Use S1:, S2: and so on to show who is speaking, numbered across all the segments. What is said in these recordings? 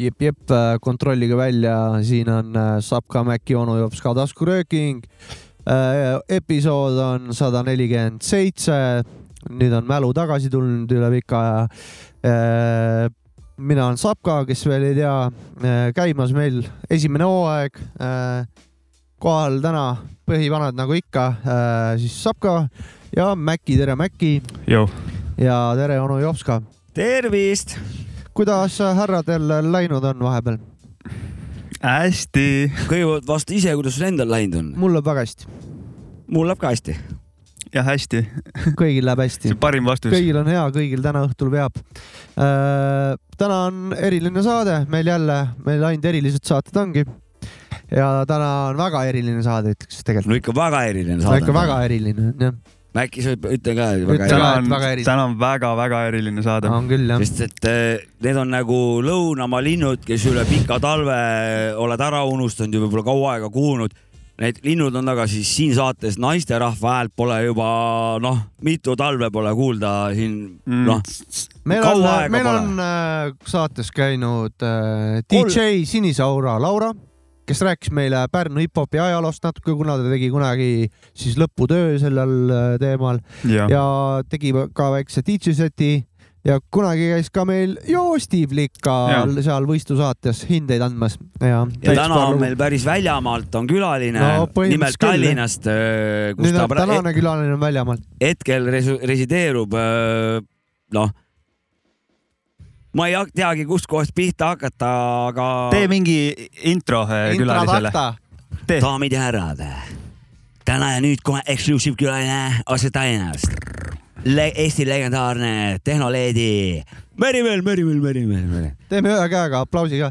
S1: jep , jep , kontrollige välja , siin on äh, Sapka Mäki onu joob Ska taskurööking . Äh, episood on sada nelikümmend seitse . nüüd on mälu tagasi tulnud üle pika aja Äh, mina olen Sapka , kes veel ei tea , käimas meil esimene hooaeg . kohal täna põhivanad nagu ikka , siis Sapka ja Mäkki , tere Mäkki
S2: Jõu. .
S1: ja tere onu Jopska .
S3: tervist .
S1: kuidas härradel läinud on vahepeal ?
S2: hästi .
S3: kõigepealt vasta ise , kuidas sul endal läinud on .
S1: mul läheb väga hästi ,
S3: mul läheb ka hästi .
S2: jah , hästi .
S1: kõigil läheb hästi
S2: see . parim vastus .
S1: kõigil on hea , kõigil täna õhtul veab . täna on eriline saade meil jälle , meil ainult erilised saated ongi . ja täna on väga eriline saade , ütleks tegelikult .
S3: no ikka väga eriline
S1: no
S3: saade .
S1: ikka väga . eriline on jah ,
S3: äkki sa ütle ka
S1: Ütle
S3: väga
S1: ära.
S3: eriline ,
S2: täna on
S1: väga eriline. ,
S2: täna on väga-väga eriline saade .
S1: on küll jah .
S3: sest et eh, need on nagu lõunamaa linnud , kes üle pika talve oled ära unustanud ja võib-olla kaua aega kuulnud . Need linnud on aga siis siin saates naisterahva häält pole juba noh , mitu talve pole kuulda siin
S2: Mm.
S3: noh ,
S1: meil on
S3: kaua , aega
S1: meil
S3: pole.
S1: on äh, saates käinud äh,
S3: Kolm-
S1: DJ Sinisaura Laura , kes rääkis meile Pärnu hip-hopi ajaloost natuke , kuna ta tegi kunagi siis lõputöö sellel äh, teemal
S2: jah ,
S1: ja tegi ka väikse DJ seti ja kunagi käis ka meil Joostivlika seal võistlusaates hindeid andmas ja,
S3: ja täna on meil päris väljamaalt on külaline
S1: No
S3: no, ,
S1: põhimõtteliselt
S3: nimelt
S1: küll, jah.
S3: Tallinnast , kus
S1: nüüd
S3: ta
S1: on
S3: pra-
S1: tänane külaline on väljamaalt .
S3: hetkel resu- resideerub öö, noh , ma ei hak- teagi , kustkohast pihta hakata , aga
S2: tee mingi intro eh, külalisele . tee.
S3: daamid ja härrad , täna ja nüüd kohe exclusive külaline otse Tallinnast Le . Eesti legendaarne tehnoleedi Merimäel , Merimäel , Merimäel , Merimäel .
S1: teeme ühe käega aplausi ka .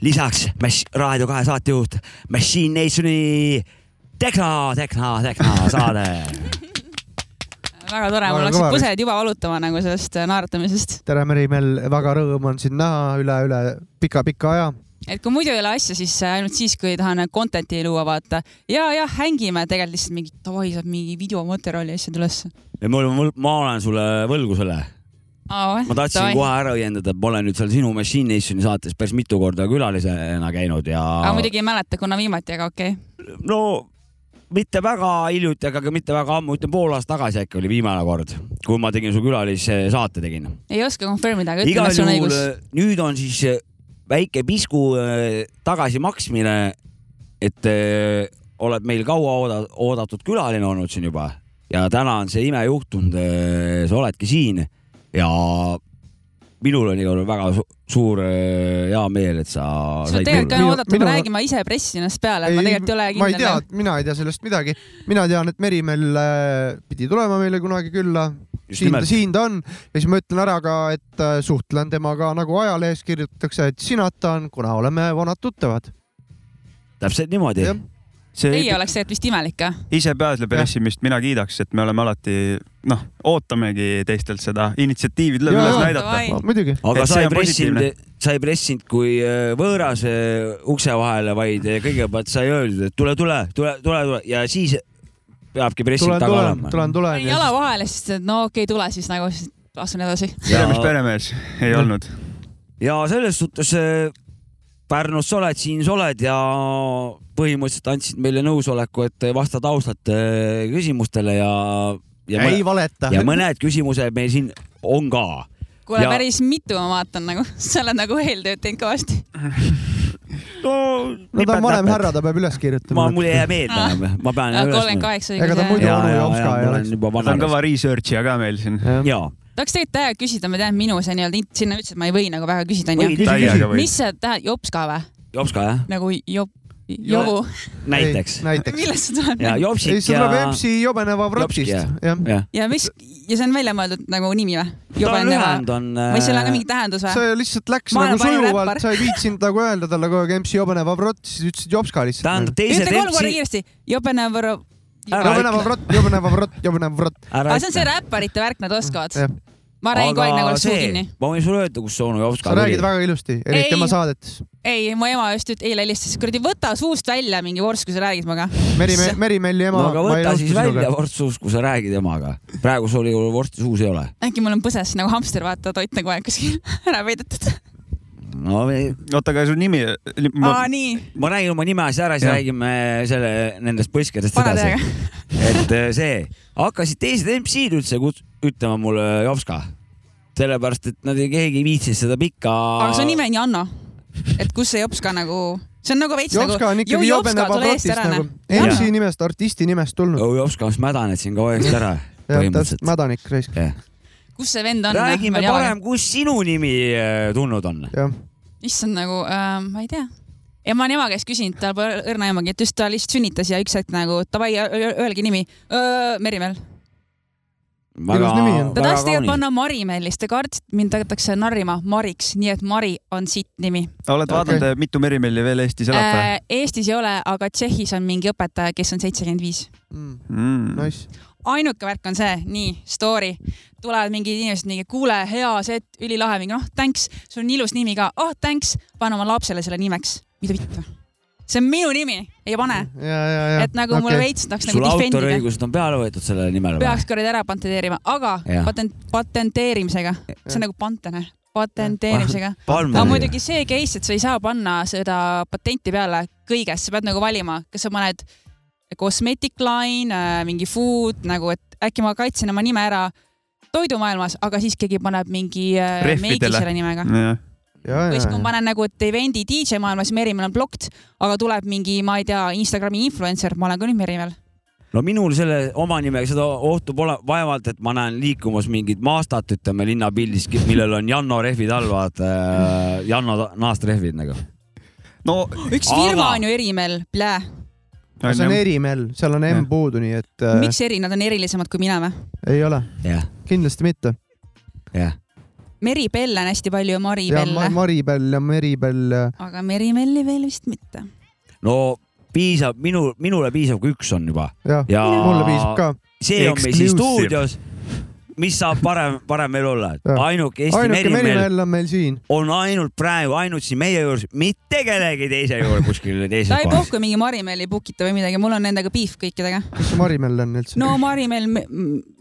S3: lisaks Mass- , Raadio kahe saatejuht Machine Nationi Tehno , Tehno , Tehno saade .
S4: väga tore ,
S1: Väga
S4: mul
S1: kõva
S4: hakkasid
S1: vist.
S4: pused juba valutama nagu sellest äh, naeratamisest .
S1: tere , Merimel , väga rõõm on sind näha üle , üle pika-pika aja .
S4: et kui muidu ei ole asja , siis äh, ainult siis , kui tahan content'i luua , vaata . ja , ja hängime tegelikult lihtsalt mingi , davai , saab mingi videomaterjali asjad ülesse .
S3: mul , mul , ma olen sulle võlgu selle ma tahtsin Toi. kohe ära õiendada , et ma olen nüüd seal sinu Machine Nationi saates päris mitu korda külalisena käinud ja
S4: aga muidugi ei mäleta , kuna viimati , aga okei okay. .
S3: no mitte väga hiljuti , aga ka mitte väga ammu , ütleme pool aastat tagasi äkki oli viimane kord , kui ma tegin su külalissaate tegin .
S4: ei oska confirm ida , aga ütleme ,
S3: igal
S4: et sul on
S3: juhul äh,
S4: õigus .
S3: nüüd on siis äh, väike pisku äh, tagasimaksmine , et äh, oled meil kaua ooda- oodatud külaline olnud siin juba ja täna on see ime juhtunud , sa oledki siin ja minul on igal juhul väga su suur äh, hea meel , et sa
S4: sul
S3: said tulla .
S4: tegelikult ka on
S1: Minu-
S4: oodata ,
S1: minu-
S4: ma räägin , ma ise pressin ennast peale , et ma tegelikult ei ole
S1: ma ei tea
S4: kindel .,
S1: mina ei tea sellest midagi . mina tean , et Merimel äh, pidi tulema meile kunagi külla . siin ta , siin ta on ja siis ma ütlen ära ka , et äh, suhtlen temaga nagu ajalehes kirjutatakse , et sinata on , kuna oleme vanad tuttavad .
S3: täpselt niimoodi .
S2: see
S4: ei oleks tegelikult vist imelik , jah ?
S2: ise pääsle pressimist mina kiidaks , et me oleme alati noh , ootamegi teistelt seda initsiatiivi tuleb
S1: Jaa,
S2: üles
S1: jaa.
S2: näidata .
S4: Davai.
S1: muidugi .
S3: aga
S2: Et
S3: sa
S2: see
S3: ei
S2: on positiivne.
S3: pressinud , sa ei pressinud kui äh, võõras äh, ukse vahele , vaid äh, kõigepealt sai öeldud , et tule , tule , tule , tule , tule ja siis peabki pressing
S1: tulen ,
S3: taga
S1: tulen ,
S3: olema .
S1: tulen , tulen .
S4: panin jala vahele , siis ütlesid , no okei okay, , tule siis nagu , siis astun edasi .
S2: peremees , peremees ei
S1: Jah.
S2: olnud .
S3: ja selles suhtes äh, Pärnus sa oled , siin sa oled ja põhimõtteliselt andsid meile nõusoleku , et vastad ausalt äh, küsimustele ja , ja,
S1: ei
S3: mõne,
S1: valeta .
S3: ja mõned küsimused meil siin on ka .
S4: kuule
S3: Ja- ,
S4: päris mitu ma vaatan nagu , sa oled nagu eeltööd teinud kõvasti .
S3: no
S1: no ta on vanem härra , ta peab üles kirjutama
S3: ma ,. mul ei jää meelde
S4: Ah.
S3: enam , ma pean .
S4: kolmkümmend kaheksa
S1: Ega ta muidu-
S4: õigus , jah .
S1: onu Jopska ei
S3: ma
S1: oleks.
S3: olen juba
S2: ta on
S3: vana .
S2: kõva research'ija ka meil siin .
S3: ja ,
S4: tahaks tegelikult täiega küsida , ma tean , minu see nii-öelda int sinna ütles , et ma ei või nagu väga küsida ,
S3: Võid.
S4: onju .
S2: täiega võib .
S4: mis see tähendab , jops ka või ?
S3: Jopska jah ,
S4: nagu jop- , jobu ,
S3: näiteks .
S1: näiteks .
S4: millest see tuleb
S3: ja ?
S1: ei ,
S3: Jopsik
S1: see tuleb
S3: ja .
S1: MC Jobeneva Vrotist
S3: Jopski, ,
S1: jah .
S4: ja mis , ja see on välja mõeldud nagu nimi või ?
S3: ta on
S4: jobeneva
S3: lühend on . äh,
S4: või seal on ka mingi tähendus või ?
S1: see lihtsalt läks
S4: Ma
S1: ma
S4: olen
S1: nagu
S4: parim
S1: sujuvalt ,
S4: räppar.
S1: sa ei viitsinud nagu öelda talle kogu aeg MC Jobeneva Vrot , siis ütlesid Jopska lihtsalt .
S3: tähendab teised
S4: ütle kolm korda
S3: MC ,
S4: kiiresti , jobenev ,
S3: Ära
S1: Jobeneva Vrot , Jobeneva Vrot , Jobeneva Vrot .
S3: ära
S4: aga see on see räpparite värk , nad oskavad . ma räägin kogu aeg nagu
S3: aga
S4: oleks suu
S3: see
S4: kinni .,
S3: ma võin sulle öelda , kus see onu Jopska
S1: sa räägid
S3: tuli .
S1: väga ilusti , eriti
S4: Ei.
S1: tema saadetes .
S4: ei , mu ema just üt- eile helistas , kuradi võta suust välja mingi vorst , kui sa räägid minuga .
S1: Meri , Merimelli
S3: no
S1: ema .
S3: aga võta siis välja . vorst suust , kui sa räägid emaga . praegu sul ju vorsti suus ei ole .
S4: äkki mul on põses nagu hamster , vaata , toit nagu aeg kuskil ära peidetud .
S3: no me-
S2: oota , aga su nimi ?
S4: aa , nii ,
S3: ma räägin oma nime asja ära , siis
S2: Jah.
S3: räägime selle , nendest põskedest
S4: pane
S3: edasi .
S4: täiega .
S3: et eh, see , hakkasid teised MC-d üldse kuts- ütlema mulle Jopska , sellepärast et nad ei , keegi ei viitsinud seda pikka .
S4: aga su nimi on Janno . et kus see Jopska nagu , see on nagu veits nagu .
S1: Jopska on ikkagi jobene patrotist nagu . MC nimest , artisti nimest tulnud .
S3: oh Jopska , mis mädaned siin kogu aeg ära .
S1: jah , täpselt ,
S3: põhimõtteliselt .
S1: mädanik raisk ,
S4: kus see vend on ? noh?
S3: räägime parem , kust sinu nimi eh, tulnud on .
S1: jah .
S4: issand nagu äh, , ma ei tea . ema on ema käest küsinud , tal pole õrna emagi , et just ta lihtsalt sünnitas ja üks hetk nagu davai , öelge nimi . Merimäel .
S1: Ilus nimi on.
S4: ta tahtis tegelikult . panna Marimeel , siis ta kartis , et mind hakatakse narrima Mariks , nii et Mari on sitt nimi
S2: oled vaadanud okay. , mitu Merimelli veel Eestis elab või ?
S4: äh, . Eestis ei ole , aga Tšehhis on mingi õpetaja , kes on seitsekümmend viis .
S2: Mm.
S1: Nice .
S4: ainuke värk on see , nii story , tulevad mingid inimesed , mingi kuule , hea set , ülilahe , mingi noh , thanks , sul on ilus nimi ka , oh thanks , pane oma lapsele selle nimeks . mida vittu ? see on minu nimi , ei pane .
S1: ja , ja , ja .
S4: et nagu okay. mulle veits tahaks
S3: sul
S4: nagu defendida .
S3: autoriõigused on peale võetud sellele nimele või ?
S4: peaks kuradi ära patenteerima , aga
S3: Jah.
S4: patent , patenteerimisega , see on nagu pantene , patenteerimisega . aga
S3: palme .
S4: muidugi see case , et sa ei saa panna seda patenti peale kõigest , sa pead nagu valima , kas sa paned cosmetic line , mingi food nagu , et äkki ma kaitsen oma nime ära toidumaailmas , aga siis keegi paneb mingi äh, meigi
S2: Rehvidele.
S4: selle nimega .
S1: ja ,
S4: või siis kui ma
S1: ja ,
S4: panen nagu , et event'i DJ maailmas Merimäel on blocked , aga tuleb mingi , ma ei tea , Instagrami influencer , ma olen ka nüüd Merimäel .
S3: no minul selle oma nimega seda ohtu pole , vaevalt , et ma näen liikumas mingit maastat , ütleme linnapildis , millel on Janno rehvid all , vaata äh, , Janno ta- naast rehvid nagu .
S2: no
S4: üks firma
S3: Aga-
S4: on ju Erimäel , plää .
S1: see on
S2: onju.
S1: Erimel , seal on M
S2: Jah.
S1: puudu , nii et äh,
S4: miks eri , nad on erilisemad kui mina või ?
S1: ei ole ,
S3: jah ,
S1: kindlasti mitte .
S3: jah .
S4: Meri Bell on hästi palju Mari
S1: ja
S4: Belle ,
S1: Ma- Maribel ja Meribel ja
S4: aga Merimelli veel vist mitte .
S3: no piisab , minu , minule piisab , kui üks on juba .
S1: jah ja. ,
S3: ja
S1: mulle piisab ka .
S3: see on meil siin
S2: Exclusive.
S3: stuudios . mis saab parem , parem veel olla
S1: Jah. ?
S3: ainuke Eesti
S1: ainuke
S3: merimehel
S1: Meribel on meil siin .
S3: on ainult praegu , ainult siin meie juures , mitte kellegi teise juures kuskil teises
S4: ta ei
S3: kohas .
S4: puhku mingi Marimäel ei book ita või midagi , mul on nendega beef kõikidega .
S1: mis see Maribel on üldse ?
S4: no Marimäel ,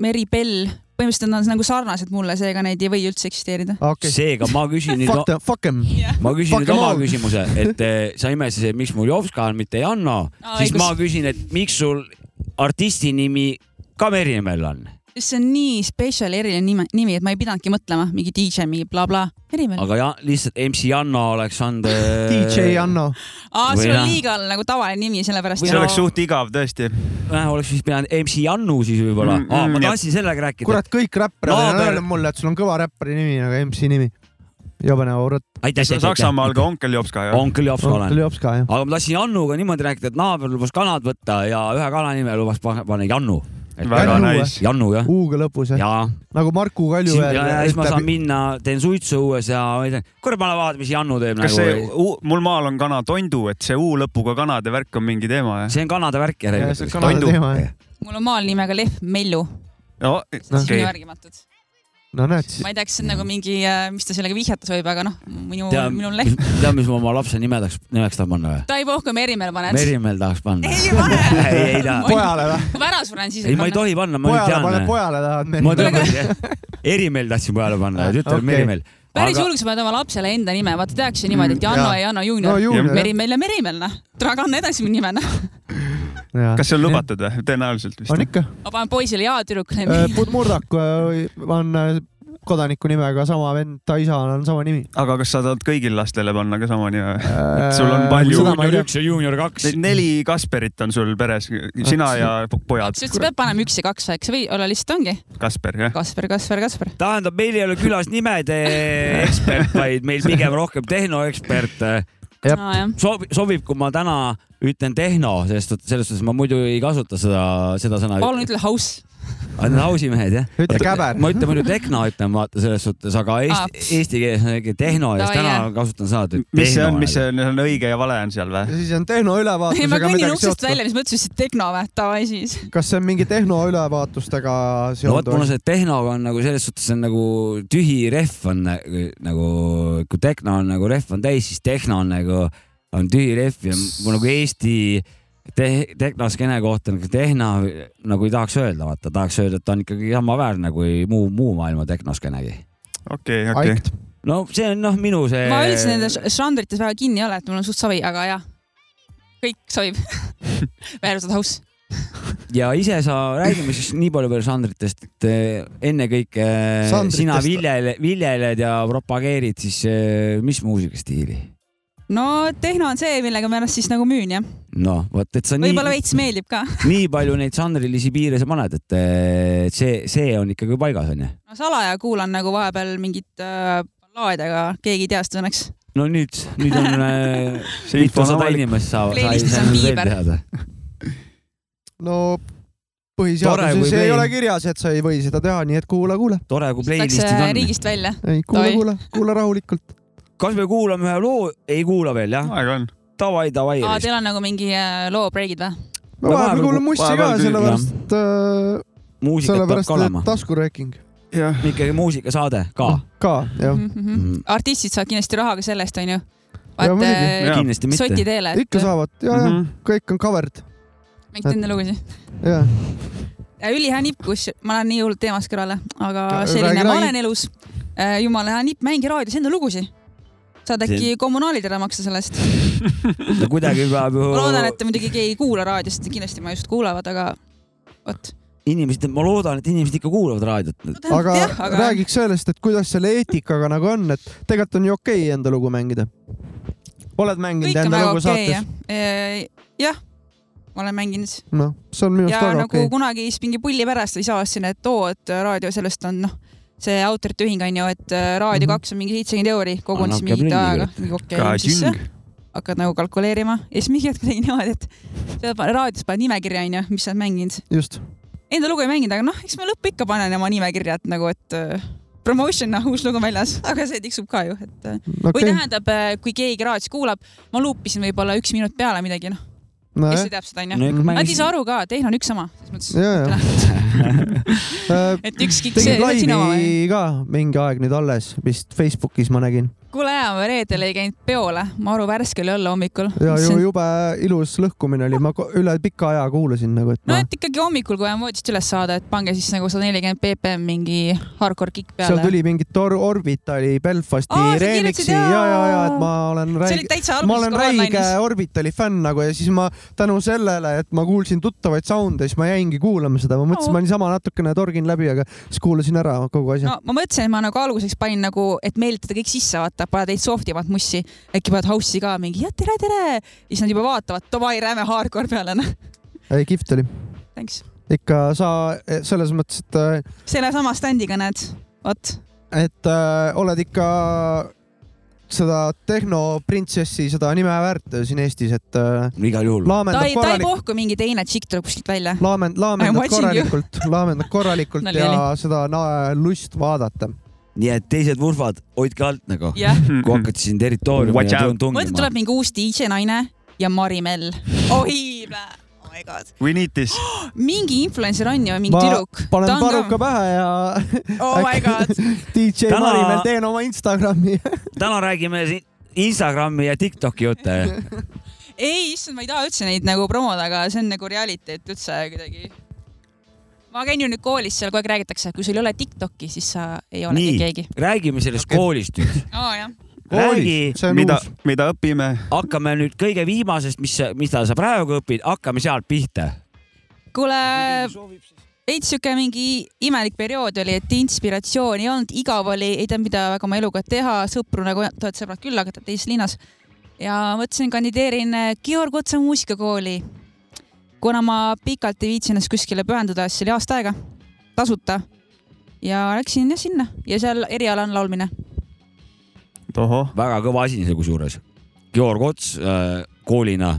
S4: Meri Bell , põhimõtteliselt nad on nagu sarnased mulle , seega neid ei või üldse eksisteerida .
S1: Ah, okei ,
S3: seega ma küsin nüüd
S1: fuck , them , fuck them .
S3: ma küsin
S1: Fuck
S3: nüüd
S1: them
S3: oma
S1: all.
S3: küsimuse , et eh, sa imestasid , et miks mul Jovska on , mitte Janno ,
S4: Aa,
S3: siis
S4: õigus.
S3: ma küsin , et miks sul artisti nimi ka Merimäel on ?
S4: see on nii special , eriline nime , nimi , et ma ei pidanudki mõtlema , mingi DJ , mingi blablabla , Merimäel .
S3: aga ja, lihtsalt MC Janno oleks eh, olnud .
S1: DJ .
S3: Äh,
S1: Janno ,
S4: aa ,
S3: või
S4: sul
S3: jah.
S4: on liiga nagu tavaline nimi , sellepärast .
S2: see oleks suht igav tõesti .
S3: jah , oleks siis pidanud MC Jannu siis võib-olla
S2: Mm,
S3: mm, . Mm,
S2: mm,
S3: ma
S2: jah.
S3: tahtsin sellega rääkida .
S1: kurat , kõik räpparid on
S3: Naaber-
S1: öelnud mulle , et sul on kõva räppari nimi , aga MC nimi . nagu jobene aurat ,
S3: aitäh , aitäh , aitäh .
S2: Saksamaal ka onkel Jopska ju .
S3: on küll Jovska olen
S1: tuli . hops ka jah .
S3: aga ma tahtsin Jannuga niimoodi rääkida , et naaber lubas kanad võtta ja ühe kana nime lubas pa- panna Jannu .
S2: väga
S1: Jannu, jah.
S2: nice .
S3: Jannu jah ,
S1: U-ga lõpus jah ,
S3: ja
S1: nagu Marku
S3: siis, ja,
S1: Kaljuväel
S3: ja siis ma saan
S1: ütleb ,
S3: minna , teen suitsu õues ja ma ütlen , kurat , ma lähen vaatan , mis Jannu teeb
S2: kas
S3: nagu
S2: see , mul maal on kana tondu , et see U lõpuga kanade värk on mingi teema jah ?
S3: see on Kanada värk
S1: Jah, see on Kanada teema, jah.
S3: järelikult .
S4: mul on maal nimega Lehm Mellu ,
S2: no
S4: siis minu
S2: okei ,
S4: järgimatud .
S1: no näed ,
S4: ma ei tea , kas see on nagu mingi , mis ta sellega vihjatas võib , aga noh , minu ,
S3: tead ,
S4: minul Lehm ,
S3: tead , mis ma oma lapse nimedaks , nimeks tahan panna või ?
S4: ta ei puhku Merimäel , paned .
S3: Merimäel tahaks panna .
S4: ei pane .
S3: ei , ei taha .
S1: pojale või ?
S4: kui ma ära suren , siis
S3: ei , ma ei . tohi panna , ma
S1: pojale pane ,
S3: nüüd tean .
S1: pojale tahad
S3: ma
S1: Meribel .
S3: tean , Erimäel tahtsin pojale panna , tütar
S1: Okei.
S3: Merimäel .
S4: päris hull , kui sa paned oma lapsele enda nime , vaata tehakse niimoodi , et Janno
S1: Mm, jaa.
S4: ja Janno
S1: no
S4: juunior .
S1: juunior jah.
S4: Merimäel ja Merimäel , noh . tule aga anna edasi mu nime , noh .
S1: Jaa.
S2: kas see on lubatud või ? tõenäoliselt
S1: on
S2: vist .
S1: ikka .
S4: ma panen poisile ja
S1: Äh,
S4: tüdrukule nimi .
S1: Budmurdak äh, on äh, kodaniku nimega sama vend , ta isa on sama nimi .
S2: aga kas sa tahad kõigil lastele panna ka sama nime või ? Et sul on palju-
S1: seda ma ei
S3: juunior
S1: tea .
S3: üks ja juunior kaks .
S2: neli Kasperit on sul peres , sina ja po- pojad
S4: sa . ütlesid , pead panema üks ja kaks väikse või olla lihtsalt ongi
S2: Kasper jah .
S4: Kasper , Kasper , Kasper .
S3: tähendab , meil ei ole külas nimede ekspert , vaid meil pigem rohkem tehnoekspert .
S1: Jep.
S4: nojah ,
S3: sobib , sobib , kui ma täna ütlen tehno , sest et selles suhtes ma muidu ei kasuta seda , seda sõna .
S4: palun ütle house .
S3: on hausimehed jah ?
S1: ütle käber .
S3: ma ütlen muidu tehno , ütlen vaata selles suhtes , aga eesti , eesti keeles on ikkagi tehno ja siis
S4: Davai,
S3: täna
S4: jah.
S3: kasutan sõna .
S2: mis see on , mis see
S3: nagu.
S2: on , on õige ja vale on seal
S1: ja
S2: või ?
S1: siis on
S4: ei , ma
S1: tehnoülevaatusega
S4: kõnnin
S1: midagi
S4: uksest
S1: seotud .
S4: välja , mis mõttes ütlesid tehno või ? davai siis .
S1: kas see on mingi tehnoülevaatustega
S3: no vot ,
S1: seonduv
S3: mul on
S1: asi ?
S3: see tehnoga on nagu selles suhtes on nagu tühi rehv on nagu, nagu , kui tehno on nagu rehv on täis , siis tehno on nagu , on tühi rehv ja mul nagu Eesti te- , tehnoskeene kohta nagu tehno nagu ei tahaks öelda , vaata , tahaks öelda , et ta on ikkagi samaväärne kui muu , muu maailma tehnoskeenegi .
S2: okei , okei .
S1: Aikt ,
S3: no see on noh , minu see .
S1: Äh.
S4: ma üldse nendes žanrites väga kinni ei ole , et mul on suht savi , aga jah , kõik sobib . Bear of the House .
S3: ja ise sa , räägime siis nii palju veel žanritest , et eh, ennekõike eh,
S1: Žanritest-
S3: sina viljele- , viljeled ja propageerid siis eh, mis muusikastiili ?
S4: no tehno on see , millega ma ennast siis nagu müün jah ,
S3: noh , vot et sa nii ,
S4: võib-olla veits meeldib ka .
S3: nii palju neid žanrilisi piire sa paned , et eh, see , see on ikkagi paigas , onju .
S4: no salaja kuulan nagu vahepeal mingit äh, ballaade , aga keegi ei tea seda õnneks .
S3: no nüüd , nüüd on eh,
S2: See info on
S3: mitusada
S2: avalik.
S3: inimest saab , sai
S4: Playlist'is on
S3: veel
S4: Bieber.
S3: teada .
S1: no
S3: Tore, kui
S1: põhiseaduses ei
S3: play-
S1: ole kirjas , et sa ei või seda teha , nii et kuula , kuula ,
S3: tore , kui
S4: Läks
S3: playlist'id
S4: äh,
S3: on .
S4: riigist välja .
S1: ei kuula
S4: Oi. ,
S1: kuula , kuula rahulikult .
S3: kas me kuulame ühe loo ? ei kuula veel jah ?
S2: aeg on .
S3: davai , davai .
S4: aa , teil on nagu mingi äh, loo breigid või ?
S1: no
S3: No
S1: vahepeal
S3: vahepeal
S1: kuulame ussi ka
S2: vahepeal , küll,
S1: sellepärast ,
S3: muusikat peab
S1: sellepärast ,
S3: ka olema
S1: et . taskurööking Ah,
S2: jah ,
S3: ikkagi muusikasaade ka .
S1: ka jah ,
S3: Mhm.
S4: artistid saavad kindlasti raha ka sellest , onju .
S1: Jaa,
S4: vaat
S1: muidugi.
S4: äh,
S2: Jaa.
S3: kindlasti mitte .
S4: soti teele ,
S1: ikka
S4: et
S1: saavad ja ,
S3: Mhm.
S1: ja
S2: Mhm.
S1: kõik on covered
S4: mängite enda lugusid .
S1: ja
S4: ülihea nipp , kus ma lähen nii hullult teemast kõrvale , aga
S1: Ja,
S4: selline
S1: räägi-
S4: ma
S1: räägi.
S4: olen elus . jumala hea nipp , mängi raadios enda lugusid . saad äkki kommunaalid ära maksta sellest .
S3: no kuidagi peab ju .
S4: ma loodan , et muidugi keegi ei kuula raadiost , kindlasti ma just kuulavad , aga vot .
S3: inimesed , ma loodan , et inimesed ikka kuulavad raadiot .
S1: aga, aga räägiks sellest , et kuidas selle eetikaga nagu on , et tegelikult on ju okei enda lugu mängida . oled mänginud
S4: kõik on
S1: enda
S4: väga
S1: lugu
S4: okei
S1: saates ?
S4: jah . jah , ma olen mänginud
S1: noh , see on minu
S4: ja
S1: arust väga
S4: nagu
S1: okei
S4: okay. . kunagi siis mingi pulli pärast ei saa siin , et oo , et raadio sellest on noh , see autorite ühing on ju , et äh, Raadio
S1: Mhm.
S4: kaks on mingi seitsekümmend euri , kogun
S3: Annab
S4: siis mingit
S3: käpringi
S4: aega ,
S3: kurat.
S4: mingi okei
S2: ka
S4: okay, , sisse
S2: tüng .
S4: hakkad nagu kalkuleerima ja siis mingi hetk tegin niimoodi , et sa pa- raadios paned nimekirja onju , mis sa oled mänginud .
S1: just ,
S4: Enda lugu ei mänginud , aga noh , eks ma lõppu ikka panen oma nimekirja , et nagu , et äh, promotion , noh , uus lugu väljas , aga see tiksub ka ju , et okay. või
S1: okei ,
S4: tähendab , kui keegi raadios kuulab , ma luupisin võib-olla üks minut peale midagi , noh , kes
S1: nojah ,
S4: ei teab seda onju . Nad ei
S3: no
S4: saa aru ka , tehn on üks sama , selles mõttes ,
S1: ja , ja Äh,
S4: et üks kikk see
S1: tegid
S4: on sinu oma .
S1: laivi ka mingi aeg nüüd alles , vist Facebookis ma nägin
S4: kuule hea , ma reedel ei käinud peole , Maru värske oli olla hommikul .
S1: ja ju, jube ilus lõhkumine oli , ma ko- üle pika aja kuulasin nagu , et
S4: no
S1: noh ,
S4: et ikkagi hommikul , kui on voodist üles saada , et pange siis nagu sada nelikümmend BPM mingi hardcore kikk
S1: seal
S4: peale .
S1: tuli mingit Or- Orbitali Belfasti
S4: Aa, sa
S1: remix'i
S4: kirjutasid,
S1: ja ,
S4: jaa.
S1: ja , ja et ma olen
S4: see oli
S1: räige ,
S4: täitsa
S1: ma
S4: alguses
S1: olen räige . Orbitali fänn nagu ja siis ma tänu sellele , et ma kuulsin tuttavaid sound'e , siis ma jäingi kuulama seda , ma mõtlesin ,
S4: Oo.
S1: ma niisama natukene torgin läbi , aga siis kuulasin ära kogu asja .
S4: no ma mõtlesin , et ma nagu alguseks panin nagu , et meelitada kõik sisse , vaata , pane teid soft imat mussi , äkki paned house'i ka mingi ja tere , tere . ja siis nad juba vaatavad , davai , rääme hardcore peale , noh ,
S1: ei , kihvt oli .
S4: thanks .
S1: ikka sa selles mõttes , et , äh,
S4: sellesama stand'iga näed , vot ,
S1: et äh, oled ikka seda tehnoprintsessi , seda nime väärt siin Eestis , et äh,
S3: igal juhul .
S4: ta
S1: laamendab
S4: ei , ta ei
S1: korralikult ,
S4: puhku , mingi teine tšikk tuleb kuskilt välja . I
S1: laamend- ,
S4: am
S1: laamendab
S4: watching you.
S1: korralikult , laamendab korralikult
S4: Nali
S1: ja seda on äh, lust vaadata .
S3: nii et teised vurfad , hoidke alt nagu ,
S4: jah .
S3: kui hakkate siin territooriumi
S2: Mhm. Watch
S3: ja
S2: out.
S3: tun-
S4: mõtle ,
S3: tungima
S4: tuleb . mingi uus DJ naine ja Marimell . oi , oh my god .
S2: We need this .
S4: mingi influencer on ju , mingi
S1: Ma
S4: tüdruk .
S1: panen paruka pähe ja
S4: oh my god .
S1: DJ
S3: Täna-
S1: Marimel teen oma Instagrami .
S3: täna räägime siin Instagrami ja Tiktoki jutte .
S4: ei , issand , ma ei taha üldse neid nagu promoda , aga see on nagu reality , et üldse kuidagi . ma käin ju nüüd koolis , seal kogu aeg räägitakse , kui sul ei ole Tiktoki , siis sa ei olegi
S3: nii
S4: keegi .,
S3: räägime sellest koolist nüüd .
S4: aa jah .
S3: räägi ,
S1: see on
S2: mida
S1: uus .,
S2: mida õpime ?
S3: hakkame nüüd kõige viimasest , mis , mida sa praegu õpid , hakkame sealt pihta .
S4: kuule , veits siuke mingi imelik periood oli , et inspiratsiooni ei olnud , igav oli , ei teadnud , mida väga oma eluga teha , sõpru nagu , tuhat sõbrad küll , aga teises linnas . ja mõtlesin , kandideerin äh, Georg Otsa muusikakooli . kuna ma pikalt ei viitsinud ennast kuskile pühenduda , siis oli aasta aega tasuta ja läksin jah sinna ja seal eriala on laulmine .
S2: tohoh ,
S3: väga kõva asi see kusjuures . Georg Ots äh, koolina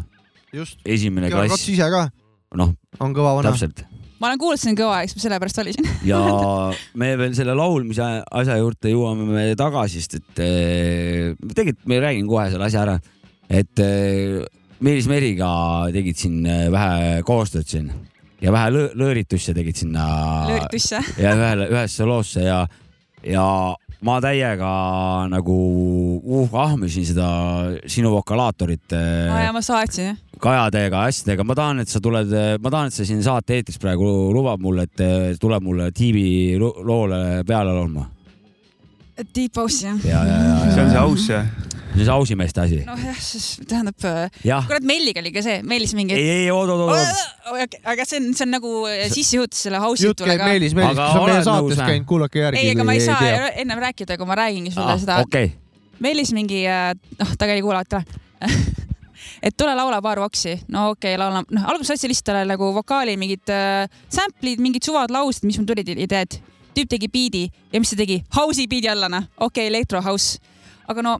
S1: just .
S3: esimene
S1: Georg Ots
S3: klass ,
S1: ise ka
S3: noh ,
S1: on kõva vana .
S3: täpselt .
S4: ma olen kuulnud sind kõva , eks ma sellepärast valisin .
S3: ja me veel selle laulmise asja juurde jõuame me tagasi , sest et eh, tegelikult ma räägin kohe selle asja ära , et eh, Meelis Meriga tegid siin eh, vähe koostööd siin ja vähe lõ- lõõritusse tegid sinna
S4: lööritusse .
S3: ja ühele , ühesse loosse ja , ja ma täiega nagu uh, ahmisin seda sinu vokalaatorit eh,
S4: aa ja ma saatsin jah .
S3: kajadega , asjadega , ma tahan , et sa tuled , ma tahan , et sa siin saate eetris praegu lubad mulle , et eh, tuleb mulle tiibi lu- loole peale laulma .
S4: Deep House jah .
S3: ja , ja , ja , ja .
S2: see on see . aus ja
S3: see on see ausimeeste asi .
S4: nojah , Noh, siis tähendab ,
S3: jah ,
S4: kurat , Melliga oli ka see , Meelis mingi .
S3: ei , ei , oot , oot , oot ,
S4: aga see on , see on nagu sissejuhatus selle house'i
S1: jutt
S4: jutule
S1: käib
S4: ka .
S1: Meelis , Meelis ,
S3: Aga
S1: kes on meie
S3: oled nõus,
S1: saates
S3: või?
S1: käinud , kuulake järgi .
S4: ei , ega ma ei saa ennem rääkida , kui ma räägin sulle
S3: oot .
S4: seda .
S3: Ah, okei ,
S4: Meelis mingi , noh , tegelikult ei kuula , tule . et tule laula paar voksi , no okei okay, , laulan , noh , alguses saatsin lihtsalt talle nagu vokaali mingid äh, sample'id , mingid suvad laulsid , mis mul tulid ideed . tüüp tegi beat'i ja mis ta tegi , house'i beat'i alla , noh , okei okay, , electro house , aga no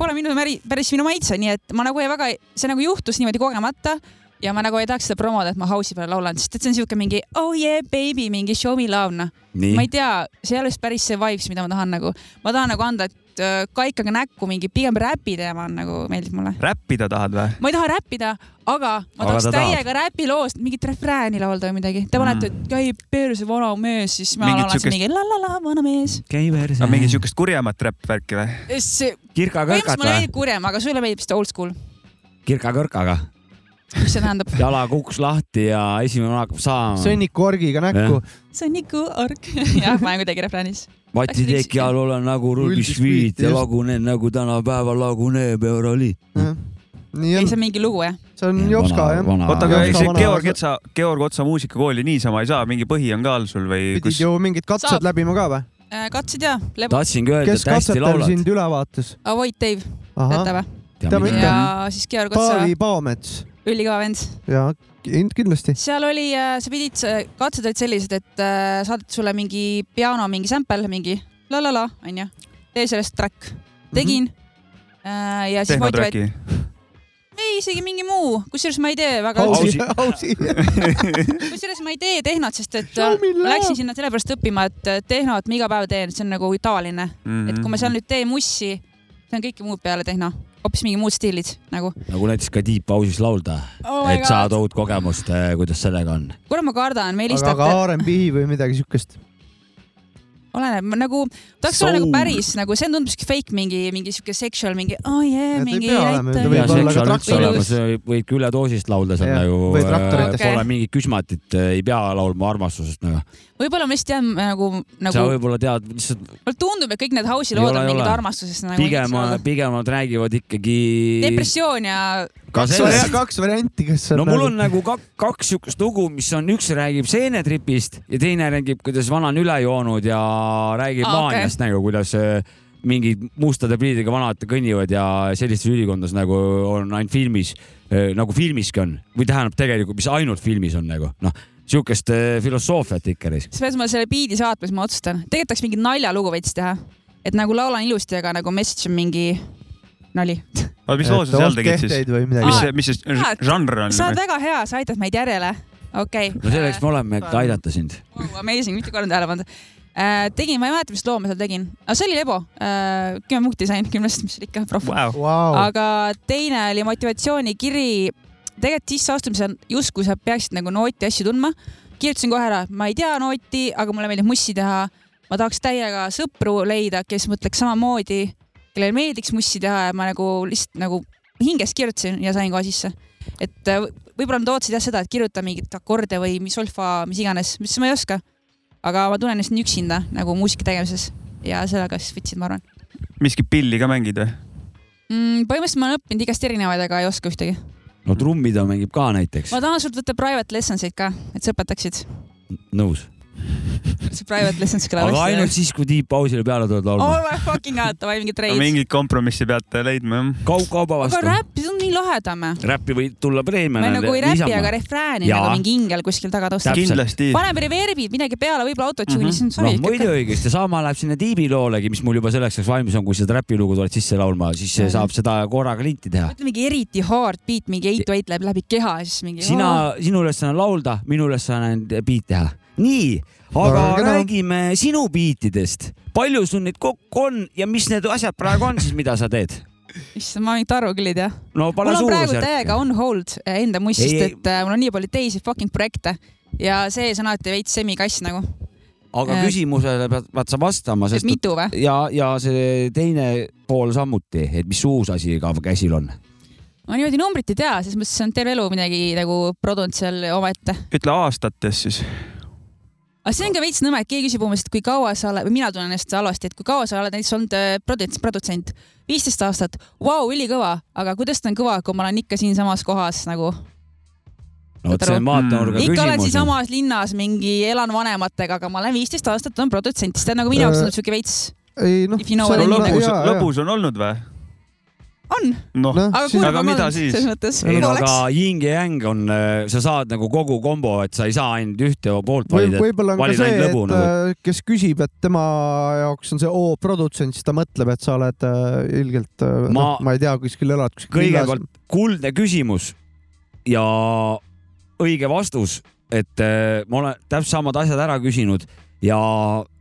S4: pole minu märi , päris minu maitse , nii et ma nagu ei väga , see nagu juhtus niimoodi kogemata ja ma nagu ei tahaks seda promoda , et ma house'i peale laulan , sest et see on siuke mingi oh yeah baby , mingi show me love , noh . ma
S3: nii
S4: ei . tea , see ei ole vist päris see vibes , mida ma tahan nagu , ma tahan nagu anda , et äh, kaikaga näkku mingi pigem räpi teema on nagu meeldib mulle .
S2: räppida tahad või ?
S4: ma ei taha räppida , aga ma
S3: Aga
S4: tahaks
S3: ta tahab.
S4: täiega räpiloost mingit refrääni laulda või midagi . Te
S2: Mm.
S4: panete , et käib perse vana mees , siis ma
S2: Mingit
S4: laulan
S2: siukest-
S4: siukest... mingi la la la vana mees .
S3: käi verse
S2: no mingi
S1: Mm.
S2: siukest kurjemat räppvärki või ?
S4: see , põhimõtteliselt
S3: kirka-kõrkat
S4: mulle
S3: või ?
S4: meeldib kurjem , aga sulle meeldib vist old school ,
S3: kirka-kõrkaga .
S4: mis see tähendab ?
S3: jala kuks lahti ja esimene hakkab saama .
S1: sõnniku orgiga näkku .
S4: see on nagu arg . jah , ma olen kuidagi refräänis .
S3: Mati teki all olen nagu
S1: Ruldis
S3: rubisviit
S1: viit,
S3: ja
S1: just.
S3: lagunen nagu tänapäeval laguneb Euroliit .
S1: nii
S4: ei , see
S1: on ,
S4: on mingi lugu jah .
S1: see
S2: Mm,
S1: on Jopska jah .
S2: oota , aga
S1: Jaa,
S2: ei
S1: ka
S2: see
S1: vana-
S2: Georg Otsa , Georg Otsa muusikakooli niisama ei saa , mingi põhi on ka all sul või
S1: pidid
S2: kus ?
S1: ju mingid katsed
S4: Saab.
S1: läbima ka või ?
S4: katsid ja ,
S3: tahtsingi öelda ,
S1: kes
S3: et hästi
S1: katsetab
S3: laulad .
S1: sind ülevaates ?
S4: Avoid Dave , teate või ?
S1: teame Ikka.
S4: ja siis Georg Otsa ,
S1: Taavi Paomets
S4: ülikõva vend
S1: ja kind- kindlasti .
S4: seal oli , sa pidid , katsed olid sellised , et äh, saadeti sulle mingi piano mingi sample , mingi la la la , onju . tee sellest track . tegin mm . -hmm. ja siis motiveerit- ,
S2: tehnotracki .
S4: ei isegi mingi muu , kusjuures ma ei tee väga
S1: ausi
S4: üldse ,
S2: Ausi- ,
S1: ausi .
S4: kusjuures ma ei tee tehnot , sest et äh,
S1: Show me
S4: ma
S1: love.
S4: läksin sinna sellepärast õppima , et äh, tehnot ma iga päev teen , see on nagu tavaline , et kui ma seal nüüd teen mussi , see on kõike muud peale tehno , hoopis mingi muud stiilid nagu
S3: nagu näiteks ka Deep House'is laulda ,
S4: oh
S3: et saada . uut kogemust , kuidas sellega on .
S4: kuule , ma kardan , me
S1: aga
S4: helistate
S1: ka , R&B või midagi siukest .
S4: oleneb ma nagu , tahaks olla nagu
S3: Soul.
S4: päris nagu , see tunduski fake mingi , mingi siuke sexual mingi oh yeah,
S1: ta ei
S4: mingi
S1: pea olema, ta
S4: näita-
S1: võib
S4: ja
S1: olla ka
S4: sexual-
S1: traktoris.
S4: ilus.
S3: võid ka üledoosist laulda seal
S1: Jah,
S3: nagu
S1: või . traktorites.
S3: Pole
S4: Okei.
S3: mingit küsmatit , ei pea laulma armastusest nagu .
S4: võib-olla ma lihtsalt tean nagu , nagu
S3: sa võib-olla tead , lihtsalt
S4: mulle tundub , et kõik need house'i
S3: Ei
S4: lood
S3: ole,
S4: on
S3: ei
S4: mingid
S3: ole.
S4: armastusest nagu .
S3: pigem , pigemad räägivad ikkagi .
S4: depressioon ja
S3: ka sellest
S1: kaks varianti , kas .
S3: no mul on . nagu kak, kaks siukest lugu , mis on , üks räägib seenetripist ja teine räägib , kuidas vana on üle joonud ja räägib
S4: Aa,
S3: ah,
S4: okei.
S3: maaniast okay. nagu , kuidas äh, mingid mustade pliididega vanad kõnnivad ja sellistes ülikondades nagu on ainult filmis , nagu filmiski on või tähendab tegelikult , mis ainult filmis on nagu noh , siukest äh, filosoofiat ikka risk .
S4: selles mõttes selle biidi saatmes ma otsustan , tegelikult tahaks mingit naljalugu veits teha , et nagu laulan ilusti , aga nagu message on mingi nali .
S2: aga mis loo sa seal tegid siis ?
S1: või midagi
S2: mis
S4: Aa, .
S2: see , mis see
S4: jaa, et-
S2: žanr on
S4: sa ? oled väga hea , sa aitad meid järjele , okei okay.
S3: no selleks me oleme , et aidata sind .
S4: wow, . Amazing , mitte korda tähele pannud . tegin , ma ei mäleta , mis loo ma seal tegin , aga see oli Lebo . kümme punkti sain kümnest , mis oli ikka proff .
S2: Vau ,
S1: Vau ,
S4: aga teine oli motivatsioonikiri . tegelikult sisseastumisel justkui sa peaksid nagu nooti asju tundma . kirjutasin kohe ära , ma ei tea nooti , aga mulle meeldib mussi teha . ma tahaks täiega sõpru leida , kes mõtleks samamoodi , kellele meeldiks mussi teha ja ma nagu lihtsalt nagu hinges kirjutasin ja sain kohe sisse . et äh, võib-olla nad ootasid jah seda , et kirjuta mingit akorde või mis solfa , mis iganes , mis ma ei oska . aga ma tunnen ennast nii üksinda nagu muusika tegemises ja sellega siis võtsin , ma arvan .
S2: miski pilli ka mängid või ?
S4: mm, . põhimõtteliselt ma olen õppinud igast erinevaid , aga ei oska ühtegi .
S3: no trummi ta mängib ka näiteks
S4: ma , tahan sult võtta private lessons eid ka , et sa õpetaksid .
S3: nõus .
S4: see private lessons kõlab
S3: aga ainult . siis , kui Deep House'ile peale tuled
S4: oh
S3: laulma .
S4: my fucking god , davai mingi treid .
S2: mingit kompromissi peate leidma jah ?
S3: kaug-kauba
S4: aga
S3: vastu .
S4: räpp , see on nii lahedam . ma
S3: räppi võib tulla preemia .
S4: nagu ei räpi , aga refrääni
S3: Jaa.
S4: nagu mingi ingel kuskil taga tõuseb .
S3: Täpselt.
S2: kindlasti .
S4: paneme reverbid , midagi peale , võib-olla autotune'i , siis on
S3: noh
S4: savi ,
S3: muidu . õigesti , sama läheb sinna tiibiloolegi , mis mul juba selleks ajaks valmis on , kui seda räpilugu tuled sisse laulma , siis see
S4: Mhm.
S3: saab seda korraga linti teha .
S4: mõtle mingi eriti hard beat , mingi eight to eight läheb läbi keha ja siis mingi .
S3: sina , sinu ülesanne on laulda , minu ülesanne on beat teha . nii , aga
S1: Väga kena.
S3: räägime sinu beatidest . palju sul neid kokku on ja mis need asjad praegu on siis , mida sa teed ?
S4: issand , ma mingit arvu küll ei tea .
S3: no
S4: mul
S3: pane
S4: on praegu täiega
S3: suurusjärk .
S4: on hold eh, enda mustist ,
S3: Ei, ei.
S4: et äh, mul on nii palju teisi fucking projekte ja sees on alati veits semikass nagu ,
S3: aga
S4: Äh.
S3: küsimusele pead , pead sa vastama ,
S4: et
S3: sest
S4: mitu või ?
S3: ja , ja see teine pool samuti , et mis uus asi ka käsil on .
S4: ma niimoodi numbrit ei tea , selles mõttes see on terve elu midagi nagu produnud seal omaette .
S2: ütle aastates siis .
S4: aga see on ka veits nõme , et keegi küsib umbes , et kui kaua sa oled , või mina tunnen ennast halvasti , et kui kaua sa oled näiteks olnud äh, produts- , produtsent , viisteist aastat , vau , ülikõva , aga kuidas ta on kõva , kui ma olen ikka siinsamas kohas nagu ,
S3: no vot , see on vaatenurga
S4: Mm. ikka olen
S3: küsimus .
S4: siinsamas linnas mingi , elan vanematega , aga ma olen viisteist aastat olnud produtsent , siis ta on nagu minu jaoks
S1: Äh,
S4: on siuke veits ,
S1: ei noh .
S4: If you know what I mean, nagu-
S2: lõbus , lõbus on olnud või ?
S4: on ,
S2: noh ,
S4: aga kurb
S2: Aga
S4: on
S2: mida
S4: olnud
S2: siis?
S4: selles mõttes .
S3: ei no aga Ying ja Yang on , sa saad nagu kogu kombo , et sa ei saa ainult ühte poolt
S1: või
S3: valida .
S1: võib-olla on ka
S3: valid
S1: see ,
S3: ainult
S1: et
S3: lõbu nagu.
S1: äh, kes küsib , et tema jaoks on see O produtsent , siis ta mõtleb , et sa oled äh, ilgelt ma... ,
S3: Ma-
S1: noh , ma ei tea , kuskil elad , kuskil
S3: kõigepealt kuldne küsimus ja õige vastus , et äh, ma olen täpselt samad asjad ära küsinud ja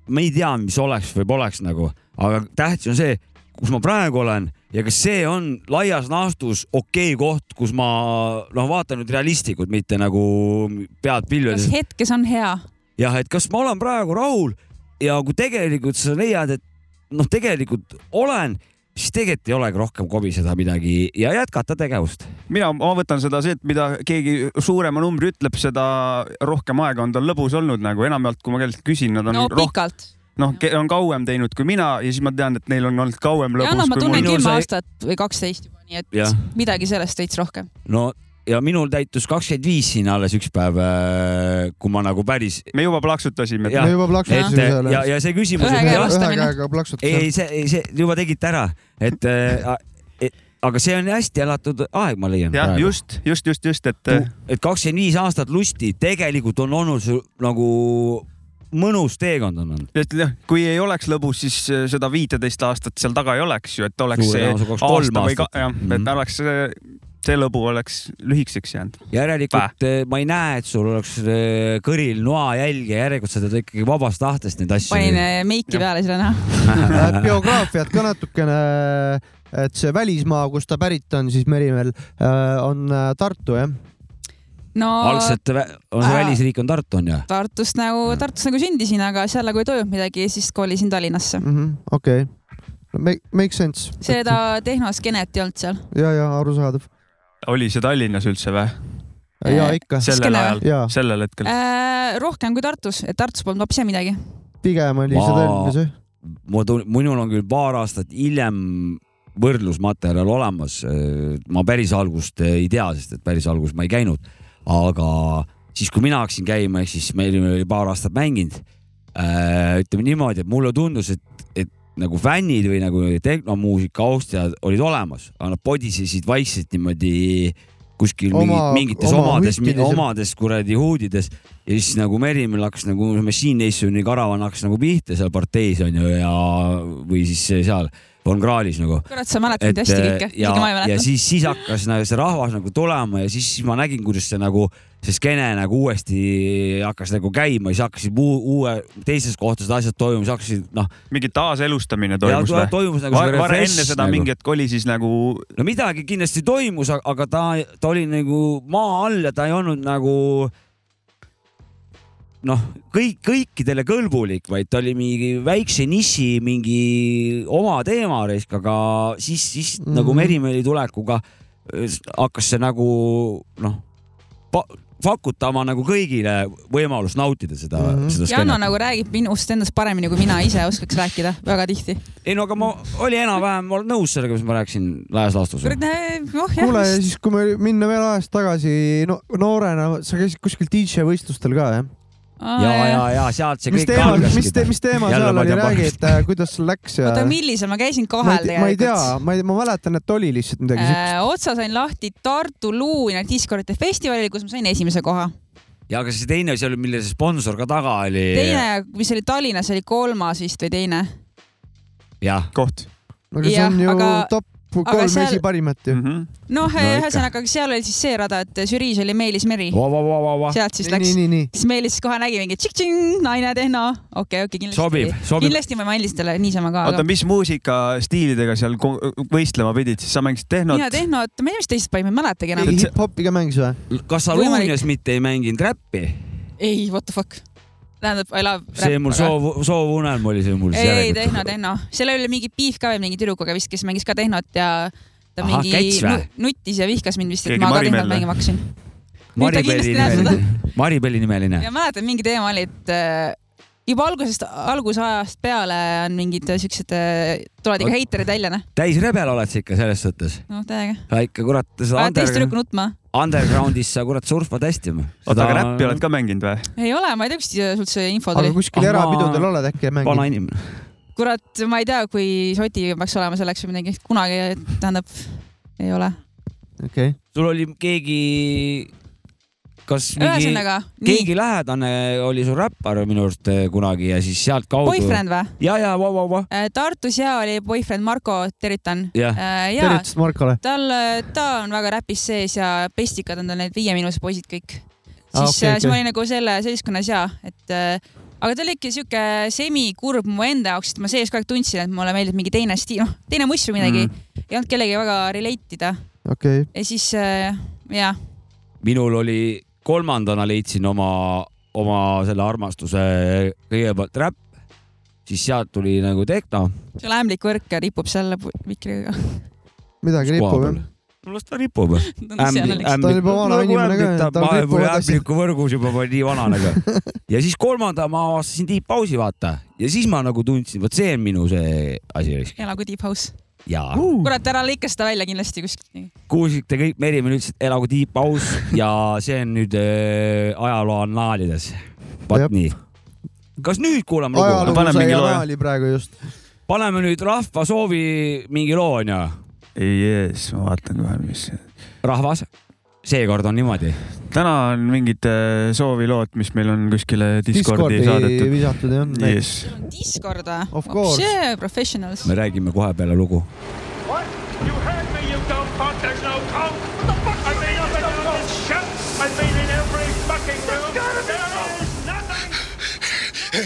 S3: ma ei tea , mis oleks või poleks nagu , aga tähtis on see , kus ma praegu olen ja kas see on laias laastus okei okay koht , kus ma noh , vaatan nüüd realistlikult , mitte nagu pead pilvedes
S4: kas hetkes on hea ?
S3: jah , et kas ma olen praegu rahul ja kui tegelikult sa leiad , et noh , tegelikult olen , siis tegelikult ei olegi rohkem kobiseda midagi ja jätkata tegevust .
S2: mina , ma võtan seda , see , et mida keegi suurema numbri ütleb , seda rohkem aega on tal lõbus olnud nagu enamjaolt , kui ma kelleltki küsin , nad on
S4: no
S2: rohkem ,
S4: pikalt .
S2: noh , on kauem teinud kui mina ja siis ma tean , et neil on olnud kauem
S4: ja noh ,
S2: lõbus
S4: ma
S2: kui
S4: tunnen
S2: mul .
S3: minul
S4: kümme
S3: sai-
S4: aastat või kaksteist juba , nii et
S3: Jah.
S4: midagi sellest veits rohkem .
S3: no ja minul täitus kakskümmend viis siin alles üks päev , kui ma nagu päris ,
S2: me juba plaksutasime .
S3: jah.
S1: me juba
S3: et
S1: plaksutasime seal
S3: ja , ja see küsimus ,
S4: Ühe
S3: et
S4: käe
S3: jah,
S4: vastu.
S1: ühe
S4: vastamine.
S1: käega
S3: ei ,
S1: plaksutasime .
S3: ei see , ei see juba tegite ära , et äh, et- aga see on hästi elatud aeg , ma leian .
S2: jah , just , äh. just , just , just , et
S3: Tu- et kakskümmend viis aastat lusti , tegelikult on olnud sul nagu mõnus teekond on olnud .
S2: et jah , kui ei oleks lõbus , siis eh, seda viiteist aastat seal taga ei oleks ju , et oleks
S3: Suure
S2: see
S3: tõenäosusega oleks kolm
S2: aasta või ka-
S3: aastat.
S2: jah ,
S3: Mhm.
S2: et oleks see, see lõbu oleks lühikeseks jäänud .
S3: järelikult eh, ma ei näe , et sul oleks eh, kõril noa jälge , järelikult sa teed ikkagi vabast tahtest neid asju .
S4: panin äh, meiki
S2: Jah.
S4: peale selle näha .
S1: Äh, biograafiat ka natukene , et see välismaa , kust ta pärit on , siis Merimäel äh, on äh, Tartu jah ,
S4: no
S3: algselt vä- on see
S4: Aa.
S3: välisriik on Tartu on ju ?
S4: Tartust nagu , Tartus nagu sündisin , aga seal nagu ei toimunud midagi , siis kolisin Tallinnasse .
S1: Mhm, okei , make sense ,
S4: seda tehnoskenet ei olnud seal .
S1: ja , ja arusaadav
S2: oli see Tallinnas üldse või ?
S4: Äh.
S1: ja ikka ,
S2: sellel
S4: Skene või?
S2: ajal ,
S1: ja
S2: sellel
S4: Äh.
S2: hetkel ?
S4: rohkem kui Tartus , et Tartus polnud hoopis midagi .
S1: pigem oli see
S3: Maa-
S1: Tallinnas jah ,
S3: ma tunnen , minul on küll paar aastat hiljem võrdlusmaterjal olemas . ma päris algust ei tea , sest et päris alguses ma ei käinud , aga siis , kui mina hakkasin käima , ehk siis me olime oli paar aastat mänginud . ütleme niimoodi , et mulle tundus , et , et nagu fännid või nagu tehnomuusika austajad olid olemas , aga nad podisesid vaikselt niimoodi kuskil
S1: Oma-
S3: mingit, mingites
S1: oma
S3: omades
S1: huttides ja- ,
S3: omades kuradi huudides ja siis nagu Merimäel hakkas nagu Machine Nationi karavan hakkas nagu pihta seal parteis onju ja , või siis seal Von Krahlis nagu .
S4: kurat , sa mäletad
S3: et äh,
S4: hästi kõike ,
S3: ja
S4: isegi ma ei ,
S3: ja
S4: mäleta .
S3: siis , siis hakkas nagu see rahvas nagu tulema ja siis , siis ma nägin , kuidas see nagu , see skeene nagu uuesti hakkas nagu käima , siis hakkasid uu- uue , teises kohtades asjad toimuma , siis hakkasid noh ,
S2: mingi taaselustamine toimus või ?
S3: toimus nagu see
S2: varem var,
S3: refresh
S2: enne seda
S3: nagu.
S2: nagu. mingi hetk oli siis nagu
S3: no midagi kindlasti toimus , aga ta , ta oli nagu maa all ja ta ei olnud nagu noh , kõik , kõikidele kõlbulik , vaid ta oli mingi väikse niši mingi oma teema risk , aga siis , siis mm
S1: Mhm.
S3: -hmm. nagu Merimäe tulekuga öö, s- hakkas see nagu noh , pakutama nagu kõigile võimalust nautida seda mm ,
S1: Mhm.
S3: -hmm. seda
S4: Janno
S3: skeenet .
S4: nagu räägib minust endast paremini , kui mina ise oskaks rääkida , väga tihti .
S3: ei no aga ma , oli enam-vähem , ma olen nõus sellega , mis ma rääkisin laias laastus .
S4: kurat , oh
S1: kuule ja
S4: jah ,
S1: siis , kui me minna veel ajas tagasi no, , noorena sa käisid kuskil DJ võistlustel ka jah ?
S3: ja , ja , ja sealt see
S1: mis
S3: kõik
S1: teema ,
S3: algaski .
S1: mis , mis teema
S3: Jälle
S1: seal
S3: ma
S1: oli ,
S3: tean
S1: räägi ,
S3: paremini.
S1: et äh, kuidas sul läks ja
S4: oota , millisel ma käisin
S1: ma
S4: kohal
S1: ei, ma ei tea
S4: tegelikult ?,
S1: ma ei , ma mäletan , et oli lihtsalt midagi siukest .
S4: Äh, otsa sain lahti Tartu Luuina discordite festivalil , kus ma sain esimese koha .
S3: ja aga see teine asi oli , mille see sponsor ka taga oli .
S4: teine , mis oli Tallinnas , oli kolmas vist või teine .
S3: jah ,
S2: koht
S1: aga see on
S4: jah,
S1: ju
S4: aga-
S1: top
S4: aga
S1: kolm
S4: seal-
S1: esiparimat ju
S2: mm . . -hmm.
S4: noh no, ,
S3: ikka.
S4: ühesõnaga seal oli siis see rada , et žüriis oli Meelis Meri , sealt siis
S1: nii ,
S4: läks ,
S1: nii , nii .
S4: siis Meelis kohe nägi mingi tšik-tšing , naine tehno , okei , okei , kindlasti .
S3: sobib , sobib .
S4: kindlasti ma ei maininud talle niisama ka ,
S2: oota ,
S4: aga
S2: mis muusikastiilidega seal ko- võistlema pidid , siis sa mängisid tehnot
S4: mina ? tehnot , ma ei tea , mis teist panime , ei mäletagi enam .
S1: mingi
S2: see-
S1: hip-hopi ka mängis või ?
S3: kas sa
S4: Võimalik.
S3: Luunias mitte ei mänginud räppi ?
S4: ei , what the fuck . tähendab , I love .
S3: see mul . soov , soovunelm oli see mul .
S4: ei , ei tehno ,. tehno , seal oli mingi piif ka veel mingi tüdrukuga vist , kes mängis ka tehnot ja ta
S3: Ahah,
S4: mingi
S3: Käts vä?
S4: nu- nuttis ja vihkas mind vist , et
S2: Keegi
S4: ma ka
S2: Marimelle.
S4: tehnot mängima hakkasin . Nüüd ta kindlasti näeb seda.
S3: Maribeli nimeline .
S4: ja mäletan , mingi teema oli , et äh, juba algusest , algusajast peale on mingid äh, siuksed , tulevad ikka
S3: Oot.
S4: heiterid välja , noh ,
S3: täis rebel oled sa ikka selles suhtes .
S4: noh täiega .
S3: sa ikka kurat seda
S4: oled teist
S3: under,
S4: tüdrukku nutma ?
S3: undergroundis sa kurat surfad hästi .
S2: oota , aga räppi oled ka mänginud või ?
S4: ei ole , ma ei tea , kust sult see info
S1: aga
S4: tuli .
S1: kuskil
S3: Ah,
S1: erapidudel oled äkki ja mängid ?
S3: vana inimene .
S4: kurat , ma ei tea , kui soti peaks olema selleks või midagi , kunagi , tähendab , ei ole .
S1: okei ,
S3: sul oli keegi , kas mingi ,
S4: ühesõnaga , nii ,
S3: keegi lähedane oli sul räppar minu arust eh, kunagi ja siis sealt kaudu .
S4: boyfriend või ?
S3: ja , ja , vau , vau , vau .
S4: Tartus ja oli boyfriend Marko , tervitan .
S3: jah ,
S4: ja
S1: tervitust Markole .
S4: Äh, tal , ta on väga räpis sees ja pestikad on tal need Viie Miinuse poisid kõik . siis
S1: Aa,
S4: ah, ,
S1: okei,
S4: okay, siis
S1: okei.
S4: ma olin nagu selle seltskonnas ja , et äh, aga ta oli ikka sihuke semikurb mu enda jaoks , et ma sees kogu aeg tundsin , et mulle meeldib mingi teine stiil , noh , teine mõss või
S2: Mhm.
S4: midagi mm. . ei olnud kellegagi väga relate ida
S1: okei ,
S4: ja siis äh, ja ,
S3: minul oli , kolmandana leidsin oma , oma selle armastuse kõigepealt räpp , siis sealt tuli nagu tehno .
S4: seal ämblik võrk ripub seal pu- mikriga .
S1: midagi ripub jah .
S3: no las ta ripub . Nagu
S1: Ta on juba vana inimene ka, tal ripub hästi.
S3: ämbliku võrgus juba , ma olin nii vanane ka . ja siis kolmanda ma avastasin Deep House'i , vaata . ja siis ma nagu tundsin , vot see on minu see asi .
S4: elagu nagu Deep House .
S3: jaa .
S4: kurat , ära lõika seda välja kindlasti kuskilt .
S3: kuulsite kõik , Merimäe ütles , et elagu Deep House ja see on nüüd äh, ajaloo annaalides .
S1: Jep.
S3: vot nii . kas nüüd kuulame lugu ?
S1: ajalugu sai
S2: Paneme mingi loo, jah?
S1: Anaali praegu just .
S3: paneme nüüd rahva soovi mingi loo onju .
S2: ei jees , ma vaatan kohe , mis .
S3: rahvas , seekord on niimoodi .
S2: täna on mingid äh, soovilood , mis meil on kuskile Discordi
S1: Discordi
S2: saadetud .
S1: visatud jah .
S2: Yes.
S4: Discord või ?
S1: Of course.
S4: Professionals .
S3: me räägime kohe peale lugu .
S5: What? You heard me, you dumb fuck. There's no coke. What the fuck? I've been in the this shop. I've been in every fucking room. There is nothing.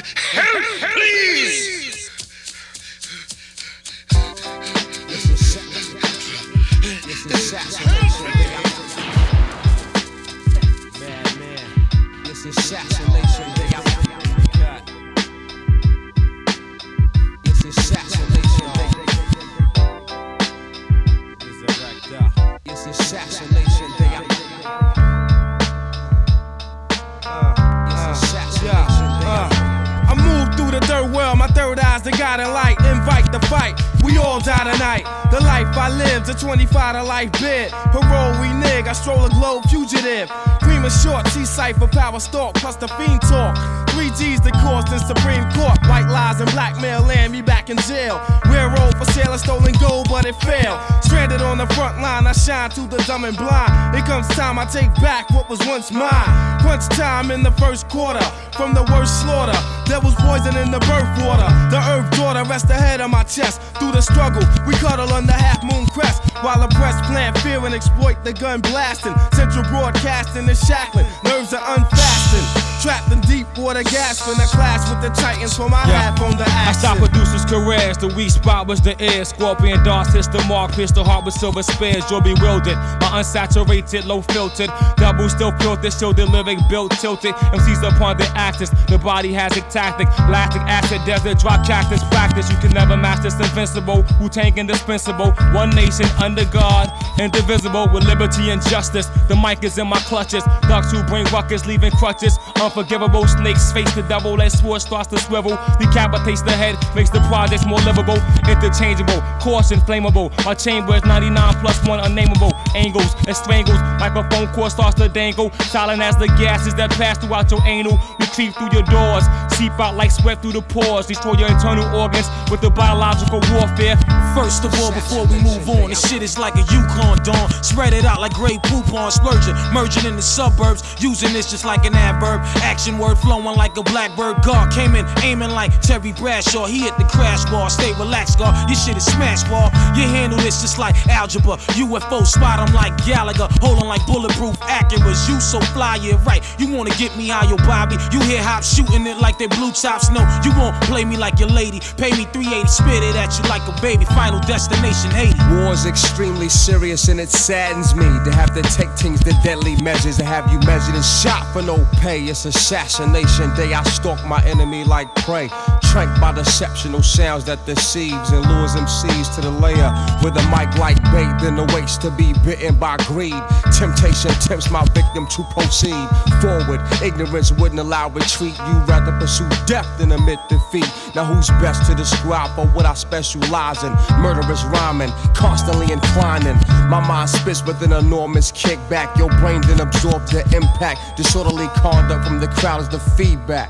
S6: I move through the third world, my third eye's the God in light. Invite the fight, we all die tonight. The life I live, the 25 to life bid. Parole, we nig, I stroll a globe fugitive. Cream is short, T cipher, power stalk, plus the fiend talk. Three G's the cost in Supreme Court. White lies and blackmail land me back in jail. We're old for sale, I stolen gold, but it failed. Stranded on the front line, I shine through the dumb and blind. It comes time I take back what was once mine. Crunch time in the first quarter from the worst slaughter. There was poison in the birth water. The earth daughter rest ahead on my chest. Through the struggle, we cuddle on the half moon crest. While oppressed plant fear and exploit the gun blasting. Central broadcasting is shackling. Nerves are unfastened. Trapped in deep water, gasping a clash with the titans for my
S7: Yeah.
S6: half on the
S7: I
S6: action.
S7: stopped producers' careers. The weak spot was the air. Scorpion darts hits the mark. Pierce the heart with silver spears. You're bewildered. My unsaturated, low filtered. Double still filtered. Shielded lyric built tilted. MCs upon the axis. The body has a tactic. Lactic acid desert. Drop cactus practice. You can never match this invincible. Wu Tang indispensable. One nation under God. Indivisible with liberty and justice. The mic is in my clutches. Thugs who bring ruckus, leaving crutches. Unforgivable snakes face the devil as sword starts to swivel. Decapitates the head, makes the projects more livable. Interchangeable, coarse, inflammable. My chamber is 99 plus one unnameable. Angles and strangles, microphone cord starts to dangle. Silent as the gases that pass throughout your anal. We creep through your doors, seep out like sweat through the pores. Destroy your internal organs with the biological warfare.
S8: First of all, before we move on, this shit is like a Yukon dawn. Spread it out like gray poop on splurging, merging in the suburbs, using this just like an adverb. Action word flowing like a blackbird. God came in aiming like Terry Bradshaw. He hit the crash bar. Stay relaxed, God. Your shit is smash ball. You handle this just like algebra. UFO spot 'em like Gallagher, holding like bulletproof Acuras. You so fly, yeah right. You wanna get me high, yo Bobby. You hear hop shooting it like they blue tops. No, you won't play me like your lady. Pay me 380, spit it at you like a baby. Final destination, Haiti.
S9: War's extremely serious and it saddens me to have to take things to deadly measures to have you measured and shot for no pay. It's assassination day. I stalk my enemy like prey. Trank by deceptional sounds that deceives and lures MCs to the layer with a mic like bait, then awaits to be bitten by greed. Temptation tempts my victim to proceed forward. Ignorance wouldn't allow retreat. You rather pursue death than admit defeat. Now who's best to describe for what I specialize in? Murderous rhyming, constantly inclining. My mind spits with an enormous kickback. Your brain then absorbs the impact. Disorderly conduct from the crowd is the feedback.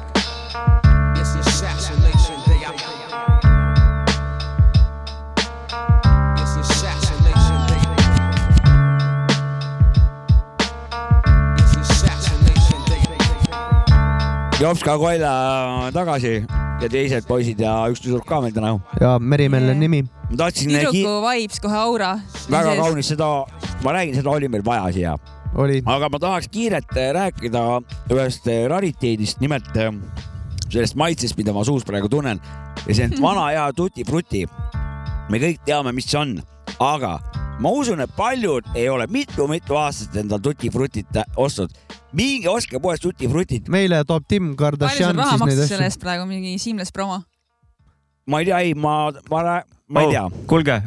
S9: It's assassination day. I- It's assassination day. It's assassination day.
S3: Jopska Koila on tagasi ja teised poisid ja üks tüdruk ka meil täna .
S1: ja Merimäele
S4: Jee.
S1: nimi .
S3: ma tahtsin ki-
S4: tüdruku vibes kohe aura .
S3: väga . kaunis seda , ma räägin , seda oli meil vaja siia ,
S1: oli
S2: Ah.
S3: aga ma tahaks kiirelt eh, rääkida ühest eh, rariteedist , nimelt eh, sellest maitsest , mida ma suus praegu tunnen ja see on vana hea tutipruti . me kõik teame , mis see on , aga ma usun , et paljud ei ole mitu-mitu aastat endal tutiprutit ostnud . minge ostke poest tutiprutit ,
S1: meile toob Tim
S4: palju sul
S1: Kardashian
S4: raha
S1: siis neid
S4: maksis selle
S1: asju .
S4: eest praegu , mingi seamless promo ?
S3: ma ei tea , ei ma , ma , ma
S2: Oh.
S3: ei tea .
S2: kuulge ,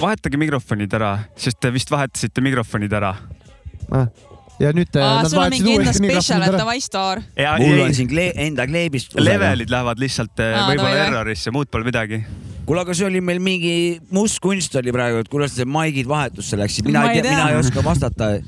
S2: vahetage mikrofonid ära , sest te vist vahetasite mikrofonid ära .
S1: ja nüüd te-
S4: aa ,
S1: Äh, nad
S4: sul on
S1: vahetasid
S4: mingi enda
S1: uuesti
S4: spetsial ,
S1: mikrofonid
S4: et
S1: ära .
S4: davai , staar .
S3: mul on siin kle- , enda kleebist .
S2: levelid lähevad lihtsalt eh,
S4: Aa, davai,
S2: võib-olla
S4: davai.
S2: errorisse , muud pole midagi .
S3: kuule , aga see oli meil mingi must kunst oli praegu , et kuidas see maigid vahetusse läksid , mina
S4: Ma
S3: ei
S4: ei
S3: tea ,
S4: tea.
S3: mina ei oska vastata .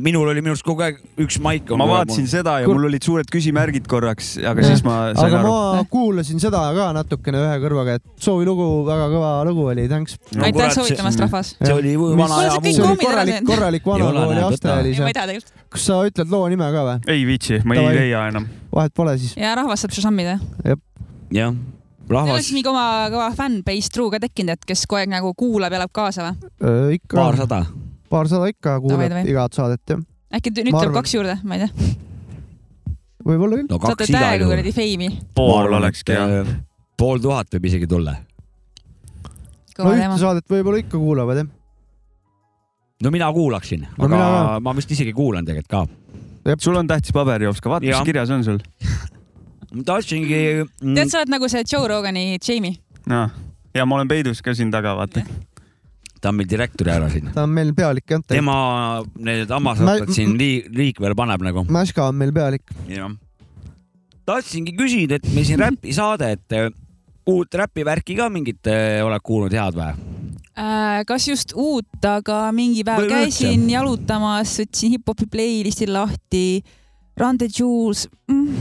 S3: minul oli minu arust kogu aeg üks maik .
S2: ma vaatasin seda ja
S1: Kur-
S2: mul olid suured küsimärgid korraks , aga
S1: Jah.
S2: siis ma sain
S1: aga ma
S2: aru .
S1: kuulasin seda ka natukene ühe kõrvaga , et soovilugu , väga kõva lugu oli , thanks .
S3: No kurat,
S4: aitäh
S3: see-
S4: soovitamast , rahvas .
S3: see oli vana
S4: Kuule,
S3: aja
S4: see kõik
S1: see
S3: muu
S1: oli
S4: kommid ära
S1: korralik ,
S4: söönud.
S1: korralik vana
S3: Jola
S1: loo oli ,
S3: näeb
S1: aste
S3: võta.
S1: oli
S4: ma
S1: see
S4: ei . tea tegelikult .
S1: kas sa ütled loo nime ka või ?
S2: ei viitsi , ma ei
S1: Davai.
S2: leia enam .
S1: vahet pole siis .
S4: ja rahvas saab šašammida .
S3: jah ,
S4: Teil
S3: rahvas
S4: oleks mingi oma kõva fännbase truu ka tekkinud , et kes kogu aeg nagu kuulab ja elab kaasa või ?
S1: ikka ,
S3: paarsada .
S1: paarsada ikka
S4: Davai,
S1: kuulab
S4: davai.
S1: igat saadet jah .
S4: äkki t- nüüd
S1: Ma
S4: tuleb
S1: arvan-
S4: kaks juurde , ma ei tea .
S1: võib-olla küll .
S3: no
S4: saate
S3: kaks igal
S4: täiega
S3: juhul .
S4: kuradi feimi .
S2: pool olekski hea .
S3: äh, pool tuhat võib isegi tulla .
S1: no
S4: kõva
S1: ühte
S4: teema .
S1: saadet võib-olla ikka kuulavad jah .
S3: no mina kuulaksin , aga
S1: mina ka.
S3: ma vist isegi kuulan tegelikult ka .
S2: sul on tähtis paber , Jopska , vaata ,
S3: Jah.
S2: mis kirjas on sul .
S3: ma tahtsingi . mm,
S4: tead , sa oled nagu see Joe Rogani Jamie .
S2: Noh. ja ma olen peidus ka siin taga , vaata .
S3: ta on meil direktori ära siin .
S1: ta on meil pealik jah .
S3: tema need hammasrattad
S1: Ma-
S3: siin lii- liikvel paneb nagu .
S1: Mäska on meil pealik .
S3: jah . tahtsingi küsida , et meil siin räpisaade , et äh, uut räpivärki ka mingit äh, oled kuulnud head või ?
S4: Äh, kas just uut , aga mingi päev
S3: Või
S4: käisin jalutamas , võtsin hip-hopi playlisti lahti . Run the jewels mm, ,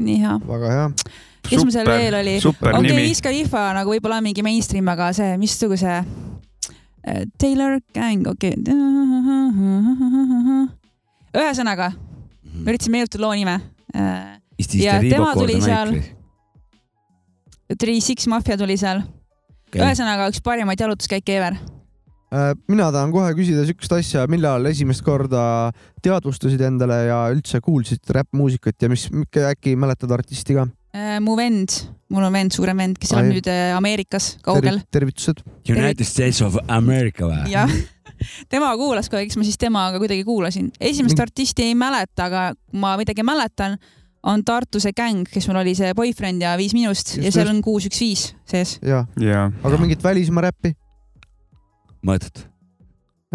S4: nii hea .
S1: väga hea .
S4: kes mul seal veel oli ?
S2: super
S4: okei okay, ,
S2: nimi .
S4: Iska Ifa nagu võib-olla on mingi mainstream , aga see , missuguse äh, Taylor Gang , okei okay. . ühesõnaga , ma üritasin meenutada loo nime . äh, Ja tema tuli seal- Three Six Mafia tuli seal okay. , ühesõnaga üks parimaid jalutuskäike ever .
S1: mina tahan kohe küsida siukest asja , millal esimest korda teadvustasid endale ja üldse kuulsid räppmuusikat ja mis , äkki mäletad artisti ka ?
S4: Äh, mu vend , mul on vend , suurem vend , kes
S1: Ai.
S4: elab nüüd äh, Ameerikas kaugel .
S1: tervitused .
S3: United States of America või ?
S4: jah , tema kuulas kogu aeg , eks ma siis temaga kuidagi kuulasin . esimest
S1: Mm.
S4: artisti ei mäleta , aga kui ma midagi mäletan , on Tartu see gäng , kes mul oli see boyfriend ja Viis Minust
S1: Just,
S4: ja seal on kuus , üks , viis sees .
S1: ja ,
S2: jaa .
S1: aga mingit välismaa räppi
S3: mõtled ?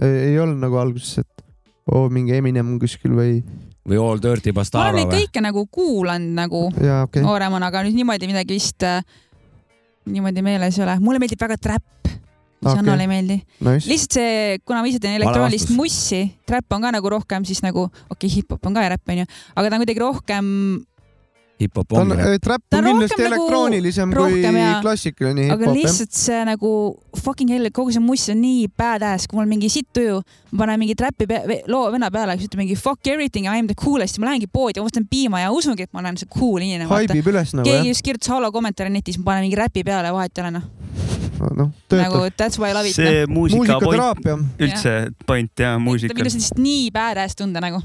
S1: ei, ei olnud nagu alguses , et oo oh, , mingi Eminem kuskil või
S3: või All Dirty
S4: ma olen
S3: Bastardo
S4: neid
S3: või ?
S4: kõike nagu kuulanud nagu
S1: jaa , okei okay. .
S4: nooremana , aga nüüd niimoodi midagi vist äh, niimoodi meeles ei ole . mulle meeldib väga trap , mis
S1: Okei.
S4: okay. Annale ei meeldi .
S1: Nice .
S4: lihtsalt see , kuna ma ise teen
S3: Vale
S4: elektroonilist
S3: vastus.
S4: mussi , trap on ka nagu rohkem siis nagu , okei okay, , hip-hop on ka ja räpp onju , aga ta on kuidagi rohkem
S3: hip-hop
S1: ta on
S3: ongi või ?
S1: äh, , trap
S4: Ta on
S1: on kindlasti
S4: rohkem nagu-
S1: elektroonilisem kui
S4: rohkem ja-
S1: klassikaline
S4: aga
S1: hip-hop jah .
S4: lihtsalt see nagu fucking hell , kogu see muss on nii badass , kui mul on mingi sitt tuju , ma panen mingi trapi pea- ve- loo venna peale , kes ütleb mingi fuck everything I am the coolest ja ma lähengi poodi , ostan piima ja usungi , et ma olen see cool inimene , vaata .
S1: haibib üles nagu
S4: keegi just kirjutas hallo kommentaari netis , ma panen mingi räpi peale ja vahet ei ole noh ,
S1: jah , noh ,
S4: nagu
S1: töötab .
S4: that's why I love it noh .
S2: see muusika point ,
S1: muusikateraapia ,
S2: üldse point ja
S4: ta
S2: muusika
S4: pidas . lihtsalt nii badass tunda nagu .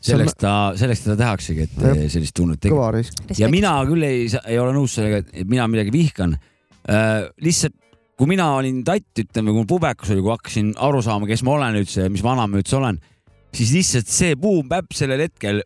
S3: selleks ta , selleks teda tehaksegi , et
S1: Jah.
S3: äh, sellist tunnet tekitada .
S1: kõva risk .
S3: ja mina küll ei , ei ole nõus sellega , et mina midagi vihkan äh, . lihtsalt kui mina olin tatt , ütleme , kui ma pubekas olin , kui hakkasin aru saama , kes ma olen üldse , mis vana ma üldse olen , siis lihtsalt see buum päpp sellel hetkel ,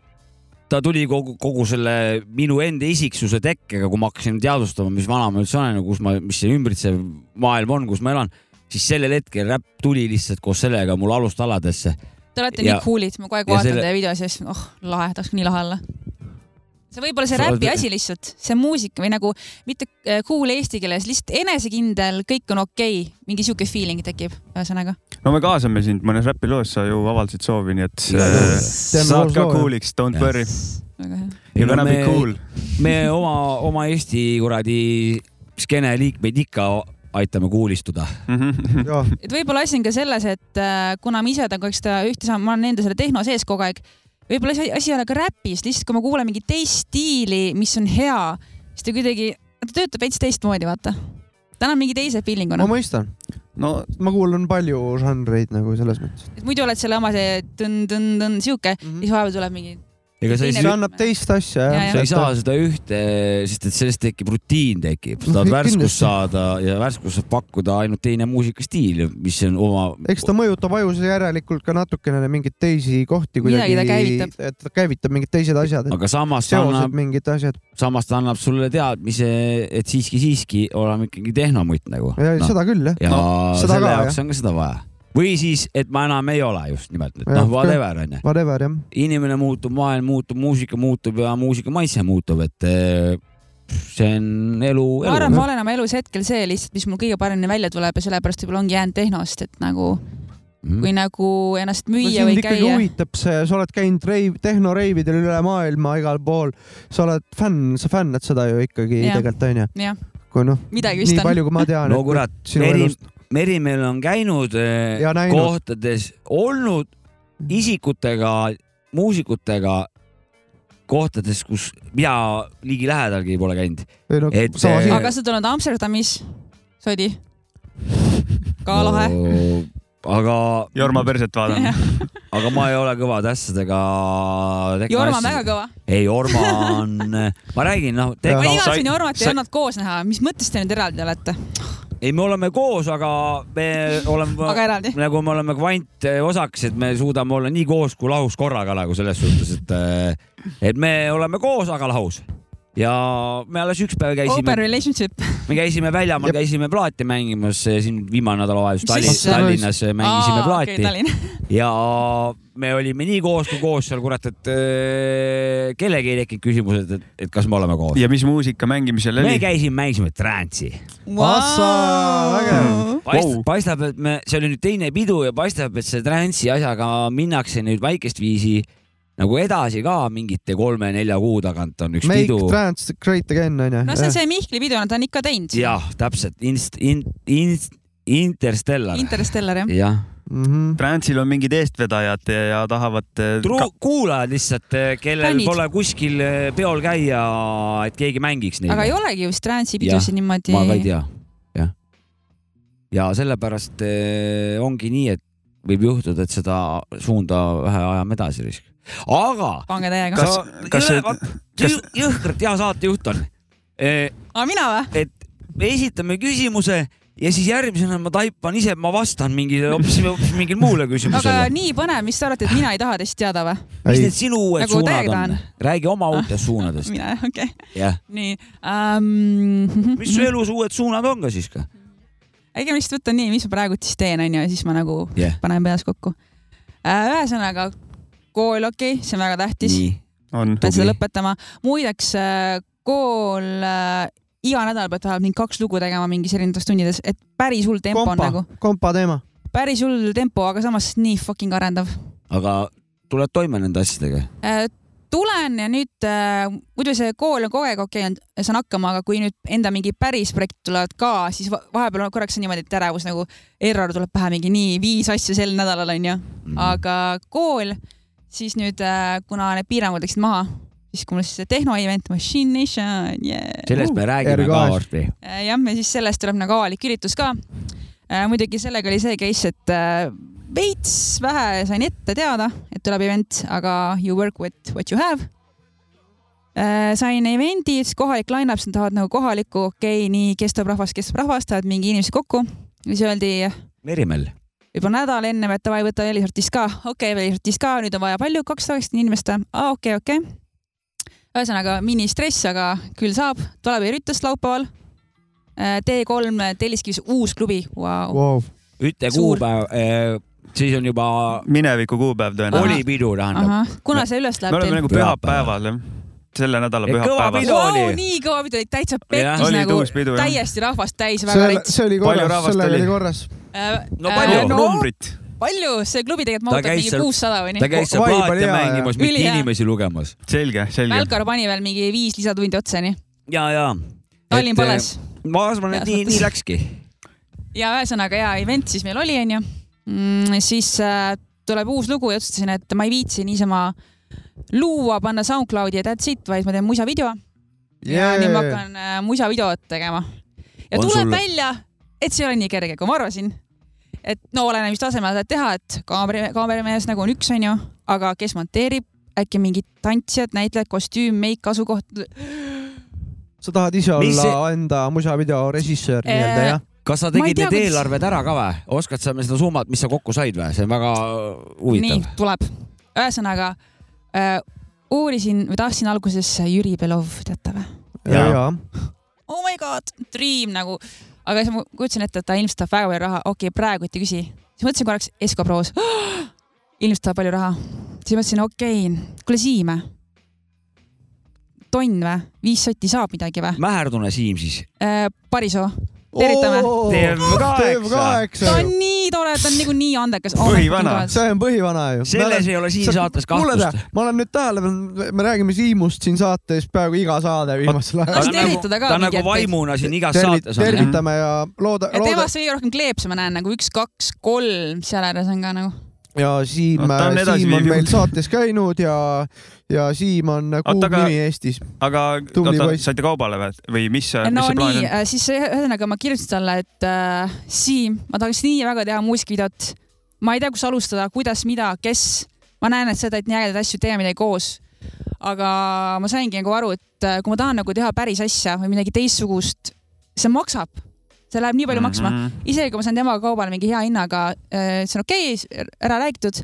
S3: ta tuli kogu , kogu selle minu enda isiksuse tekkega , kui ma hakkasin teadvustama , mis vana ma üldse olen ja kus ma , mis see ümbritsev maailm on , kus ma elan , siis sellel hetkel räpp tuli lihtsalt koos sellega mul alustaladesse .
S4: Te olete
S3: Ja-
S4: nii cool'id , ma kogu aeg
S3: ja
S4: vaatan
S3: selle-
S4: teie videosi ja siis , oh lahe , tahaks nii lahe olla . see võib olla see
S3: Sa oled-
S4: räpi asi lihtsalt , see muusika või nagu mitte äh, cool eesti keeles , lihtsalt enesekindel , kõik on okei okay. , mingi sihuke feeling tekib , ühesõnaga .
S2: no me kaasame sind mõnes räpiloos , sa ju avaldasid soovi , nii et
S3: Igal
S2: äh,
S3: juhul.
S1: Teeme
S2: saad
S1: koos
S2: ka
S1: loo, jah.
S2: cool'iks , don't
S3: Jah.
S2: worry .
S4: väga hea .
S2: You
S3: No
S2: gonna be
S3: me-
S2: cool .
S3: me oma , oma Eesti kuradi skeene liikmeid ikka aitame kuulistuda .
S2: Mhm.
S1: jah ,
S4: et võib-olla asi on ka selles , et äh, kuna ma ise tahan kogu aeg seda ühte sama , ma olen enda selle tehno sees kogu aeg , võib-olla see asi ei ole ka räpis , lihtsalt kui ma kuulan mingit teist stiili , mis on hea , siis ta kuidagi , ta töötab veits teistmoodi , vaata . tal on mingi teise feeling noh. on
S1: ma . mõistan ,
S2: no
S1: ma kuulan palju žanreid nagu selles mõttes .
S4: et muidu oled selle oma see tõn-tõn-tõn sihuke mm ,
S1: Mhm.
S4: -hmm. siis vahepeal tuleb mingi ,
S3: ega sa ei
S4: Teine
S1: see
S3: saa ,
S1: annab teist asja
S4: Ja,
S1: jah
S4: ja.
S3: sa ei saa seda ühte , sest et sellest tekib rutiin tekib , sa tahad
S1: No,
S3: värskust
S1: kindlasti.
S3: saada ja värskust saab pakkuda ainult teine muusikastiil , mis on oma .
S1: eks ta mõjutab ajus järelikult ka natukene mingeid teisi kohti
S4: Midagi
S1: kuidagi
S4: ta , käivitab.
S1: et ta käivitab mingid teised asjad ,
S3: aga samas ta
S1: seosed
S3: annab ,
S1: mingid asjad ,
S3: samas ta annab sulle teadmise , et siiski-siiski oleme ikkagi tehnomutt nagu .
S1: seda küll jah .
S3: ja no,
S1: seda
S3: selle
S1: ka,
S3: jaoks on ka seda vaja . või siis , et ma enam ei ole just nimelt , et
S1: Jah,
S3: noh , whatever onju .
S1: Whatever jah ,
S3: inimene muutub , maailm muutub , muusika muutub ja muusika maitse muutub , et eh, see on elu ,
S4: ma arvan , ma
S3: elu .
S4: olen oma elus hetkel see lihtsalt , mis mul kõige paremini välja tuleb ja sellepärast võib-olla ongi jäänud tehnost , et nagu
S3: Mhm.
S4: kui nagu ennast
S1: no
S4: müüa
S1: sind
S4: või
S1: ikkagi
S4: käia .
S1: huvitab see , sa oled käinud reiv , tehnoreividel üle maailma igal pool , sa oled fänn , sa fännad seda ju ikkagi
S4: Jah.
S1: tegelikult onju ,
S4: jah ,
S1: kui noh ,
S4: midagi vist
S1: nii
S4: on .
S1: palju kui ma tean .
S3: no kurat ,
S1: sinu
S3: Meri
S1: elust ,
S3: Merimäel on käinud eh,
S1: Ja näinud.
S3: kohtades , olnud isikutega , muusikutega kohtades , kus mina ligi lähedalgi pole käinud .
S1: ei no
S3: et-
S1: sama
S3: Aga
S1: siin
S4: aga , sa oled olnud Amsterdamis , Sodi ? ka lahe .
S3: aga ,
S2: Jorma perset vaatan .
S3: aga ma ei ole kõvade asjadega .
S4: Jorma on väga . kõva .
S3: ei , Jorma on , ma räägin , noh ,
S1: Jah.
S4: ma
S1: No,
S4: igatsen
S2: sai-
S4: Jormat ja
S2: sai-
S4: Jonnat koos näha , mis mõttes te nüüd eraldi olete ?
S3: ei , me oleme koos , aga me oleme
S4: Aga eraldi.
S3: nagu me oleme kvantosaks , et me suudame olla nii koos kui lahus korraga nagu selles suhtes , et eh, et me oleme koos , aga lahus ja me alles üks päev
S4: Open
S3: käisime ,
S4: relationship .
S3: me käisime väljamaal ,
S1: Jep.
S3: käisime plaati mängimas eh, siin viimane nädalavahetus
S4: Mis
S3: Tallin,
S4: asja?
S3: Tallinnas eh, mängisime plaati okay,
S4: Tallinn .
S3: ja me olime nii koos kui koos seal , kurat , et eh, kellelgi ei tekkinud küsimus , et , et kas me oleme koos .
S2: ja mis muusika mängimisel
S3: me
S2: oli ?
S3: käisime , mängisime trance'i
S1: Assa, vägev.
S3: paistab
S2: Vau.
S3: wow. , paistab , et me , see oli nüüd teine pidu ja paistab , et see transi asjaga minnakse nüüd väikest viisi nagu edasi ka mingite kolme-nelja kuu tagant on üks
S1: Make
S3: pidu .
S1: trans great again onju .
S4: no see on see Mihkli pidu , nad on ikka teinud .
S3: jah , täpselt , inst- , in- , in- , interstellar .
S4: Interstellar jah .
S3: jah ,
S1: see .
S2: Transil on mingid eestvedajad ja ja tahavad eh, ka-
S3: kuulajad lihtsalt , kellel
S4: Fännid.
S3: Fännid. pole kuskil eh, peol käia , et keegi mängiks neid .
S4: aga ei olegi just transi
S3: Jah,
S4: pidusid niimoodi .
S3: ma ka ei tea , jah . ja sellepärast eh, ongi nii , et võib juhtuda , et seda suunda vähe ajame edasi risk . aga
S4: pange täiega
S2: kas
S4: kas... .,
S2: kas see ,
S3: kas... jõhkralt hea saatejuht on , et
S4: aga mina või ?
S3: me esitame küsimuse ja siis järgmisena ma taipan ise , ma vastan mingile hoopis , hoopis mingile muule
S4: aga
S3: küsimusele .
S4: nii põnev , mis te arvate , et mina ei taha teist teada või ?
S3: mis
S1: ei
S3: need , sinu uued
S4: Nagu
S3: suunad
S4: täiega Ah.
S3: on
S4: tahan. ?
S3: räägi oma uutest suunadest ,
S4: mina jah , okei okay. ,
S3: jah .
S4: nii um, .
S3: mis su elus uued suunad on ka siis ka ?
S4: äkki ma lihtsalt võtan nii , mis ma praegu siis teen , onju , ja siis ma nagu
S3: Jah.
S4: yeah. panen peas kokku äh, . ühesõnaga kool , okei okay, , see on väga tähtis ,
S3: nii ,
S2: on
S4: pean seda
S3: tubli.
S4: lõpetama . muideks äh, kool äh, iga nädal pead vähemalt mingi kaks lugu tegema mingis erinevates tundides , et päris hull tempo Kompa. on
S1: kompa
S4: nagu ,,
S1: kompa teema .
S4: päris hull tempo , aga samas nii fucking arendav
S3: aga tuled toime nende asjadega ?
S4: Äh, tulen ja nüüd äh, , muidu see kool on kogu aeg okei olnud , saan hakkama , aga kui nüüd enda mingi päris projektid tulevad ka , siis va- vahepeal on korraks on niimoodi , et ärevus nagu , error tuleb pähe mingi nii viis asja sel nädalal onju ,
S3: Mhm.
S4: aga kool , siis nüüd äh, , kuna need piirangud läksid maha , siis kui mul siis see tehnoevent Machine Nation yeah. ,
S3: sellest me räägime ka
S1: RKAS.
S3: varsti .
S4: Äh, jah , ja siis sellest tuleb nagu avalik üritus ka . muidugi sellega oli see case , et äh, veits vähe sain ette teada , et tuleb event , aga you work with what you have . sain event'i , siis kohalik line-up , siis nad tahavad nagu kohalikku , okei okay, , nii , kes tuleb rahvast , kes tuleb rahvast , tahavad mingi inimesi kokku . siis öeldi
S3: Merimäel .
S4: juba nädal ennem , et davai , võta välisartist ka , okei okay, , välisartist ka , nüüd on vaja palju , kakssada üheksakümmend inimest , aa okei okay, , okei okay. . ühesõnaga ministress , aga küll saab , tuleb Erütast laupäeval . Äh, T3 Telliskivis uus klubi wow. ,
S1: wow. .
S3: ütle
S4: Suur.
S3: kuupäev , e, siis on juba ,
S2: mineviku kuupäev tõenäoliselt .
S3: oli pidu tähendab .
S4: ahah , kuna see üles
S2: me
S4: läheb
S2: oleme
S4: teil ?
S2: nagu pühapäeval jah , selle nädala
S3: Ja kõva
S2: pühapäeval
S3: pidu. .
S4: Vau ,
S3: oli.
S4: nii kõva pidu , täitsa
S3: Jah.
S4: pekkis
S2: Oli
S4: nagu
S2: tõus pidu, jah.
S4: täiesti rahvast täis , väga
S1: see ,
S4: rets .
S1: see oli
S2: Palju
S1: korras ,
S2: rahvast
S1: sellega
S2: oli?
S1: oli korras .
S3: No palju?
S4: no,
S2: numbrit .
S4: palju , see klubi tegelikult mahutab
S3: käis
S4: mingi
S3: seal-
S4: kuussada või
S3: ta
S4: nii .
S3: käis seal
S1: Vibe oli
S3: plaate
S1: hea, jah.
S3: mängimas , mitte
S4: Ülihea.
S3: inimesi lugemas .
S2: selge , selge .
S4: Välkar pani veel mingi viis lisatundi otsa , nii .
S3: ja , ja . äh,
S4: Tallinn Pales .
S3: eh, ma arvan , et nii , nii läkski .
S4: ja ühesõnaga hea event siis meil oli , onju . siis äh, tuleb uus lugu ja otsustasin , et ma ei viitsi niisama luua , panna SoundCloudi ja that's it , vaid ma teen musavideo yeah. ja nüüd ma hakkan äh, musavideot tegema . ja
S3: On
S4: tuleb
S3: sul-
S4: sul... välja , et see ei ole nii kerge , kui ma arvasin . et no oleneb , mis tasemel tahad teha , et kaamera , kaameramees nagu on üks , onju , aga kes monteerib , äkki mingid tantsijad , näitlejad , kostüüm , meik , asukoht .
S1: sa tahad ise
S3: Mis
S1: olla
S3: see-
S1: see... enda musavideo režissöör
S4: Eh,
S1: nii-öelda jah ?
S3: kas sa
S4: Ma ei
S3: tegid
S4: tea,
S3: need
S4: kuidas-
S3: eelarved ära ka või ? oskad sa seda summat , mis sa kokku said või ? see on väga
S4: nii
S3: huvitav .,
S4: tuleb . ühesõnaga äh, uurisin või tahtsin alguses Jüri Belov , teate või ?
S1: ja ,
S2: jaa.
S1: ja .
S4: oh my god , dream nagu , aga siis ma kujutasin ette , et ta ilmselt tahab väga palju raha , okei okay, , praegu ei küsi . siis mõtlesin korraks Esko Proos , ilmselt tahab palju raha . siis mõtlesin , okei okay, , kuule Siim , tonn või , viis sotti saab midagi või ? Äh,
S3: mäherdune Siim siis .
S4: Parisoo , tervitame.
S2: Teeb
S1: teeb
S2: kaheksa .
S4: ta
S1: kaheksa
S4: on . nii tore , ta on niikuinii andekas . Oh
S2: Põhivana.
S1: see on põhivana ju .
S3: selles ei ole siin saates kahtlust .
S1: ma olen nüüd tähele pannud , me räägime Siimust siin saates peaaegu iga saade viimasel
S4: Las
S1: ajal .
S4: tervitada ka
S3: ta on
S4: mingi
S3: nagu
S4: hetk.
S3: vaimuna siin igas saates on .
S1: tervitame ja looda ,
S4: ja
S1: looda
S4: temast kõige rohkem kleepse ma näen nagu üks , kaks , kolm , seal ääres on ka nagu .
S1: ja Siim
S2: No, ta
S1: no, , Siim
S2: on
S1: on
S2: edasiviiv
S1: meil
S2: jõud.
S1: saates käinud ja , ja Siim on kuum
S2: Oota, aga-
S1: nimi Eestis .
S2: aga
S1: Tubli
S2: oota,
S1: poiss.
S2: saite kaubale või , või mis , Äh, mis
S4: no
S2: see plaan
S4: nii äh,
S2: on ?,
S4: siis ühesõnaga ma kirjutasin talle , et äh, Siim , ma tahaks nii väga teha muusikavideot . ma ei tea , kus alustada , kuidas , mida , kes . ma näen , et sa teed nii ägedaid asju , teeme midagi koos . aga ma saingi nagu aru , et äh, kui ma tahan nagu teha päris asja või midagi teistsugust , see maksab . see läheb nii palju mm
S2: Mhm.
S4: -hmm. maksma . isegi kui ma saan temaga kaubale mingi hea hinnaga , see on okei okay, , ära räägitud ,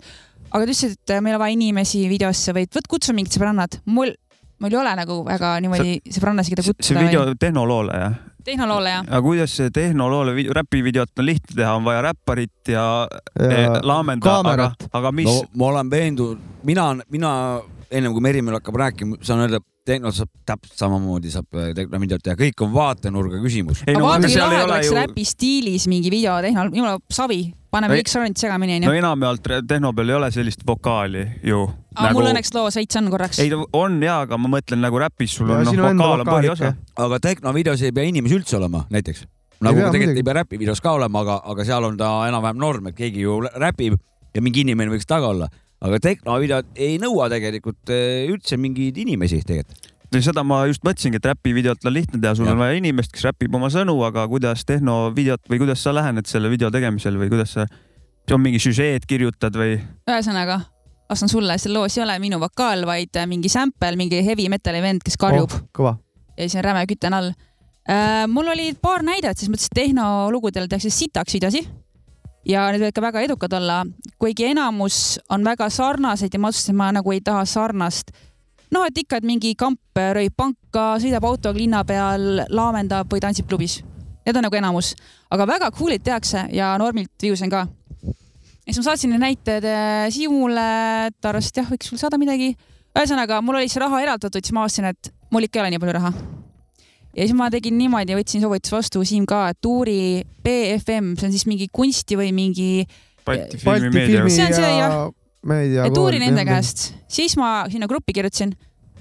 S4: aga ta ütles , et äh, meil on vaja inimesi videosse või et võt- kutsu mingid sõbrannad . mul , mul ei ole nagu väga niimoodi sõbrannasid , keda
S2: see
S4: kutsuda .
S2: video tehnoloole jah ?
S4: tehnoloole jah .
S2: aga kuidas see tehnoloole vi- räpivideot on lihtne teha , on vaja räpparit ja, ja laamenda , aga
S1: kaamerat. ,
S2: aga mis
S3: no
S2: no. ?
S3: ma olen veendunud , mina , mina ennem kui Merimeel hakkab rääkima , saan öelda , Tehnol saab täpselt samamoodi saab reklaamideot teha , kõik on vaatenurga küsimus .
S2: ei
S4: aga
S2: no
S4: vaata , kui
S2: seal
S4: lahe
S2: ei ole
S4: oleks ju...
S2: ju ,
S4: räpi stiilis mingi video tehnol , jumala savi , paneme
S2: Ei-
S4: kõik sõnad segamini onju
S2: no . enamjaolt re- tehno peal ei ole sellist vokaali ju .
S4: aga nagu... mul õnneks loos veits on korraks .
S2: ei , on jaa , aga ma mõtlen nagu räpis sul
S1: Ja
S2: on noh ,
S1: sinu enda
S2: vokaal on
S1: vokaal
S2: põhiosa
S1: ikka. .
S3: aga tehnovideos ei pea inimesi üldse olema , näiteks . nagu
S1: pea,
S3: tegelikult
S1: muidugi.
S3: ei pea räpivideos ka olema , aga , aga seal on ta enam-vähem norm , et keegi ju lä- räpib ja mingi inimene võiks taga olla . aga tehnovideod ei nõua tegelikult eh, üldse mingeid inimesi tegelikult .
S2: seda ma just mõtlesingi , et räpivideot on lihtne teha , sul
S3: Jah.
S2: on vaja inimest , kes räpib oma sõnu , aga kuidas tehnovideot või kuidas sa lähened selle video tegemisel või kuidas sa , on mingi süžeed kirjutad või ?
S4: ühesõnaga , vastan sulle , seal loos ei ole minu vokaal , vaid mingi sample , mingi heavy metal'i vend , kes karjub oh.
S1: kõva .
S4: ja siis on räme küte on all . mul oli paar näidet , selles mõttes , et tehnolugudel tehakse sitaks videosi ja need võivad ka väga edukad olla , kuigi enamus on väga sarnased ja ma otsustasin , ma nagu ei taha sarnast . noh , et ikka , et mingi kamp rööb panka , sõidab autoga linna peal , laamendab või tantsib klubis . Need on nagu enamus , aga väga cool'id tehakse ja normilt viusen ka . ja siis ma saatsin need näited äh, Siimule , ta arvas , et jah , võiks sul saada midagi . ühesõnaga , mul oli see raha eraldatud , siis ma avastasin , et mul ikka ei ole nii palju raha . ja siis ma tegin niimoodi , võtsin soovituse vastu Siim ka , et uuri BFM , see on siis mingi kunsti või mingi ,
S2: Balti
S1: Balti
S2: filmimeedia
S1: filmi
S4: See on see,
S1: ja
S4: jah.
S1: meedia .
S4: et uuri nende . käest . siis ma sinna gruppi kirjutasin ,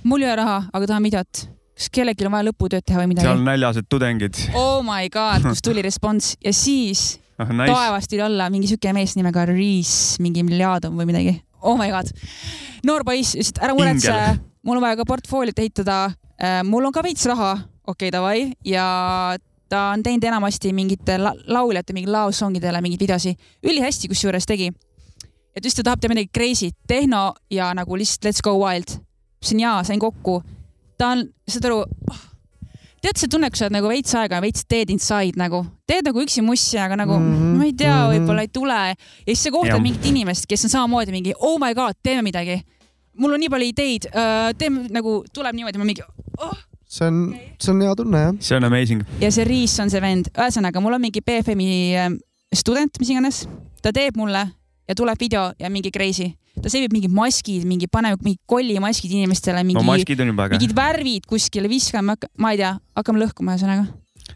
S4: mul ei ole raha , aga tahan videot . kas kellelgi on vaja lõputööd teha või
S2: seal on
S4: midagi ?
S2: näljased tudengid .
S4: Oh my god , kus tuli respons ja siis
S2: Ah, Nice.
S4: taevast tuli alla mingi siuke mees nimega Riis , mingi Miljadov või midagi . Oh my god , noor poiss , ütles , et ära muretse
S2: Ingel. ,
S4: mul on vaja ka portfooliot ehitada . mul on ka veits raha , okei okay, davai ja ta on teinud enamasti mingite la lauljate , mingi laosongidele mingeid videosi , ülihästi kusjuures tegi . et just ta tahab teha midagi crazy't , tehno ja nagu lihtsalt let's go wild . ütlesin jaa , sain kokku . ta on , saad aru , tead see tunne , kui sa oled nagu veits aega veits dead inside nagu , teed nagu üksi mussi , aga nagu mm
S1: Mhm,
S4: -hmm. ma ei tea mm ,
S1: mhm.
S4: -hmm. võib-olla ei tule . ja siis sa kohtad
S2: Jah.
S4: mingit inimest , kes on samamoodi mingi oh my god , teeme midagi . mul on nii palju ideid , teeme nagu , tuleb niimoodi , ma mingi oh! .
S1: see on , see on hea tunne jah .
S2: see on amazing .
S4: ja see Riis on see vend , ühesõnaga mul on mingi BFM-i ähm, student , mis iganes , ta teeb mulle ja tuleb video ja mingi crazy , ta seebib mingid maskid , mingi paneb mingi kollimaskid inimestele , mingi
S2: no
S4: no, ,
S2: maskid on juba äge .
S4: mingid värvid kuskile viskame , ma ei tea , hakkame lõhkuma , ühesõnaga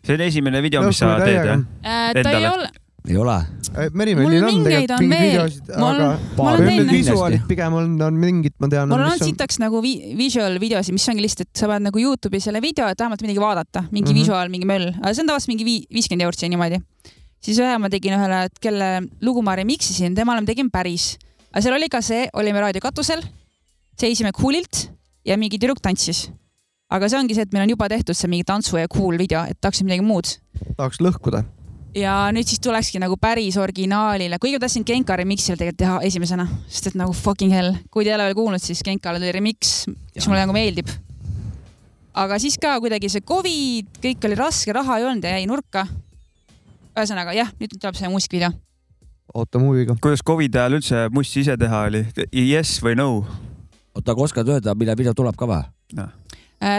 S2: see on esimene video , mis sa teed jah ??
S4: äh, . ta ei
S2: Endale.
S4: ole ,
S3: ei ole .
S4: Mul
S1: Merimällil on
S4: mingeid
S1: tegelikult
S4: on
S1: mingeid
S4: veel.
S1: videosid ,
S4: Mul on- mul
S1: aga
S4: on
S1: Või on
S4: teine.
S1: need visuaalid pigem on , on mingid , ma tean .
S4: mul on olnud sitaks nagu vi visual videosid , mis ongi lihtsalt , et sa paned nagu Youtube'i selle video , et vähemalt midagi vaadata , mingi mm
S1: Mhm.
S4: -hmm. visual , mingi möll , aga see on tavaliselt mingi vii- viiskümmend eurot siia niimoodi . siis ühe ma tegin ühele , kelle lugu ma remixisin , temale ma tegin päris , aga seal oli ka see , olime raadio katusel , seisime cool'ilt ja mingi tüdruk tantsis . aga see ongi see , et meil on juba tehtud see mingi tantsu ja cool video , et tahaks midagi muud
S1: tahaks lõhkuda .
S4: ja nüüd siis tulekski nagu päris originaalile , kuigi ma tahtsin Genka remix'ile tegelikult teha esimesena , sest et nagu fucking hell , kui te ei ole veel kuulnud , siis Genkale tuli remix , mis mulle nagu meeldib . aga siis ka kuidagi see Covid , kõik oli raske , raha ei olnud ja jäi nurka . ühesõnaga jah , nüüd tuleb see muusikavideo .
S1: ootame huviga .
S2: kuidas Covidi ajal üldse must ise teha oli ? Yes või no ? Noh.
S3: oota , aga oskad öelda , millal video tuleb ka või ?
S4: Äh,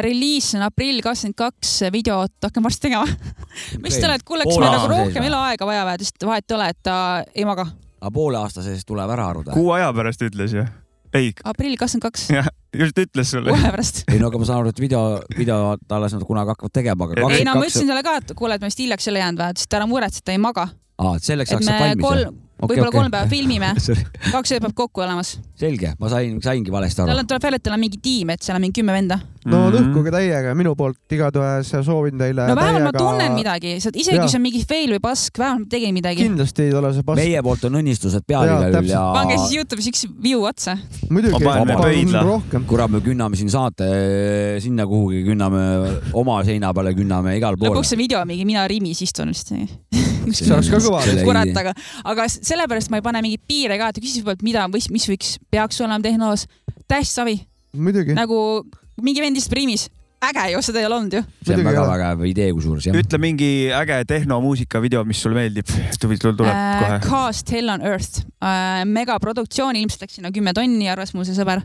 S4: Reliis on aprill kakskümmend kaks , videot hakkan varsti tegema . mis te olete , kuule , kas
S3: Pool
S4: meil
S3: aasta
S4: nagu
S3: sees
S4: rohkem
S3: või?
S4: eluaega vaja või , ta ütles , et vahet ei ole , et ta ei maga .
S3: aga poole aasta sees tuleb ära arvuda .
S2: kuu aja pärast ütles ju . ei ,
S4: aprill kakskümmend kaks ,
S2: just ütles sulle .
S4: kohe pärast .
S3: ei no aga ma saan aru , et video , video alles nad kunagi hakkavad tegema , aga
S4: ei no ma ütlesin
S3: kakskümmend kaks ,
S4: talle ka , et kuule , et ma vist hiljaks ei ole jäänud , ta ütles , et ära muretse , ta ei maga .
S3: aa , selleks
S4: et
S3: ajaks
S4: me
S3: saab valmis
S4: kolm
S3: jah ?,
S4: võib-olla kolm päeva filmime ,
S3: Sorry.
S4: kaks ööpäev kokku olemas .
S3: selge , ma sain , saingi valesti aru
S4: tal . on , tuleb välja , et tal on mingi tiim , et seal on mingi kümme venda .
S1: no lõhkuge täiega minu poolt igatahes ja soovin teile .
S4: no vähemalt ma tunnen . midagi , isegi
S1: Äh, Jaa.
S4: kui see on mingi fail või pask , vähemalt ma tegin midagi .
S1: kindlasti ei ole see pass .
S3: meie poolt on õnnistused pealinna
S1: Jaa,
S3: üle ja
S4: pange siis Youtube'is üks view otsa .
S1: muidugi ,
S2: Ma panen pöidla.
S1: palun rohkem .
S3: kurat , me künname siin saate eh, sinna kuhugi , künname oma seina peale , künname igale poole .
S4: lõpuks see video on mingi mina Rimis istun lihtsalt .
S1: see oleks ka kõva.
S4: kurat , aga , aga s- sellepärast ma ei pane mingeid piire ka , et ta küsis juba , et mida , mis võiks , peaks olema tehnos . täiesti savi ,
S1: muidugi ,
S4: nagu mingi vend istub Rimis , äge ju , seda ei ole olnud ju .
S3: see on
S1: muidugi ei ole.
S3: väga-väga hea idee kusjuures jah .
S2: ütle mingi äge tehnomuusika video , mis sulle meeldib . tuli , sul tuleb
S4: Äh,
S2: kohe .
S4: Cast Hell on Earth äh, , megaproduktsioon , ilmselt läks sinna kümme tonni , arvas mul see sõber .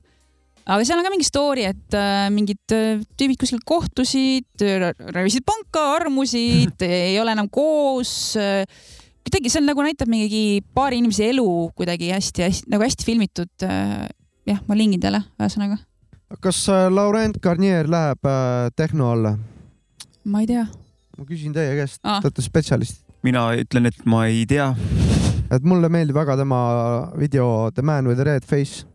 S4: aga seal on ka mingi story , et äh, mingid äh, tüübid kuskil kohtusid , röövisid panka , armusid , ei ole enam koos äh, . kuidagi see on nagu näitab mingi paari inimese elu kuidagi hästi-hästi nagu hästi filmitud äh, . jah , ma lingin teile , ühesõnaga .
S1: kas äh, Laurent Garnier läheb äh, tehno alla ?
S4: ma ei tea .
S1: ma küsin teie käest ,
S4: Aa.
S1: te olete spetsialist ,
S2: mina ütlen , et ma ei tea .
S1: et mulle meeldib väga tema video The man with the red face ,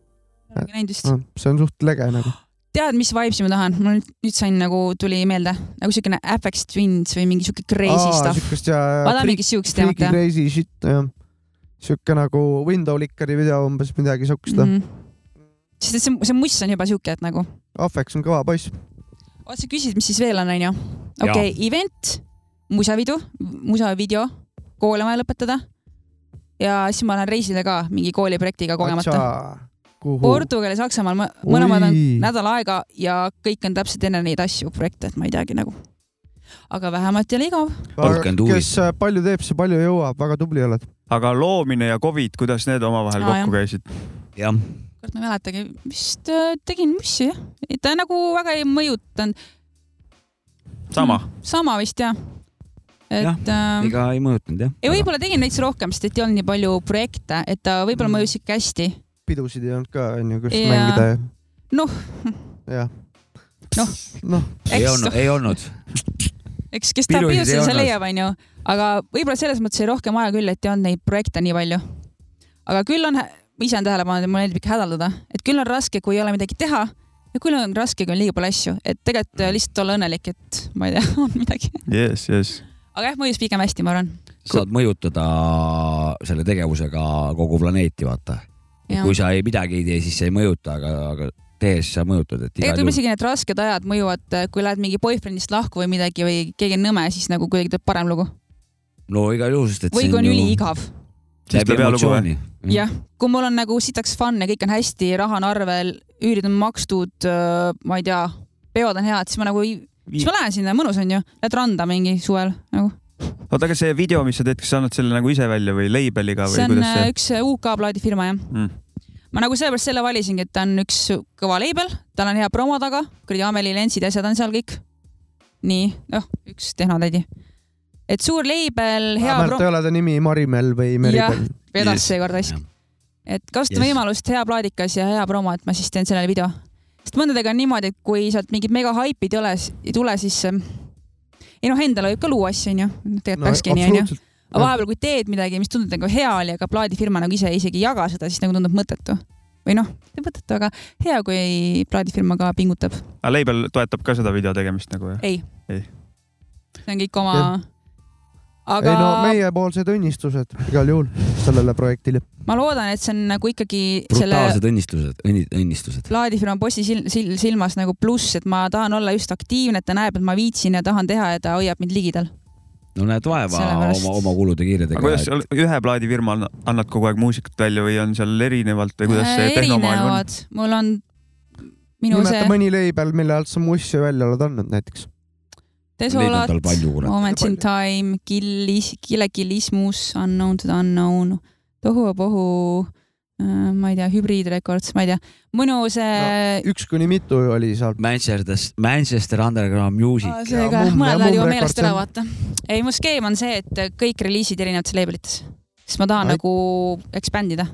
S4: näinud vist .
S1: see on suht lege nagu .
S4: Ah, tead , mis vibes'i ma tahan ? mul nüüd- nüüd sain nagu , tuli meelde nagu siukene FX Twins või mingi siuke crazy Aa, stuff .
S1: siukest
S4: ma tahan
S1: ja
S2: äh,
S4: mingit siukest teemat
S1: freaky
S4: teha .
S1: crazy shit , jah . siuke nagu window lickeri video umbes midagi siukest mm . -hmm.
S4: -hmm. sest et see , see muss on juba siuke , et nagu ,
S1: Ahveks on kõva poiss .
S4: oot sa küsisid , mis siis veel on , onju ? okei okay, , event , musavidu , musavideo , kool on vaja lõpetada . ja siis ma lähen reisile ka mingi kooliprojektiga kogemata .
S1: kuhu ?
S4: Portugal ja Saksamaal mõ- mõlemad on
S1: Oi.
S4: nädal aega ja kõik on täpselt enne neid asju , projekte , et ma ei teagi nagu . aga vähemalt ei ole igav .
S3: Balkan tuuris.
S1: kes äh, palju teeb , see palju jõuab , väga tubli oled .
S2: aga loomine ja Covid , kuidas need omavahel
S4: Aa,
S2: kokku käisid ?
S3: jah ,
S4: kurat , ma ei mäletagi , vist äh, tegin mussi jah , ta nagu väga ei mõjutanud .
S2: sama .
S4: sama vist jah . et
S3: Jah,
S4: ähm,
S3: ega ei mõjutanud jah .
S4: ja võib-olla tegin veits rohkem , sest et ei olnud nii palju projekte , et ta võib-olla
S1: Mm.
S4: mõjus ikka hästi .
S1: pidusid ei olnud ka onju , kus
S4: Jaa.
S1: yeah. mängida ja .
S4: Noh. .
S1: jah .
S4: Noh.
S1: noh ,
S3: ei
S4: eks ,
S3: olnud , ei olnud .
S4: eks kes tahab
S3: pidusid ei
S4: pidusid , see
S3: olnud.
S4: leiab , onju . aga võib-olla selles mõttes oli rohkem aja küll , et ei olnud neid projekte nii palju . aga küll on , ma ise olen tähele pannud , et mulle meeldib ikka hädaldada , et küll on raske , kui ei ole midagi teha ja küll on raske , kui on liiga palju asju , et tegelikult äh, lihtsalt olla õnnelik , et ma ei tea , on midagi .
S2: jess , jess .
S4: aga jah , mõjus pigem hästi , ma arvan .
S3: saad mõjutada selle tegevusega kogu planeeti , vaata . kui sa ei midagi ei tee , siis sa ei mõjuta , aga , aga tehes sa mõjutad , et igal
S4: tegelikult võib-olla
S3: juhul .
S4: isegi need rasked ajad mõjuvad , kui lähed mingi boyfriend'ist lahku või midagi või keegi on nõme , siis nagu kuidagi tuleb parem lugu
S3: no igal juhul , sest et
S4: või
S3: see
S4: kui on
S3: ju
S4: üliigav .
S2: siis
S3: läbi
S2: tuleb hea lugu või ?
S3: emotsiooni .
S4: jah , kui mul on nagu sitaks fun ja kõik on hästi , raha on arvel , üürid on makstud , ma ei tea , peod on head , siis ma nagu , siis ma lähen sinna , mõnus on ju , lähed randa mingi suvel nagu .
S2: oota , aga see video , mis sa teed , kas sa annad selle nagu ise välja või label'iga või
S4: see on
S2: kuidas
S4: äh,
S2: see ?
S4: üks UK plaadifirma jah
S2: Mm.
S4: mm. . ma nagu sellepärast selle valisingi , et ta on üks kõva label , tal on hea promo taga , kuradi Ameli lentsid ja asjad on seal kõik . nii , noh , üks tehnotädi . et suur label , hea
S1: vähemalt
S4: promo
S1: ei , ole ta nimi Marimel või
S4: jah
S1: Meribel .,
S3: Yes.
S4: vedas yes. seekord hästi . et kasutan
S3: Yes.
S4: yes. võimalust , hea plaadikas ja hea promo , et ma siis teen sellele video . sest mõndadega on niimoodi , et kui sealt mingit mega haipi ei ole , ei tule , siis ähm, ei noh , endale võib ka luua asju , onju . tegelikult peakski nii , onju .
S1: absoluutselt .
S4: aga vahepeal , kui teed midagi , mis tundub nagu hea oli , aga plaadifirma nagu ise isegi ei jaga seda , siis nagu tundub mõttetu . või noh , mitte mõttetu , aga hea , kui plaadifirma ka pingutab .
S2: aga Ah, label toetab ka seda video tegemist nagu jah ?
S4: ei,
S2: Ei.
S4: see on kõik oma
S1: Jah. .
S4: aga
S1: ei no meiepoolsed õnnistused igal juhul sellele projektile .
S4: ma loodan , et see on nagu ikkagi selle
S3: brutaalsed õnnistused , õnnistused .
S4: plaadifirma bossi sil sil silmas nagu pluss , et ma tahan olla just aktiivne , et ta näeb , et ma viitsin ja tahan teha ja ta hoiab mind ligidal .
S3: no näed vaeva
S4: Sellepärast-
S3: oma , oma kulude
S2: aga
S3: kirjadega
S2: kuidas . seal ühe plaadifirma anna- annad kogu aeg muusikat välja või on seal erinevalt või kuidas see tehnomaailm on ?
S4: Äh, erinevad , mul on minu
S1: nimeta
S4: see
S1: mõni label , mille alt sa mu asju välja oled andnud näiteks .
S4: Desolat
S3: tal , palju , kurat .
S4: Moments in
S1: Palju.
S4: Time , Killis , Kilekilismus , Unknown to the Unknown , Tohuvabohu , ma ei tea , Hybrid Records , ma ei tea , minu see no,
S1: üks kuni mitu oli seal .
S3: Manchester , Manchester Underground Music .
S4: seega mõned
S1: Mumm- Mumm
S4: lähevad juba
S1: Records
S4: meelest ära ,
S1: on-
S4: vaata . ei , mu skeem on see , et kõik reliisid erinevates labelites , sest ma tahan
S1: Ai.
S4: nagu expand ida .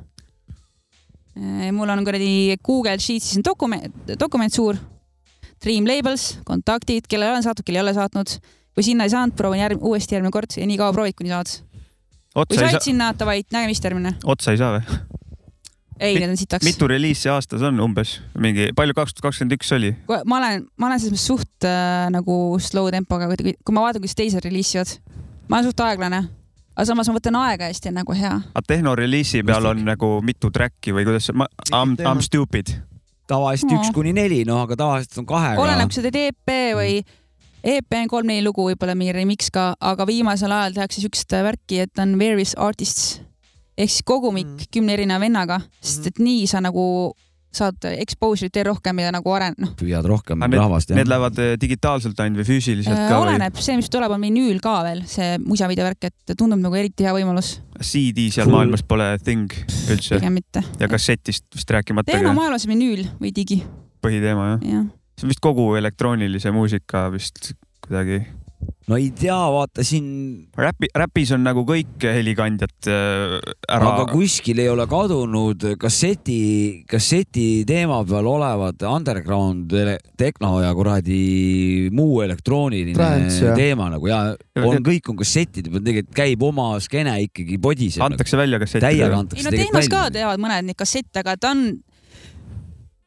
S4: mul on kuradi Google Sheets'is on dokument , dokument suur , Dream Labels , kontaktid , kellele olen saatnud , kellele ei ole saatnud . kui sinna ei saanud , proovin järg- , uuesti järgmine kord ja nii kaua proovid , kuni saad . kui
S2: otsa
S4: sa
S2: ei
S4: oled
S2: saa ,
S4: sinna , davai , nägemist järgmine .
S2: otsa ei saa või ?
S4: ei ,
S2: Mi-
S4: need on sitaks .
S2: mitu reliisi aastas on umbes mingi , palju kaks tuhat kakskümmend üks oli ?
S4: ma olen , ma olen selles mõttes suht äh, nagu slow tempoga , kui ma vaatan , kuidas teised reliisivad . ma olen suht aeglane , aga samas ma võtan aega hästi nagu hea .
S2: aga tehnorileisi Ah, peal on nagu mitu track'i või kuidas see , I m , I m stupid .
S3: tavaliselt
S4: Aa.
S3: üks kuni neli , noh , aga tavaliselt on kahega
S4: oleneb , kui sa teed EP või EP on kolm-neli lugu , võib-olla mingi remix ka , aga viimasel ajal tehakse siukest värki , et on various artists ehk siis kogumik
S1: Mhm.
S4: mm. kümne erineva vennaga , sest et nii sa nagu saad exposure'it veel rohkem ja nagu aren- , noh ,
S3: püüad rohkem
S2: Aga need-
S3: rahvast
S2: Need lähevad eh, digitaalselt ainult või füüsiliselt ka või ?
S4: Äh, oleneb , see , mis tuleb , on vinüül ka veel , see musavideo värk , et tundub nagu eriti hea võimalus ,
S2: CD seal
S3: Full-
S2: maailmas pole thing üldse
S4: pigem mitte .
S2: ja kassetist vist rääkimata
S4: teema
S2: ka
S4: maailmas on vinüül või digi ,
S2: põhiteema jah .
S4: jah .
S2: see on vist kogu elektroonilise muusika vist kuidagi .
S3: no ei tea , vaata siin ,
S2: räpi , räpis on nagu kõik helikandjad äh, ära
S3: aga . kuskil ei ole kadunud kasseti , kasseti teema peal olevad underground ele- tehno ja kuradi muu elektrooniline
S1: Trance, jah.
S3: teema nagu ja on , kõik on kassetid , tegelikult käib oma skeene ikkagi podis .
S2: antakse välja kassetid
S3: täiega .
S4: ei
S3: antakse
S4: no tehnos ka teevad mõned neid kassette , aga ta on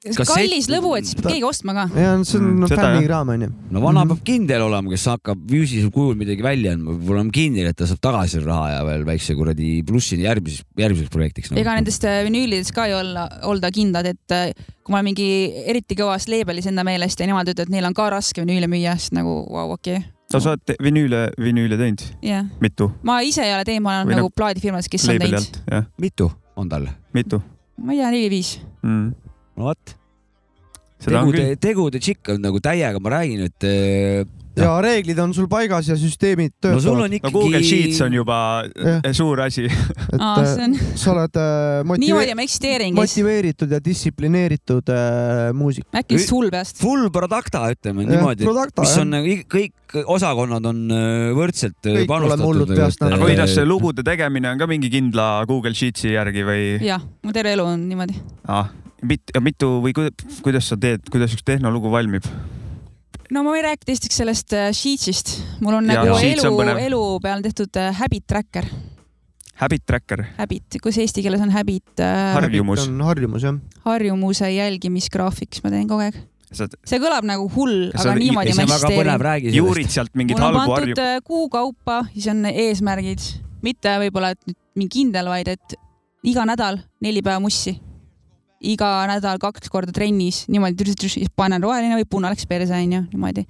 S3: Kassett-
S4: kallis lõbu , et siis peab
S1: Ta-
S4: keegi ostma ka .
S1: ja see on
S2: Mm,
S1: mm,
S2: seda, jah.
S1: fännikraam onju .
S3: no vana
S1: Mhm.
S3: peab kindel olema , kes hakkab füüsilisel kujul midagi välja andma , peab olema kindel , et ta saab tagasi selle raha ja veel väikse kuradi plussini järgmises , järgmiseks projektiks no. .
S4: ega nendest äh, vinüülides ka ei olla , olda kindlad , et äh, kui ma olen mingi eriti kõvas labelis enda meelest ja nemad ütlevad , et neil on ka raske vinüüle müüa , siis nagu vau , okei .
S2: sa oled te- vinüüle , vinüüle teinud ,
S4: jah ,
S2: mitu ?
S4: ma ise ei ole teinud , ma
S2: Või
S4: olen nagu plaadifirmas , kes on
S2: leibeli
S4: teinud .
S2: alt , jah ,
S3: mitu on tal ?
S2: mitu
S4: ma ei tea , neli-viis .
S2: mm. .
S3: no vot ,
S2: seda on
S3: tegude
S2: küll .,
S3: tegude tšikk on nagu täiega , ma räägin , et eh,
S1: ja reeglid on sul paigas ja süsteemid
S3: no sul
S1: töötavad .
S3: on
S2: no Google Sheets on
S3: ikkagi ,
S2: juba eh,
S1: Jah.
S2: suur asi .
S4: aa , see
S1: et
S4: on ,
S1: äh, sa oled äh,
S4: niimoodi
S1: motive-
S4: ma eksisteeringi ,
S1: motiveeritud ja distsiplineeritud äh, muusik .
S4: äkki lihtsalt hull peast .
S3: full producta , ütleme niimoodi , mis on nagu ig- kõik osakonnad on eh, võrdselt eh,
S1: Kõik oleme hullud
S3: panustatud . äh,
S1: peast
S2: aga
S1: natuke.
S2: kuidas see lugude tegemine on ka mingi kindla Google Sheetsi järgi või
S4: jah , mu terve elu on niimoodi .
S2: ah, mit, mitu või ku- kuidas sa teed , kuidas üks tehnolugu valmib ?
S4: no ma võin rääkida esiteks sellest äh, Sheetsist . mul on
S2: Jaa,
S4: nagu
S2: Sheets on
S4: elu
S2: põnev. ,
S4: elu peal tehtud äh, habit tracker ,
S2: Habit tracker ,
S4: habit , kus eesti keeles on habit äh,
S2: Har- harjumus.
S1: on harjumus jah .
S4: harjumuse jälgimisgraafik , siis ma teen kogu aeg .
S2: sa
S4: see kõlab nagu hull ,
S2: Kas
S4: aga
S2: on-
S4: niimoodi
S3: ja see on
S4: ma
S3: väga põnev ,
S4: eksisteerin .
S3: räägi sellest .
S2: juurid sealt mingeid
S4: mul on
S2: halbu
S4: pandud
S2: harju- ,
S4: äh, kuu kaupa , siis on eesmärgid , mitte võib-olla , et nüüd mingi kindel , vaid et iga nädal neli päeva mussi . iga nädal kaks korda trennis , niimoodi türs-türs , siis panen roheline või punane läks perse , onju , niimoodi .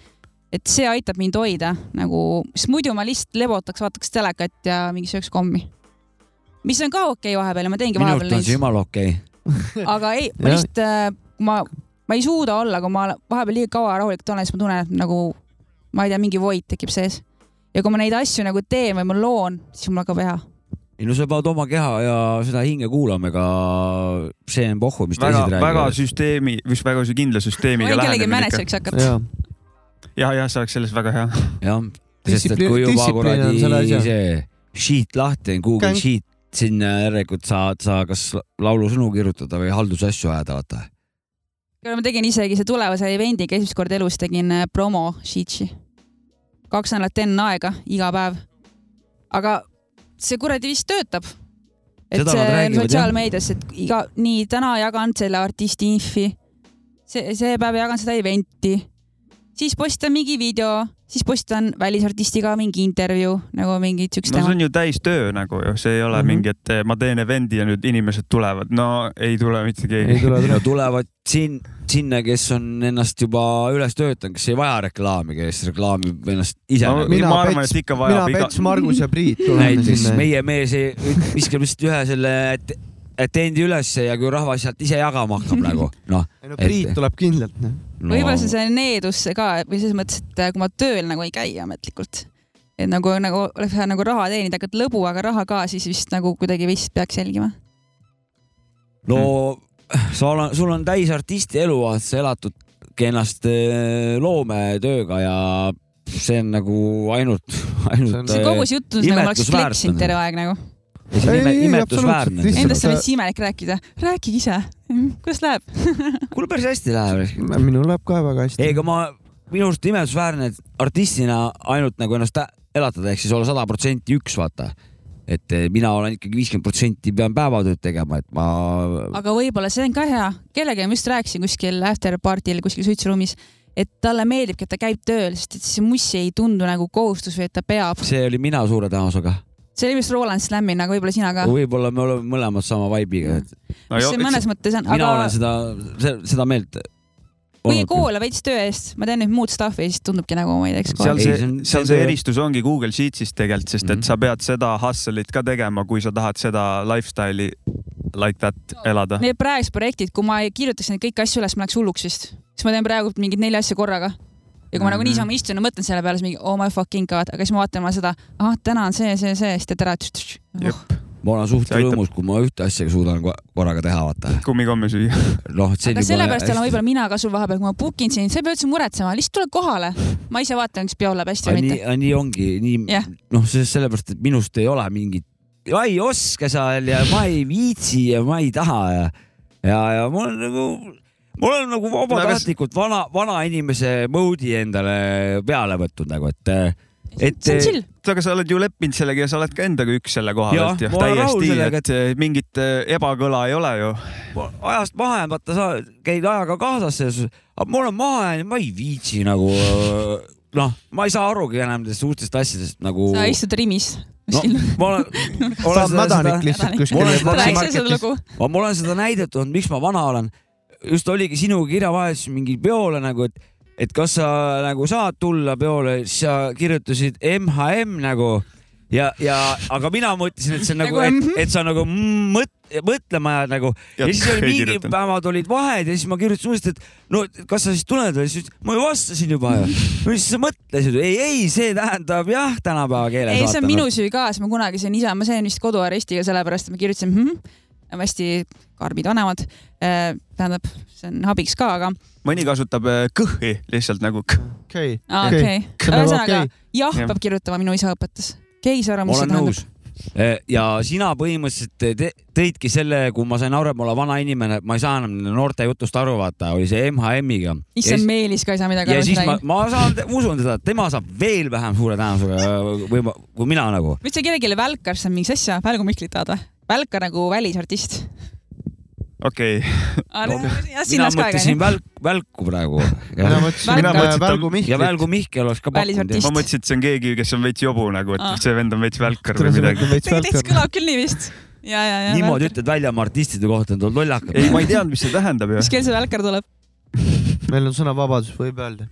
S4: et see aitab mind hoida nagu , sest muidu ma lihtsalt lebotaks , vaataks telekat ja mingi sööks kommi . mis on ka okei okay vahepeal ja ma teengi
S3: minu arust
S4: vahepeal
S3: on see
S4: neid ,
S3: jumala okei okay. .
S4: aga ei ,
S1: Jah.
S4: ma lihtsalt , ma , ma ei suuda olla , kui ma vahepeal liiga kaua rahulikult olen , siis ma tunnen , et nagu ma ei tea , mingi void tekib sees . ja kui ma neid asju nagu teen või ma loon , siis mul hakkab hea .
S3: ei no sa pead oma keha ja seda hinge kuulama , ega see on pohhu , mis
S2: väga
S3: teised ,
S2: väga
S3: räägivad .
S2: süsteemi , mis väga sü- kindla süsteemiga
S4: võin kellegi
S2: lähenemine ikka .
S4: mänedžeriks hakata .
S1: jah ,
S2: ja , jah , see oleks selles väga hea .
S3: jah , sest et
S1: Distsipliin-
S3: kui juba
S1: distsipliin on
S3: kuradi
S1: selle asja.
S3: see sheet lahti on , Google
S1: Käng-
S3: sheet , sinna järelikult saad sa kas laulusõnu kirjutada või haldusasju ajada , vaata .
S4: ma tegin isegi see tulevase event'iga esimest korda elus tegin äh, promo sheet'i . kaks nädalat enne aega , iga päev . aga see kuradi vist töötab . et
S3: Seda nad
S4: see on
S3: räägivad, jah.
S4: sotsiaalmeedias , et iga , nii täna jagan selle artisti infi . see , see päev jagan seda event'i . siis postitan mingi video , siis postitan välisartistiga mingi intervjuu nagu mingid siuksed
S2: no see
S4: teemad .
S2: on ju täistöö nagu ju , see ei ole mm
S1: Mhm.
S2: -hmm. mingi , et eh, ma teen event'i ja nüüd inimesed tulevad . no ei tule mitte
S1: ei
S2: keegi .
S1: tule
S3: no
S1: tule .
S3: tulevad siin , sinna , kes on ennast juba üles töötanud , kes ei vaja reklaami , kes reklaamib ennast ise
S2: No,
S3: no, .
S1: mina
S2: ma arvan ,
S1: Pets-
S2: et ikka
S1: mina
S2: vajab , iga ,
S1: Pets , Margus ja Priit tuleme
S3: näiteks
S1: sinna .
S3: meie mees ei- viskab lihtsalt ühe selle at- atendi ülesse ja kui rahvas sealt ise jagama hakkab nagu , noh .
S1: ei no Priit
S3: ette.
S1: tuleb kindlalt . noh.
S3: no,
S4: võib-olla see on see needus ka või selles mõttes , et kui ma tööl nagu ei käi ametlikult , et nagu , nagu oleks vaja nagu raha teenida , hakkad lõbu , aga raha ka , siis vist nagu kuidagi vist peaks jälgima .
S3: no sa oled , sul on täis artisti elu , sa elatud ennast eh, loometööga ja see on nagu ainult , ainult . eh,
S1: See
S4: see kogu see jutt on nagu ma oleks
S3: imetlusväärne.
S4: fleksinud terve aeg nagu .
S1: Ei, ei, ei, absoluutselt,
S3: imetlusväärne .
S1: lihtsalt-
S4: Endast on hästi imelik rääkida . rääkige ise , kuidas läheb ?
S3: kuule , päris hästi läheb .
S1: minul läheb ka väga hästi
S3: ei ,. ega ma , minu arust imetlusväärne , et artistina ainult nagu ennast ä- elatada , ehk siis olla sada protsenti üks , vaata . et eh, mina olen ikkagi viiskümmend protsenti pean päevatööd tegema , et ma
S4: aga võib-olla see on ka hea , kellegagi ma just rääkisin kuskil after party'l kuskil suitsuruumis , et talle meeldibki , et ta käib tööl , sest et see muss ei tundu nagu kohustus või et ta peab .
S3: see oli mina suure tõenäosusega ,
S4: see oli vist Roland Slamina , aga võib-olla sina ka .
S3: võib-olla me oleme mõlemad sama vibe'iga , et
S2: no,
S4: see mõnes mõttes on ,
S3: mina aga...
S4: aga
S3: olen seda , seda meelt .
S4: või ei kuula veits töö eest , ma teen nüüd muud stuff'i ja siis tundubki nagu ma ei teaks .
S2: seal
S3: Ei,
S2: see
S3: see on- ,
S2: seal
S3: see
S2: see
S3: on-
S2: eristus ongi Google Sheets'is tegelikult , sest et
S3: Mhm.
S2: sa pead seda hustle'it ka tegema , kui sa tahad seda lifestyle'i like that elada .
S4: Need praegused projektid , kui ma ei kirjutaks neid kõiki asju üles , ma läheks hulluks vist . siis ma teen praegu mingeid nelja asja korraga . ja kui ma nagu
S2: Mhm.
S4: niisama istun ja mõtlen selle peale , siis mingi oh my fucking god , aga siis ma vaatan oma seda , ahah , täna on see , see , see , siis teed ära .
S2: Jep.
S3: ma olen
S2: See
S3: suht
S2: aitab.
S3: rõõmus , kui ma ühte asja suudan ko- korraga teha , vaata .
S2: kummikomme süüa .
S3: noh , see
S4: aga sellepärast olen võib-olla mina ka sul vahepeal , kui ma book in sind , sa ei pea üldse muretsema , lihtsalt tule kohale . ma ise vaatan , kas peo läheb hästi või
S3: nii
S4: mitte .,
S3: nii ongi , nii
S4: Jah.
S3: noh , see sellepärast , et minust ei ole mingit , ma ei oska seal ja ma ei viitsi ja ma ei taha ja , ja , ja mul on nagu , mul on nagu vabatahtlikult vana , vanainimese mode'i endale peale võtnud nagu , et , et eh,
S4: see on chill .
S2: aga sa oled ju leppinud sellega ja sa oled ka endaga üks selle koha
S3: Jah,
S2: pealt ju
S3: ma olen rahul
S2: täiesti ,
S3: sellega,
S2: et eh, mingit eh, ebakõla ei ole ju .
S3: Ma- ajast maha jäänud , vaata sa käid ajaga kaasas , aga ma olen maha jäänud , ma ei viitsi nagu noh , ma ei saa arugi enam nendest uutest asjadest nagu .
S4: sa istud Rimis .
S3: no, ma olen ,
S1: ta
S3: olen
S1: on
S3: seda,
S1: mädanik
S3: seda ,
S1: lihtsalt
S3: Mul on
S1: kuskil
S3: seda- .
S4: rääkige seda lugu .
S3: ma, ma olen seda näidet olnud , miks ma vana olen . just oligi sinu kirjavahetus mingi peole nagu , et , et kas sa nagu saad tulla peole , siis sa kirjutasid MHM nagu ja , ja aga mina mõtlesin , et see on nagu ,
S4: Nagu
S3: et
S4: mhm. ,
S3: et sa nagu mõt- , mõtlema jääd nagu ja,
S2: Ja
S3: ja siis oli
S2: ei
S3: mingi
S2: kirjutanud.
S3: päevad olid vahed ja siis ma kirjutasin uuesti , et no et kas sa siis tuled või siis ütles, ma ju vastasin juba ju . no siis sa mõtlesid , ei , ei , see tähendab jah , tänapäeva keeles .
S4: ei , see on minu süü ka , sest ma kunagi sain ise , ma sain vist koduarestiga sellepärast , et ma kirjutasin hm, , hästi karmid vanemad . tähendab , see on abiks ka , aga
S2: mõni kasutab eh, kõhhi lihtsalt nagu k-
S1: okei ,
S4: aa, Ah, okei . ühesõnaga
S1: okei. ,
S4: jah
S2: Jah.
S4: peab kirjutama , minu isa õpetas . keegi ei saa aru ,
S3: ma
S4: mis see
S3: olen
S4: tähendab .
S3: nõus . ja sina põhimõtteliselt te, tõidki selle , kui ma sain aru , et ma olen vana inimene , ma ei saa enam nende noorte jutust aru , vaata , oli see MHM-iga .
S4: issand , Meelis ka ei saa midagi
S3: ja
S4: aru , mis
S3: siis ma ,
S4: ma räägin .
S3: ma saan , usun teda , et tema saab veel vähem suure tänusega eh, või ma- kui mina nagu .
S4: mis see kellelegi välkar , see on mingi sasja , välgumihklit tahad või ? välkar nagu välisartist . Ah,
S2: okei okay. .
S3: No,
S4: jah ,
S3: mina
S4: sinnas ka ,
S3: mõtlesin
S4: onju .
S3: välk , välku praegu
S1: mina
S3: ja,
S1: mõtlesin ,
S4: Mina
S1: mina
S2: mõtlesin,
S1: mõtlesin
S2: et ta-
S1: Välgu
S3: ja
S1: Mihkel .
S3: välku Mihkel oleks ka pakkunud
S4: Välisartist.
S2: ma mõtlesin , et see on keegi , kes on veits jobu nagu , et
S4: Aa.
S2: see vend on veits välkar
S1: tule
S2: või
S1: see
S2: midagi .
S1: mõte veits
S4: tegelikult
S1: Välkar .
S4: kõlab küll nii vist . ja , ja , ja .
S3: niimoodi . ütled välja oma artistide kohta , nad on lollakad .
S2: ei , ma ei teadnud , mis see tähendab ju
S4: mis . kell see välkar tuleb ?
S1: meil on sõnavabadus , võib öelda .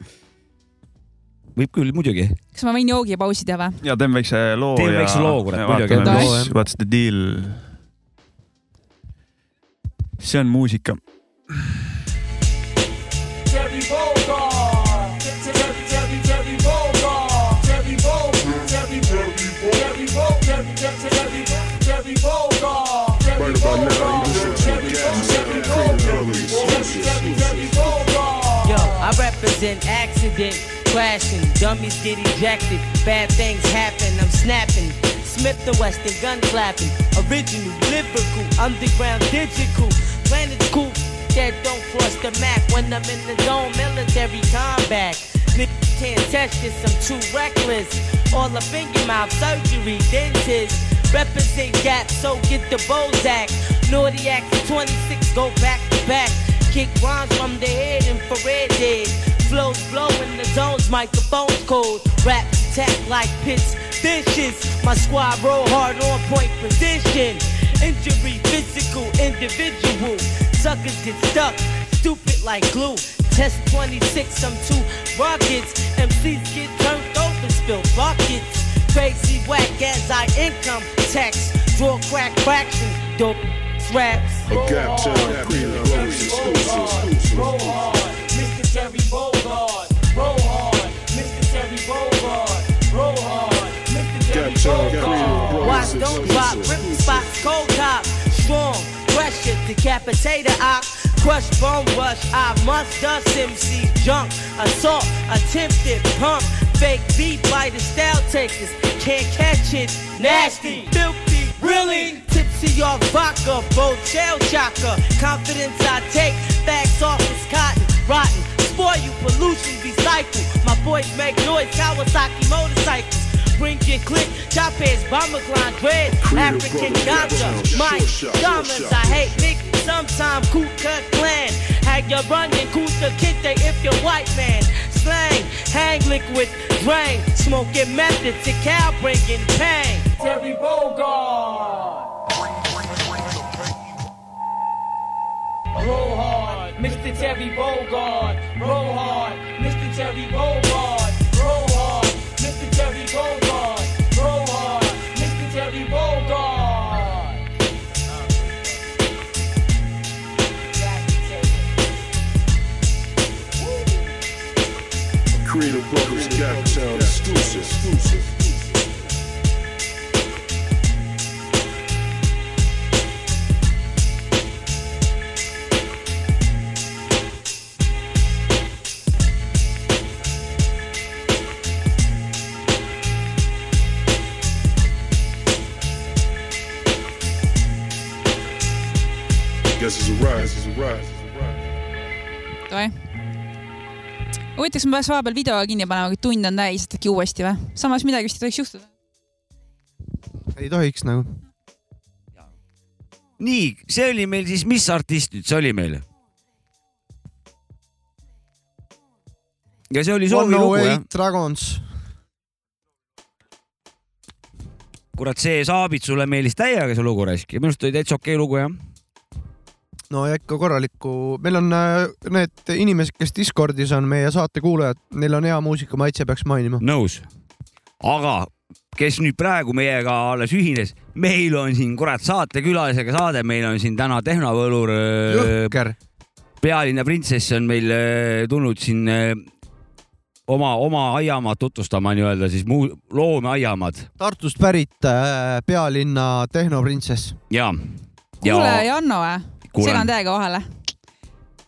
S3: võib küll , muidugi .
S4: kas ma võin joogipausi teha või ?
S2: ja teeme väikse loo
S3: Teeme
S2: ja .
S3: väikse loo, kurat, muidugi.
S2: vaatame ,
S1: Loo,
S2: mis
S1: jah. ,
S2: what's the deal . see on muusika .
S5: Terry Bogard. Terry, Terry, Terry Bogard. Terry Bogard. Terry, Terry, Terry Bogard. Terry, Terry, Terry, Terry
S10: accident, accident, crashing. Dummies get ejected, bad things happen. I'm snapping. Smith the Western gun clapping. Original, lyrical, underground, digital. When it's cool, that don't cross the map. When I'm in the zone, military combat. Niggas can't test this, I'm too reckless. All up in your mouth, surgery, dentist. Represent gap, so get the Bozak. Naughty Act 26, go back to back. Kick rhymes from the head, infrared dead. Flows blowing the zones, microphones cold. Rap attack like pits, dishes. My squad roll hard on point position. Injury, physical, individual. Suckers get stuck, stupid like glue. Test 26, I'm two rockets. MCs get turned over, spill buckets. Crazy whack as I income tax. Draw crack fraction, dope raps.
S5: A gap town, Greenland Rose exclusive.
S10: Roll hard, Mr. Terry Bogard. Roll hard, Mr. Terry Bogard. Roll hard, Mr. Terry
S5: Gap town, Greenland Rose
S10: Watch don't drop, rip spots, cold top, strong, pressure, decapitator op, crush, bone rush, I must dust MC junk, assault, attempted pump, fake beat by the style takers, can't catch it, nasty, filthy, really, tipsy off vodka, both shell chaka, confidence I take, facts off is cotton, rotten, spoil you, pollution, recycle, my boys make noise, Kawasaki motorcycles, Bring your click, chop heads, bomber climb, dread, African ganja, Mike, diamonds, I hate niggas, sometime cool cut clan. Have your run and cool the kid they if you're white man. Slang, hang liquid, drain, smoking method to cow bringing pain. Terry Bogard. Roll hard, Mr. Terry Bogard. Roll hard, Mr. Terry Bogard. Roll hard, Mr. Terry Bogard. Roll hard, Mr. Terry Bogard.
S5: Creative Brothers Gap Town exclusive. exclusive. Guess it's a rise, it's a rise, it's a rise.
S4: tore . huvitav , kas ma peaks vahepeal video kinni panema , kui tund on täis , et äkki uuesti või ? samas midagi vist ei tohiks juhtuda .
S1: ei tohiks nagu .
S3: nii , see oli meil siis , mis artist nüüd see oli meil ? ja see oli
S1: One
S3: soovilugu
S1: oh
S3: jah
S1: eight ? Dragons .
S3: kurat , see Saabits sulle meeldis täiega see lugu raisk ja minu arust oli täitsa okei lugu jah .
S1: no ja ikka korralikku , meil on äh, need inimesed , kes Discordis on meie saate kuulajad , neil on hea muusika maitse , peaks mainima .
S3: nõus . aga kes nüüd praegu meiega alles ühines , meil on siin kurat saatekülalisega saade , meil on siin täna tehnovõlur ,
S1: jõhker .
S3: pealinna printsess on meil öö, tulnud siin öö, oma , oma aiamaad tutvustama nii-öelda siis muu , loomeaiamaad
S1: Tartust pärit äh, pealinna tehnoprintsess .
S3: ja .
S4: kuule , Janno ,
S3: Kuulen.
S4: segan täiega vahele .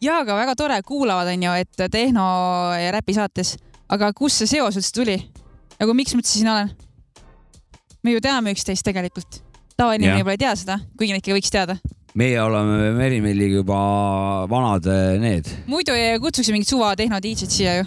S4: ja , aga väga tore , kuulavad onju , et tehno ja räpi saates , aga kust see seos üldse tuli ? nagu miks ma üldse siin olen ? me ju teame üksteist tegelikult .
S3: Jah.
S4: tavainimene võib-olla ei tea seda , kuigi neid ikka võiks teada .
S3: meie oleme Merimelliga juba vanad öö, need ,
S4: muidu ei kutsuks ju mingit suva tehno DJ-d siia ju ,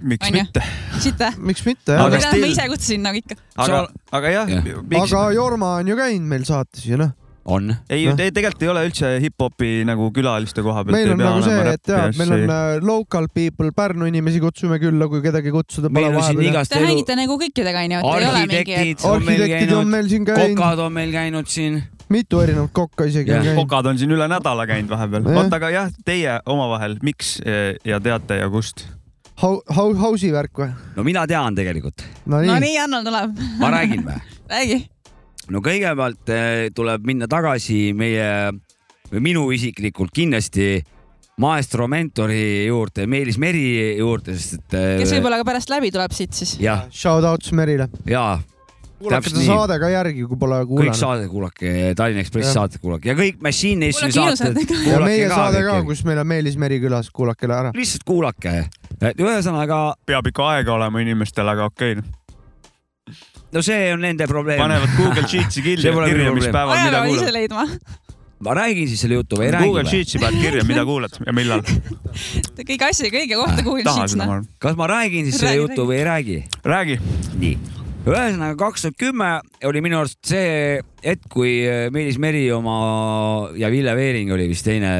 S2: miks
S4: Onju.
S2: mitte ?
S4: siit vä ?
S1: miks mitte
S2: Aga
S1: jah ?
S4: mida ma
S2: still-
S4: ise kutsusin nagu ikka .
S2: aga , aga jah
S3: Jah. ,
S2: miks
S1: aga Jorma on ju käinud meil saates ju noh .
S3: on .
S2: ei
S1: Noh. ,
S2: tegelikult ei ole üldse hip-hopi nagu külaliste koha pealt .
S1: meil on nagu see , et jaa , meil on äh, local people , Pärnu inimesi kutsume külla , kui kedagi kutsuda
S3: meil
S1: pole
S3: on siin
S1: vahepeal .
S3: igast
S4: Te
S3: elu ,
S4: hängite nagu kõikidega onju , et ei ole mingi ,
S3: arhitektid
S4: et
S3: on meil
S1: arhitektid on
S3: käinud ,
S1: meil siin käinud ,
S3: kokad on meil käinud siin .
S1: mitu erinevat kokka isegi
S3: Jah.
S1: on käinud .
S2: kokad on siin üle nädala käinud vahepeal .
S1: Jah.
S2: oota , aga jah , teie omavahel , miks eh, ja teate ja kust ?
S1: Hau- , hau- , hausi värk või ?
S3: no mina tean tegelikult ,
S1: no
S4: no
S1: nii ,
S4: nii , Janno tuleb ,
S3: ma räägin või ?
S4: räägi .
S3: no kõigepealt eh, tuleb minna tagasi meie või minu isiklikult kindlasti maestro mentori juurde , Meelis Meri juurde , sest et .
S4: kes võib-olla ka pärast läbi tuleb siit siis .
S3: jah ,
S1: shout out Merile .
S3: ja
S1: kuulake seda saade ka järgi , kui pole
S3: kõik
S1: kuulanud .
S3: saade kuulake , Tallinna Ekspressi
S1: Jah.
S3: saated kuulake ja kõik Machine Nationi
S4: Kuulake
S3: saated
S4: minu saadet ka.
S1: ja meie saade ka ,
S3: kõik.
S1: kus meil on Meelis Meri külas , kuulake ära .
S3: lihtsalt kuulake , et ühesõnaga ,
S2: peab ikka aega olema inimestel , aga okei okay. ,
S3: no see on nende probleem .
S2: panevad Google Sheetsi
S3: See
S2: kirja ,
S3: pole minu
S2: kirja , mis
S3: probleem.
S2: päeval mida
S4: ajaloo ise
S2: kuulad .
S4: leidma .
S3: ma räägin siis selle jutu või ei räägi
S2: Google
S3: või ?
S2: Sheetsi pead kirja , mida kuulad ja millal .
S4: kõige asja , kõige kohta Google
S2: tahan
S4: Sheets ,
S2: seda , ma
S4: noh .
S2: arvan .
S3: kas ma räägin siis selle
S4: Räägi,
S3: jutu või ei räägi ?
S2: räägi .
S3: nii , ühesõnaga kaks tuhat kümme oli minu arust see hetk , kui äh, Meelis Meri oma ja Ville Veering oli vist teine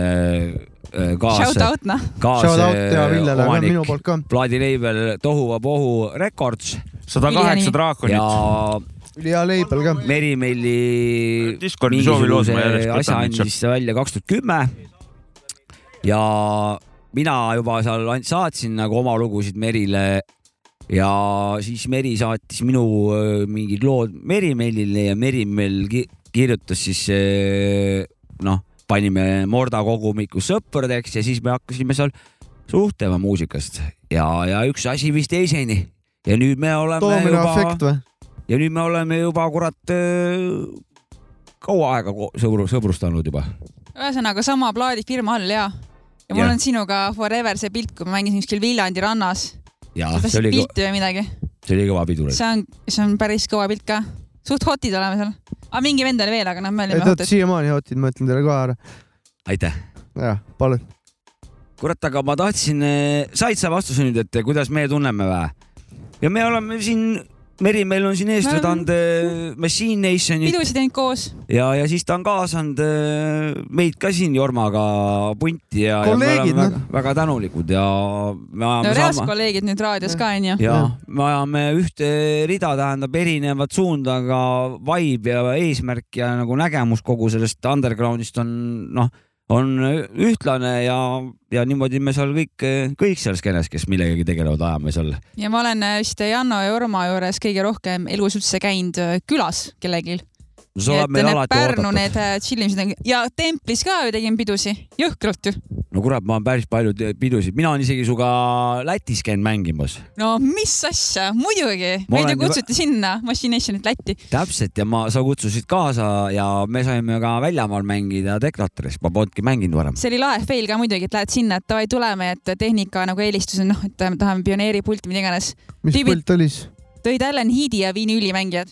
S3: äh, kaas ,
S4: Shout out , noh .
S1: Shout out ja Villele ka
S3: kaasomanik ,
S1: minu poolt ka .
S3: plaadileibel Tohuvabohu Records
S2: sada
S4: Miljoni.
S2: kaheksa
S3: ja
S2: draakonit .
S1: ülihea leibel ka .
S3: Merimelli
S2: Äh, Discordi soovi loos ma
S3: mingisuguse
S2: järjest
S3: asja
S2: võtan nüüd
S3: andis välja kaks tuhat kümme . ja mina juba seal and- saatsin nagu oma lugusid Merile ja siis Meri saatis minu öö, mingid lood Merimellile ja Merimell ki- kirjutas siis öö, noh , panime Morda kogumiku sõpradeks ja siis me hakkasime seal suhtlema muusikast ja , ja üks asi vist teiseni ja nüüd me oleme
S1: Doomino
S3: juba
S1: efekt või ?
S3: ja nüüd me oleme juba kurat öö, kaua aega ko- sõbru , sõbrustanud juba .
S4: ühesõnaga sama plaadifirma all ja , ja mul
S3: Jah.
S4: on sinuga forever see pilt , kui ma mängisin kuskil Viljandi rannas .
S3: ja
S4: sa
S3: Ah, see
S4: tahtsid
S3: oli ,
S4: pilti või midagi ?
S3: see oli kõva pidu .
S4: see on , see on päris kõva pilt ka . suht hotid oleme seal . aga mingi vend oli veel , aga noh , me
S1: ei
S4: olime
S1: ta on
S4: hotid .
S1: siiamaani hotid , ma ütlen teile kohe ära .
S3: aitäh .
S1: jah , palun .
S3: kurat , aga ma tahtsin , said sa vastuse nüüd , et äh, kuidas me tunneme või ? ja me oleme siin , Meri meil on siin
S4: Me oleme-
S3: eestvedanud öö, Machine Nationit
S4: pidusid teinud koos .
S3: ja , ja siis ta on kaasanud öö, meid ka siin Jormaga punti ja , ja me
S1: Kolleegid,
S3: oleme väga, väga tänulikud ja me
S4: no
S3: ajame
S4: reaalsed
S3: sama ,
S4: kolleegid nüüd raadios ka onju .
S3: ja
S1: Jah.
S3: me ajame ühte rida , tähendab erinevat suunda , aga vibe ja eesmärk ja nagu nägemus kogu sellest undergroundist on noh , on ühtlane ja , ja niimoodi me seal kõik , kõik seal skeenes , kes millegagi tegelevad , ajame seal .
S4: ja ma olen äh, vist Janno ja Urmo juures kõige rohkem elus üldse käinud äh, külas kellelgi .
S3: sa oled meil alati
S4: Pärnu
S3: oodatud .
S4: need äh, chill imised on ja templis ka ju tegin pidusi , jõhkralt ju .
S3: no kurat , ma olen päris palju te- pidusid , mina olen isegi sinuga Lätis käinud mängimas .
S4: no mis asja , muidugi ,
S3: Ma
S4: meid ju
S3: olen juba-
S4: kutsuti sinna Machinationit Lätti .
S3: täpselt ja ma , sa kutsusid kaasa ja me saime ka väljamaal mängida Deklatoris , ma polnudki mänginud varem .
S4: see oli lae fail ka muidugi , et lähed sinna , et davai , tuleme , et tehnika nagu eelistus on noh , et me tahame pioneeripulti , mida iganes .
S1: mis
S4: Tüübid-
S1: pult oli siis ?
S4: tõid Allan Heedi ja vinüülimängijad .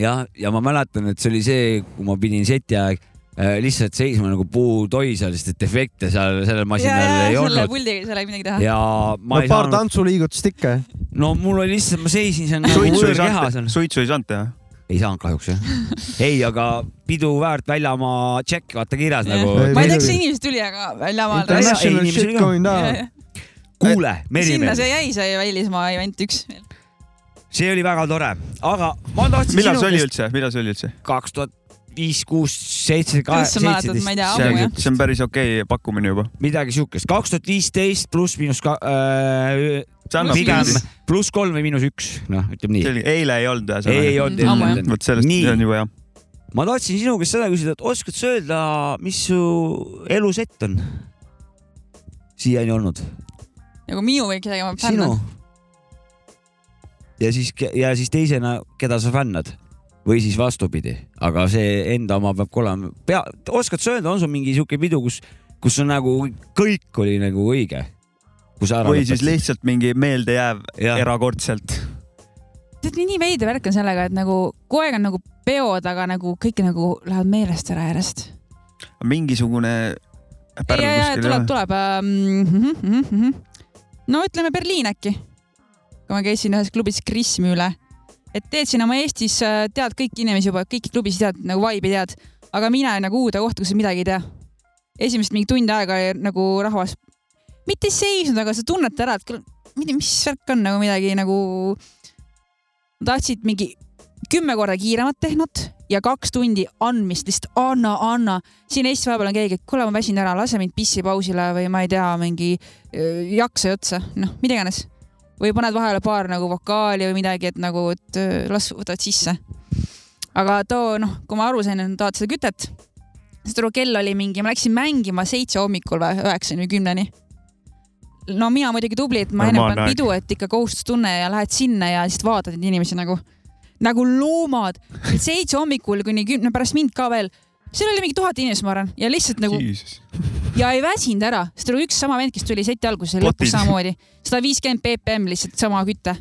S3: jah , ja ma mäletan , et see oli see , kui ma pidin seti aeg äh, lihtsalt seisma nagu puutoi seal , sest et efekte seal sellel masinal ei
S4: selle
S3: olnud .
S4: puldiga seal ei midagi teha .
S3: ja ma
S1: no
S3: ei
S1: paar
S3: saanud ,
S1: tantsuliigutust ikka .
S3: no mul oli lihtsalt , ma seisin seal nagu
S2: suitsu ei
S3: võõrkehas
S2: saanud
S3: on ,.
S2: suitsu ei saanud teha .
S3: ei saanud kahjuks jah . ei , aga pidu väärt väljamaa tšekk , vaata kirjas nagu .
S1: Ei,
S4: ma ei tea , kas
S1: muidugi.
S4: inimesi tuli , aga väljamaal .
S3: Internet-
S1: International
S3: inimesi oli
S1: shit
S3: ka.
S1: going down .
S3: kuule ,
S4: sinna
S3: Merimeel
S4: see , jäi , see välismaa event üks .
S3: see oli väga tore , aga ma tahtsin
S2: millal
S3: sinu
S2: see oli
S3: käest
S2: üldse , millal see oli üldse ?
S3: kaks tuhat viis , kuus , seitse ,
S4: sa mäletad ,
S3: seitseteist
S4: ma ei tea ,
S2: see
S4: ammu
S2: on
S4: jah .,
S2: see on päris okei okay pakkumine juba .
S3: midagi siukest , kaks tuhat viisteist pluss miinus ka- äh, ,
S2: see annab
S3: pigem
S2: kindlasti .
S3: pluss kolm või miinus üks , noh , ütleme nii .
S2: selge , eile ei olnud
S3: ei ei
S2: ühesõnaga .
S3: olnud
S4: Ammu, jah.
S3: ilmselt .
S2: vot sellest
S3: Nii.
S2: on juba hea .
S3: ma tahtsin sinu käest seda küsida , et oskad sa öelda , mis su elusett on siiani olnud ?
S4: nagu minu või kedagi ma
S3: sinu
S4: fännan ..
S3: ja siis , ja siis teisena , keda sa fännad või siis vastupidi , aga see enda oma peab ka olema , pea , oskad sa öelda , on sul mingi sihuke pidu , kus , kus on nagu kõik oli nagu õige ?
S2: või siis lihtsalt mingi meeldejääv
S3: Jah.
S2: erakordselt .
S4: tead , nii veider värk on sellega , et nagu kogu aeg on nagu peod , aga nagu kõik nagu lähevad meelest ära järjest .
S2: mingisugune . Äh,
S4: ja , ja , ja tuleb , tuleb ähm, . no ütleme Berliin äkki . kui ma käisin ühes klubis Krismi üle , et teed siin oma Eestis , tead kõiki inimesi juba , kõiki klubisid tead nagu vibe'i tead , aga mine nagu uude kohta , kus sa midagi ei tea . esimest mingi tund aega oli nagu rahvas , mitte ei seisnud , aga sa tunned ära , et küll , mis värk on nagu midagi nagu . tahtsid mingi kümme korda kiiremat tehnot ja kaks tundi andmist , lihtsalt anna , anna . siin Eestis vahepeal on keegi , et kuule , ma väsin ära , lase mind pissipausile või ma ei tea , mingi öö, jaksa otsa , noh , mida iganes . või paned vahele paar nagu vokaali või midagi , et nagu , et öö, las võtavad sisse . aga too , noh , kui ma aru sain , et nad tahavad seda kütet , siis too kell oli mingi , ma läksin mängima seitse hommikul või üheksani või kümneni . no mina muidugi tubli , et ma enne
S2: Normaalne
S4: panen
S2: aeg.
S4: pidu , et ikka kohustustunne ja lähed sinna ja lihtsalt vaatad neid inimesi nagu . nagu loomad , seitse hommikul kuni kümne , pärast mind ka veel . seal oli mingi tuhat inimest , ma arvan , ja lihtsalt nagu ja ei väsinud ära , sest oli üks sama vend , kes tuli seti alguses ja lõpus
S2: Potid.
S4: samamoodi . sada viiskümmend BPM lihtsalt sama küte .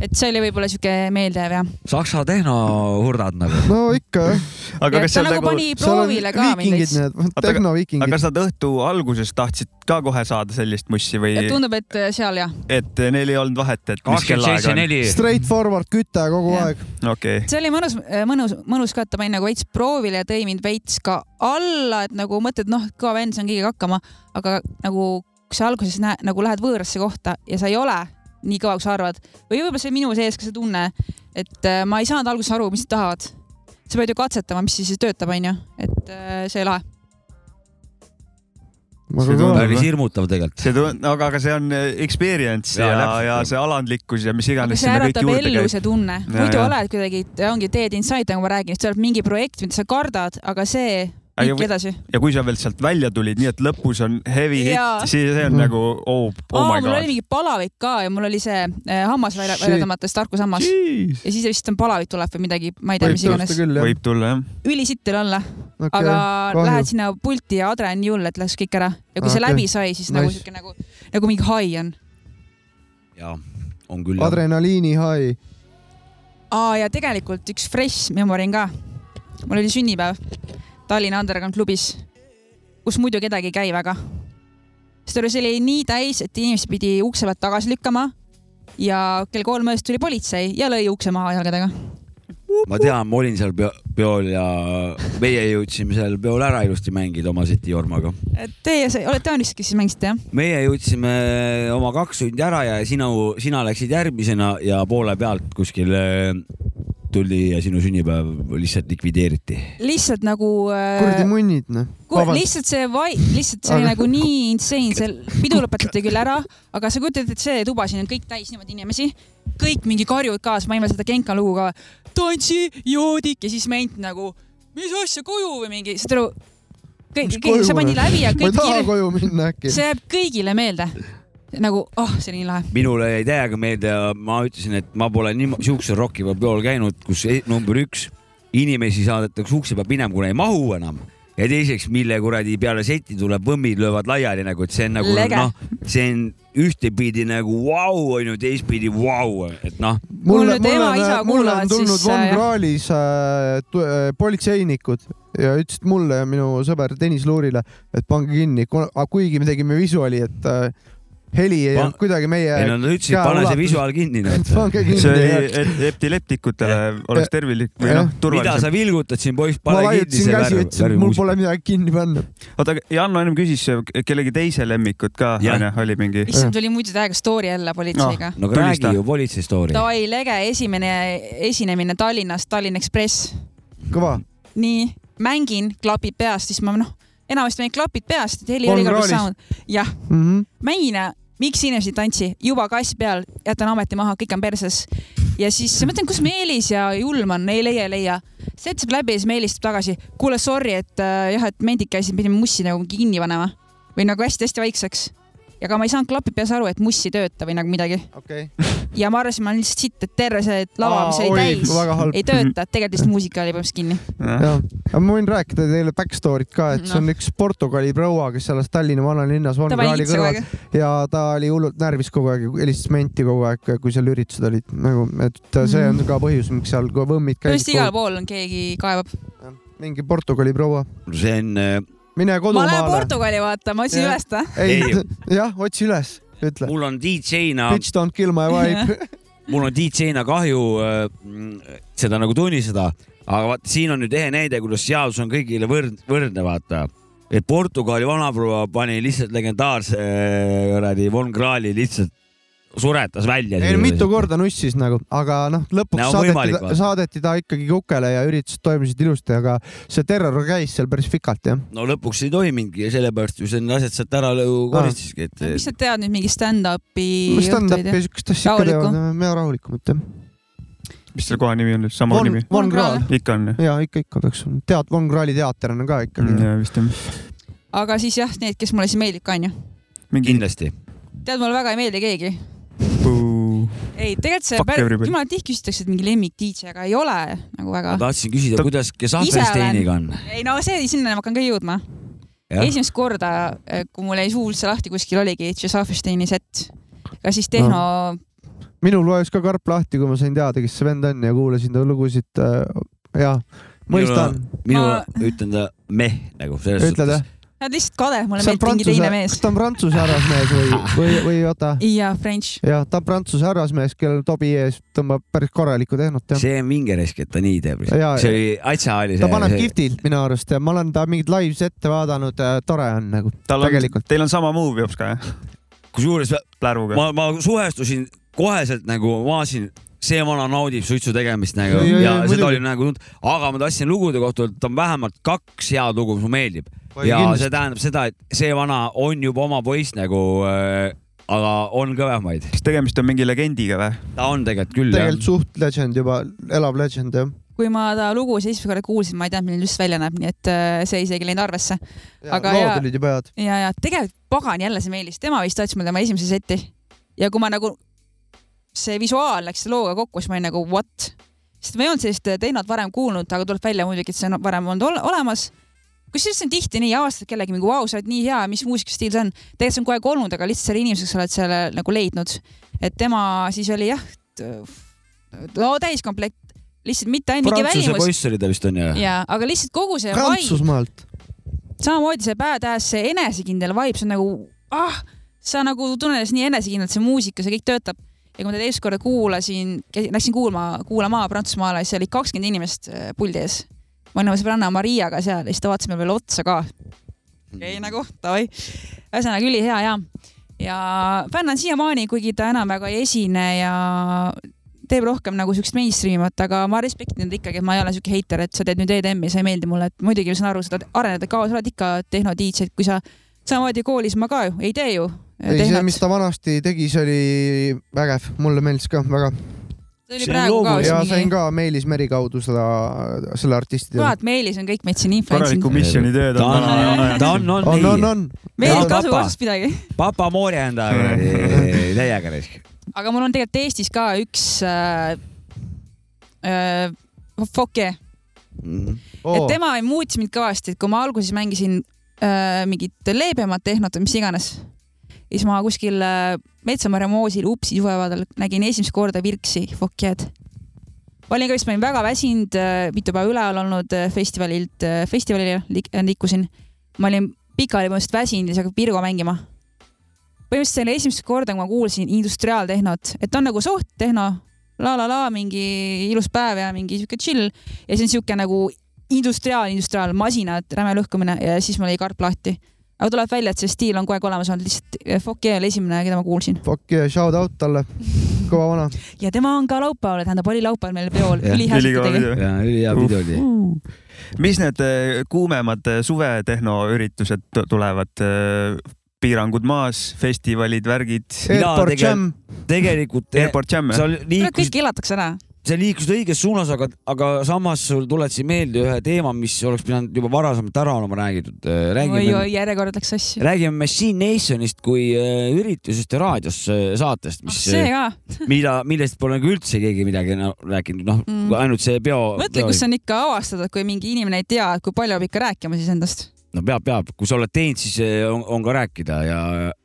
S4: et see oli võib-olla siuke meeldejääv jah .
S3: Saksa tehnohurdad nagu .
S1: no ikka jah .
S2: aga kas
S4: ta
S2: seal
S4: nagu
S2: nagu ,
S4: pani proovile ka mind
S1: viikingid
S4: veits .
S1: need ,
S2: aga- aga
S1: tehnoviikingid .
S2: kas nad õhtu alguses tahtsid ka kohe saada sellist mussi või ,
S4: tundub , et seal jah .
S2: et neil ei olnud vahet , et mis
S3: kakskümmend
S2: kellaaeg
S3: seitse
S2: on ?
S3: neli .
S1: Straight forward küte kogu
S4: Jah.
S1: aeg .
S2: okei okay. ,
S4: see oli mõnus , mõnus , mõnus ka , et ta pani nagu veits proovile ja tõi mind veits ka alla , et nagu mõtled , noh , kõva vend , saan kõigega hakkama , aga nagu kui sa alguses näe, nagu lähed võõrasse kohta ja sa ei ole nii kõva , kui sa arvad või võib-olla see on minu sees ka see tunne , et äh, ma ei saanud alguses aru , mis nad tahavad . sa pead ju katsetama , mis siis töötab , onju , et äh, see lahe .
S2: See tundub-
S3: päris hirmutav tegelikult .
S2: see tund- , aga , aga see on äh, experience
S3: Jaa,
S2: ja , ja,
S3: täpselt.
S2: ja see alandlikkus ja mis
S4: aga see
S2: iganes sinna kõik
S4: äratab
S2: juurde
S4: ellu
S2: käib .
S4: see tunne ,
S2: Ja,
S4: muidu
S2: ja.
S4: oled kuidagi , ongi Dead Inside , nagu ma räägin , et sa oled mingi projekt , mida sa kardad , aga see
S2: Aga
S4: viibki
S2: või-
S4: edasi .
S2: ja kui sa veel sealt välja tulid , nii et lõpus on heavy
S4: Jaa.
S2: hit , siis see on
S1: Mhm.
S2: nagu oh , oh
S4: Aa,
S2: my
S4: mul oli
S2: god .
S4: mingi palavik ka ja mul oli see eh, hammas välja ,
S1: Shit.
S4: välja tõmmata , see tarkushammas .
S2: Jeez.
S4: ja siis vist on palavik tuleb või midagi , ma ei tea ,
S1: võib
S4: mis
S1: tõusta
S4: iganes .
S1: küll jah .
S2: võib tulla jah .
S4: ülisitter olla ,
S1: okei
S4: aga
S1: kahju.
S4: okay, lähed sinna pulti ja adren jull , et läks kõik ära . ja kui see
S1: Okei.
S4: läbi sai , siis nagu
S1: Nice.
S4: siuke nagu , nagu mingi high on .
S3: jaa , on küll .
S1: adrenaliini high .
S4: aa , ja tegelikult üks fresh memory on ka . mul oli sünnipäev Tallinna Underground klubis , kus muidu kedagi ei käi väga . sest oli- see oli nii täis , et inimesed pidi ukse pealt tagasi lükkama ja kell kolm öösel tuli politsei ja lõi ukse maha jalgadega .
S3: ma tean , ma olin seal peo- peol ja meie jõudsime seal peol ära ilusti mängida oma seti Jormaga .
S4: Et Äh, Teie sai- olete ainus , kes siis mängisite jah ?
S3: meie jõudsime oma kaks tundi ära ja sina , sina läksid järgmisena ja poole pealt kuskil äh, tuli ja sinu sünnipäev lihtsalt likvideeriti .
S4: lihtsalt nagu
S1: kuradi munnid noh .
S4: äh, , lihtsalt see vai- , lihtsalt see oli
S1: Aga-
S4: nagu nii insane , see pidu lõpetati küll ära , aga sa kujutad ette , et see tuba siin on kõik täis niimoodi inimesi , kõik mingi karjuvad kaasa , ma ei mäleta seda Genka lugu ka . tantsi , joodik ja siis ment nagu , mis asja koju või mingi , saad aru ? kõik , kõik , see pandi läbi ja
S1: ma
S4: kõik
S1: ei taha
S4: kirjad ,
S1: koju minna äkki .
S4: see jääb kõigile meelde . nagu , ah oh, , see oli nii lahe .
S3: minule jäi täiega meelde ja äh, ma ütlesin , et ma pole nii siuksel rokiva peol käinud , kus e- number üks inimesi saadetakse ukse peal minema , kuna ei mahu enam ja teiseks , mille kuradi peale seti tuleb , võmmid löövad laiali nagu , et see on nagu
S4: Lege.
S3: noh , see on ühtepidi nagu vau onju , teistpidi vau , et noh ,
S4: Mul nüüd ema, isa
S1: mulle
S4: kuulavad,
S1: on tulnud
S4: siis,
S1: Von
S4: äh, jah.
S1: Krahlis äh, tu- äh, politseinikud ja ütlesid mulle ja minu sõber Tõnis Luurile , et pange kinni , kuigi me tegime visuaali , et äh, heli ei
S3: Pa-
S1: olnud kuidagi meie
S3: ei no äh, nad ütlesid , pane see
S1: käeulatus-
S3: visuaal kinni noh, nüüd .
S1: pange
S2: see oli
S1: kinni .
S2: et- epileptikutele oleks tervilik või
S1: Jah.
S2: noh ,
S3: mida sa
S2: turvalisem .
S3: vilgutad siin , poiss , pane
S1: ma
S3: kinni
S1: vajutasin
S3: see
S1: käsi ,
S3: värv ,
S1: ütlesin , et mul pole
S3: värvimuusika .
S1: midagi kinni panna .
S2: oota , aga Janno ennem küsis kellegi teise lemmikut ka ,
S3: Jah.
S2: onju , oli mingi .
S4: issand , tuli muidu täiega story jälle politseiga .
S3: no aga
S2: Tulista.
S3: räägi ju politsei story .
S4: Davai , lege esimene esinemine Tallinnas , Tallinna Ekspress
S1: kõva .
S4: nii , mängin klapid peas , siis ma noh , enamasti mängin klapid peas , et heli
S1: Von
S4: oli igal pool
S1: Krahlis.
S4: sound . jah , mängin ja miks inimesed ei tantsi , juba kass peal , jätan ameti maha , kõik on perses . ja siis mõtlen , kus Meelis ja Julm on , ei leia , ei leia . setsib läbi ja siis Meelis tuleb tagasi . kuule , sorry , et äh, jah , et mendid käisid , pidime mussi nagu kinni panema või nagu hästi-hästi vaikseks . ja aga ma ei saanud klapid peas aru , et muss ei tööta või nagu midagi .
S1: okei .
S4: ja ma arvasin , ma olen lihtsalt sitt , et terve see lava , mis oli täis ,
S1: väga halb .
S4: ei tööta , et tegelikult lihtsalt muusika oli põhimõtteliselt kinni .
S2: noh,
S1: jah , aga ma võin rääkida teile back story't ka , et see on
S4: Noh.
S1: üks Portugali proua , kes elas Tallinna vanalinnas Von
S4: Davai ,
S1: Krahli
S4: litsa kogu
S1: kõrval
S4: aeg .
S1: ja ta oli hullult närvis kogu aeg , helistas menti kogu aeg , kui seal üritused olid nagu , et see on ka põhjus , miks seal ka võmmid
S4: Mhm. tõesti igal
S1: käisid .
S4: pool on keegi kaevab .
S1: mingi Portugali proua ,
S3: see on äh,
S1: mine
S4: ma lähen
S1: kodumaale .
S4: Portugali vaatama , otsin
S1: Jah.
S4: üles ta .
S1: ei
S3: Ei. ,
S1: jah , otsi üles , ütle .
S3: mul on DJ-na ,
S1: Bitch don't kill my wife .
S3: mul on DJ-na kahju äh, m, seda nagu tunnistada , aga vaata , siin on nüüd ehe näide , kuidas seadus on kõigile võrd- , võrdne , vaata . et Portugali vanaproua pani lihtsalt legendaarse äh, kuradi Von Krahli lihtsalt suretas välja .
S1: ei , mitu korda nussis nagu , aga noh , lõpuks
S3: Näo võimalik,
S1: saadeti ,
S3: vaata.
S1: saadeti ta ikkagi kukele ja üritused toimusid ilusti , aga see terror käis seal päris pikalt jah .
S3: no lõpuks ei toiminudki ja sellepärast ju need asjad sealt ära lõu- koristaski ,
S4: mis
S3: et
S4: sa tead nüüd mingi stand-up'i
S1: stand-up'i ja siukest asja ikka
S4: Rahulikku.
S1: teevad , mina rahulikumalt jah .
S2: mis selle koha nimi on nüüd , sama
S1: Von
S2: nimi ?,
S1: Von Krahl .
S2: ikka on jah ?
S1: ja ikka , ikka peaks , tead , Von Krahli teater on ka ikkagi .
S2: jaa , vist jah .
S4: aga siis jah , need , kes mulle siis meeldib ka onju .
S2: mingi .
S3: kindlasti .
S4: tead , mulle väga ei meeldi keegi . ei , tegelikult see
S2: Fuck
S4: päris ,
S2: everybody.
S4: jumala tihti küsitakse , et mingi lemmik DJ , aga ei ole nagu
S3: ma
S4: väga .
S3: tahtsin küsida ,
S2: Ta-
S3: kuidas , kes
S4: Ise
S3: Ahvensteiniga on ?
S4: ei no see , sinna ma hakkan ka jõudma . esimest korda , kui mul jäi suu üldse lahti , kuskil oligi Tšehhovsteini set , ka siis tehno no. ,
S1: minul vajus ka karp lahti , kui ma sain teada , kes see vend on ja kuulasin ta lugusid äh, ja mõistan ,
S3: minul
S4: Ma-
S3: ütlen ta meh nagu selles
S1: ütled jah ?
S4: nad lihtsalt kaded , mulle
S1: kas ta on
S4: meeldib mingi
S1: prantsuse
S4: teine , mees
S1: kas . ta on prantsuse härrasmees või , või , või oota ,
S4: jaa , French .
S1: jah , ta on prantsuse härrasmees , kellel tobi ees tõmbab päris korralikku tehnot jah .
S3: see on vinge risk , et ta nii teeb
S1: Jaa.
S3: lihtsalt . see oli , Atsa oli see .
S1: ta paneb kihvtilt minu arust ja ma olen ta mingeid live'is ette vaadanud , tore on nagu
S2: tal on
S1: Tegelikult. ,
S2: teil on sama move jops ka jah ,
S3: kusjuures ma-
S2: pläruga .
S3: ma , ma suhestusin koheselt nagu , ma vaatasin , see vana naudib suitsu tegemist nagu
S1: Ei, ei,
S3: ja, ja
S1: ei,
S3: seda
S1: muidugi.
S3: oli nagu , aga ma tahtsin lugude kohta öelda , et on vähemalt kaks head lugu , mis mulle meeldib .
S1: Oi,
S3: ja
S1: kindlasti.
S3: see tähendab seda , et see vana on juba oma poiss nagu äh, , aga on kõvemaid .
S2: kas tegemist on mingi legendiga või ?
S3: ta on tegelikult küll jah
S1: tegelikult suht legend juba , elav legend jah .
S4: kui ma ta lugu siis esimest korda kuulsin , ma ei teadnud , milline just välja näeb , nii et äh, see isegi ei läinud arvesse . Aga jaa.
S1: lood olid juba head .
S4: ja , ja tegelikult pagan jälle see meeldis , tema vist tahtis mulle tema esimese seti ja kui ma nagu , see visuaal läks looga kokku , siis ma olin nagu what , sest ma ei olnud sellist tehnot varem kuulnud , aga tuleb välja muidugi , et see on varem olnud ole olemas . kusjuures see on tihti nii , avastad kellegi mingi vau , sa oled nii hea , mis muusikastiil see on , tegelikult see on kogu aeg olnud , aga lihtsalt selle inimesega sa oled selle nagu leidnud , et tema siis oli jah , no täiskomplekt , lihtsalt mitte ainult mingi
S3: prantsuse
S4: välimus
S3: poiss oli ta vist onju .
S4: ja , aga lihtsalt kogu see vibe
S1: Prantsusmaalt .
S4: samamoodi see badass , see enesekindel vibe , see on nagu , ah , sa nagu tunned ennast nii enesekindlalt , see muusika , see kõik töötab . ja kui ma teda esimest korda kuulasin , läksin kuulma , kuulama Prantsusmaale , siis oli kakskümmend inimest äh, puldi ees . ma olin oma sõbranna Mariaga seal ja siis ta vaatas mulle veel otsa ka .
S1: Hmm.
S4: okei , nagu davai . ühesõnaga ülihea jaam . ja fänn on siiamaani , kuigi ta enam väga ei esine ja teeb rohkem nagu siukest mainstream ut , aga ma respektin teda ikkagi , et ma ei ole siuke heiter , et sa teed nüüd EDM-i , see ei meeldi mulle , et muidugi ma saan aru , sa arened kaua , sa oled ikka tehno-DJ-d , kui sa samamoodi koolis ma ka ju ei tee ju .
S1: ei , see , mis ta vanasti tegi , see oli vägev , mulle meeldis ka väga .
S4: see oli
S3: see on
S4: praegu ka
S3: loomulik.
S1: ja
S4: üks
S1: sain
S4: mingi ,
S1: ka Meelis Meri kaudu seda , selle artisti teada .
S4: vaat Meelis on kõik meid siin
S2: korralikku
S4: influentsinud .
S2: missioonitööd
S3: ta on
S2: on vana ,
S3: ta
S2: vana
S3: on , on
S1: on , on ,
S3: nii .
S1: on .
S4: Meelis
S3: Jaa,
S4: kasu
S3: papa.
S4: kaasas midagi .
S3: papa Moori enda täiega risk .
S4: aga mul on tegelikult Eestis ka üks äh, äh, Fokke ,
S1: Mhm. Oh.
S4: et tema muutis mind kõvasti , et kui ma alguses mängisin äh, mingit leebemat tehnot või mis iganes , siis ma kuskil äh, Metsamarja moosil Upsi suvevaadal nägin esimest korda Virksi Fokkiad . ma olin ka vist , ma olin väga väsinud äh, , mitu päeva üleval olnud äh, festivalilt äh, , festivalile liik- äh, liikusin . ma olin pikali põhimõtteliselt väsinud ja siis hakkas Virgo mängima . põhimõtteliselt see oli esimest korda , kui ma kuulsin industriaaltehnot , et on nagu suht tehno , la la la , mingi ilus päev ja mingi sihuke chill ja see on sihuke nagu industriaal , industriaal , masinad , räme lõhkumine ja siis mul jäi karp lahti . aga tuleb välja , et see stiil on kogu aeg olemas olnud , lihtsalt Fokee oli esimene , keda ma kuulsin .
S1: Fuck yeah , shout out talle . kõva vana .
S4: ja tema on ka laupäeval , tähendab , oli laupäeval meil peol ,
S3: Jah,
S4: ülihea
S2: ülikõva
S4: tegi .
S2: video .
S3: ja ülihea pidu oli .
S2: mis need eh, kuumemad eh, suvetehnoüritused t- tulevad ? piirangud maas , festivalid , värgid ,
S1: Airport
S3: tegelikult-
S1: Jam ,
S3: tegelikult sa
S2: Airport Jam ,
S3: liikusid
S4: kõik elatakse ära .
S3: sa liikusid õiges suunas , aga , aga samas sul tuletasid meelde ühe teema , mis oleks pidanud juba varasemalt ära olema räägitud .
S4: oi ,
S3: räägime ,
S4: oi , järjekord läks sassi .
S3: räägime Machine Nationist kui äh, üritusest ja raadiosaatest , mis ,
S4: Ah, see ka ,
S3: mida , millest pole nagu üldse keegi midagi enam rääkinud , noh
S4: Mm.
S3: mm. , ainult see peo .
S4: mõtle , kus on ikka avastatud , kui mingi inimene ei tea , kui palju peab ikka rääkima siis endast .
S3: no peab , peab , kui sa oled teinud , siis äh, on, on ka rääkida ja,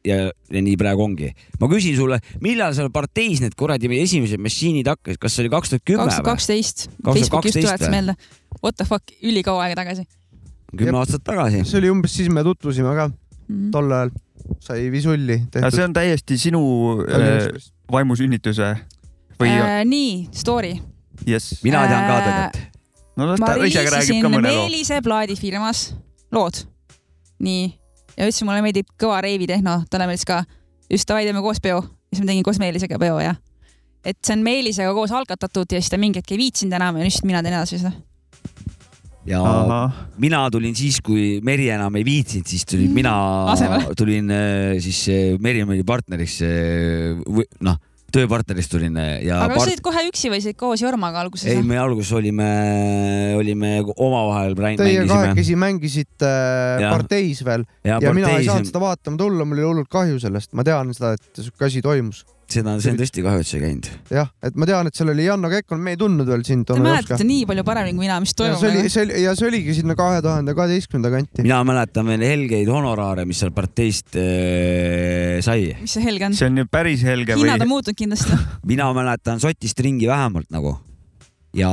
S3: ja , ja nii praegu ongi . ma küsin sulle , millal seal parteis need kuradi meie esimesed machiinid hakkasid , kas see oli kaks tuhat kümme
S4: kaks tuhat
S3: või ?
S4: kaksteist ,
S3: tuhat
S4: Facebooki just
S3: kaksteist
S4: tuletas
S3: või?
S4: meelde . What the fuck , ülikaua aega tagasi
S1: Jep.
S3: kümme aastat tagasi .
S1: see oli umbes siis me tutvusime ka
S4: mm. .
S1: tol ajal . sai visulli
S2: aga see
S1: tehtud .
S2: on täiesti sinu
S3: äh,
S2: eh, vaimusünnituse või äh,
S4: Äh, nii , story .
S2: jess ?
S3: mina tean ka
S4: Äh,
S3: tegelikult .
S2: no las
S4: ma
S2: ta ise räägib
S4: riisisin
S2: ka mõne loo .
S4: Meelise plaadifirmas lood . nii , ja ütlesin , mulle meeldib kõva reivitehno , talle meeldis ka . just davai , teeme koos peo . ja siis ma tegin koos Meelisega peo ja . et see on Meelisega koos algatatud ja siis ta mingi hetk ei viitsinud enam ja nüüd mina teen edasi seda .
S3: ja
S2: ahah ,
S3: mina tulin siis , kui Meri enam ei viitsinud , siis tulin
S4: Mm.
S3: mm. mina
S4: Asemele. ,
S3: tulin äh, siis äh, Meri oli partneriks , noh , tööpartneriks tulin äh, ja .
S4: aga kas sa olid kohe üksi või sa olid koos Jormaga alguses noh?
S3: ei ,
S4: või ?
S3: me alguses olime , olime omavahel .
S1: Teie kahekesi mängisite äh,
S3: Jah.
S1: parteis veel ja mina ei saanud seda vaatama tulla , mul oli hullult kahju sellest , ma tean seda , et siuke asi toimus .
S3: seda , see on tõesti kahju , et sa ei käinud .
S1: jah , et ma tean , et seal oli Janno Kekkonen , me ei tundnud veel sind .
S4: Te mäletate nii palju paremini kui mina , mis
S1: ja see oli ,
S4: toimub .
S1: see oli ja see oligi sinna kahe tuhande kaheteistkümnenda kanti .
S3: mina mäletan veel helgeid honoraare , mis seal parteist äh, sai .
S4: mis see helge on ?
S2: see on ju päris helge või
S4: hinnad on muutunud kindlasti .
S3: mina mäletan sotist ringi vähemalt nagu . ja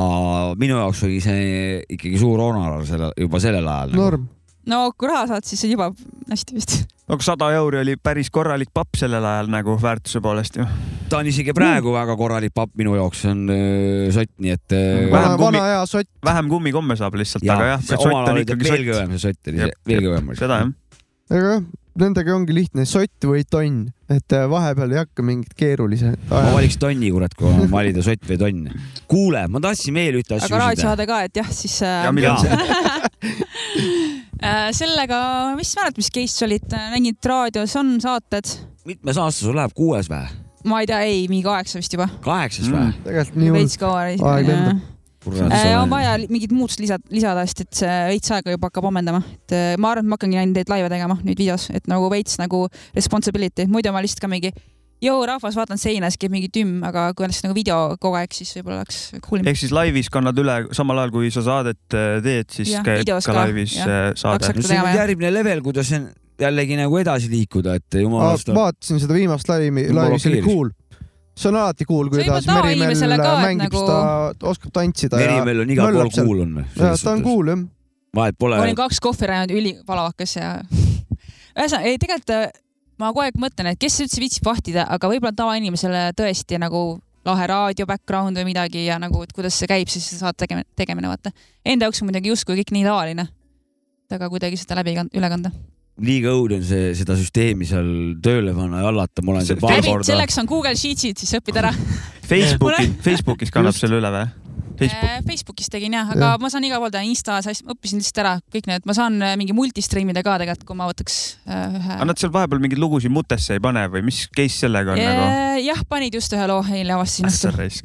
S3: minu jaoks oli see ikkagi suur honorar selle , juba sellel ajal nagu. .
S1: norm ,
S4: no kui raha saad , siis on juba hästi vist .
S2: no sada euri oli päris korralik papp sellel ajal nagu väärtuse poolest ju .
S3: ta on isegi praegu väga korralik papp minu jaoks , see on äh, sott , nii et äh,
S2: Vähem
S1: vana ,
S2: kummi-
S1: vana hea sott ,
S2: vähem kummikomme saab lihtsalt ,
S3: jaa,
S2: aga jah ,
S3: see
S2: sott
S3: omal
S2: on
S3: oli ta
S2: ikkagi
S3: veel
S2: sott .
S3: kõvem , see sott oli
S2: Jep,
S3: see- veel
S2: jep,
S3: kõvem .
S2: seda jah .
S1: aga jah , nendega ongi lihtne , sott või tonn , et äh, vahepeal ei hakka mingit keerulise .
S3: ma valiks tonni , kurat , kui ma valida sott või tonn . kuule , ma tahtsin veel ühte asja
S4: aga
S3: küsida .
S4: raadiosaade ka , et jah , siis
S2: ja
S4: äh,
S2: millal see ,
S4: äh, sellega , mis mäletad , mis case olid , nägid raadios on saated ,
S3: mitmes aasta sul läheb , kuues või ?
S4: ma ei tea , ei mingi kaheksa vist juba ,
S3: kaheksas
S2: Mm.
S3: või ?
S1: tegelikult nii hull
S4: veits . kaua Äh,
S1: Aeg lendab. .
S4: on vaja li- mingit muutust lisada , lisada , sest et see veits aega juba hakkab ammendama , et äh, ma arvan , et ma hakkangi ainult neid laive tegema nüüd videos , et nagu veits nagu responsibility , muidu ma lihtsalt ka mingi joo rahvas , vaatan seina , siis käib mingi tümm , aga kui oleks nagu video kogu aeg , siis võib-olla oleks cool .
S2: ehk siis laivis kannad üle , samal ajal kui sa saadet äh, teed , siis
S4: Jah,
S2: käib
S4: videos
S2: ka
S4: ka,
S2: laivis
S4: jah.
S2: äh, saade
S4: Kaks .
S3: no see on
S4: tegema,
S3: nüüd
S4: jah.
S3: järgmine level , kuidas on jällegi nagu edasi liikuda , et jumala
S2: Ah,
S3: eest .
S1: Ah, vaatasin seda viimast laivi ,
S3: Mul
S1: laivi , see oli
S3: blokeeris.
S1: cool . see on alati cool ,
S4: See on
S1: kuidas
S4: juba
S1: Merimel
S4: tavainimesele ka, et
S1: äh, mängib
S4: nagu-
S1: seda , oskab tantsida ja ,
S3: Merimel on igal pool
S1: möllab seal.
S3: kuul on .
S1: ja ta on . cool jah .
S3: vahet
S4: ma olin
S3: pole .
S4: kaks kohvi rajanud ülipalavakas ja ühesõnaga , ei tegelikult äh, ma kogu aeg mõtlen , et kes üldse viitsib vahtida , aga võib-olla tavainimesele tõesti nagu lahe raadio background või midagi ja nagu , et kuidas see käib siis see saate tegemine , tegemine , vaata . Enda jaoks on muidugi justkui kõik nii tavaline . et aga kuidagi seda läbi kan- üle kanda .
S3: liiga õudne on see , seda süsteemi seal tööle panna ja hallata , ma olen
S2: See-
S3: seal
S2: Paar
S3: paar
S4: läbi ,
S3: korda .
S4: selleks on Google Sheetsid , siis õpid ära .
S2: Facebooki , Facebookis kannab selle üle või ? Facebook ,
S4: Äh, Facebookis tegin jah , aga
S1: Jah.
S4: ma saan iga pool teha , Instas , õppisin lihtsalt ära kõik need , ma saan äh, mingi multistream ida ka tegelikult , kui ma võtaks äh, ühe
S2: aga . nad seal vahepeal mingeid lugusid mutesse ei pane või mis case sellega on nagu ?
S4: Eh, jah , panid just ühe loo , eile avastasin
S2: ässa
S4: õhtul .
S2: raisk .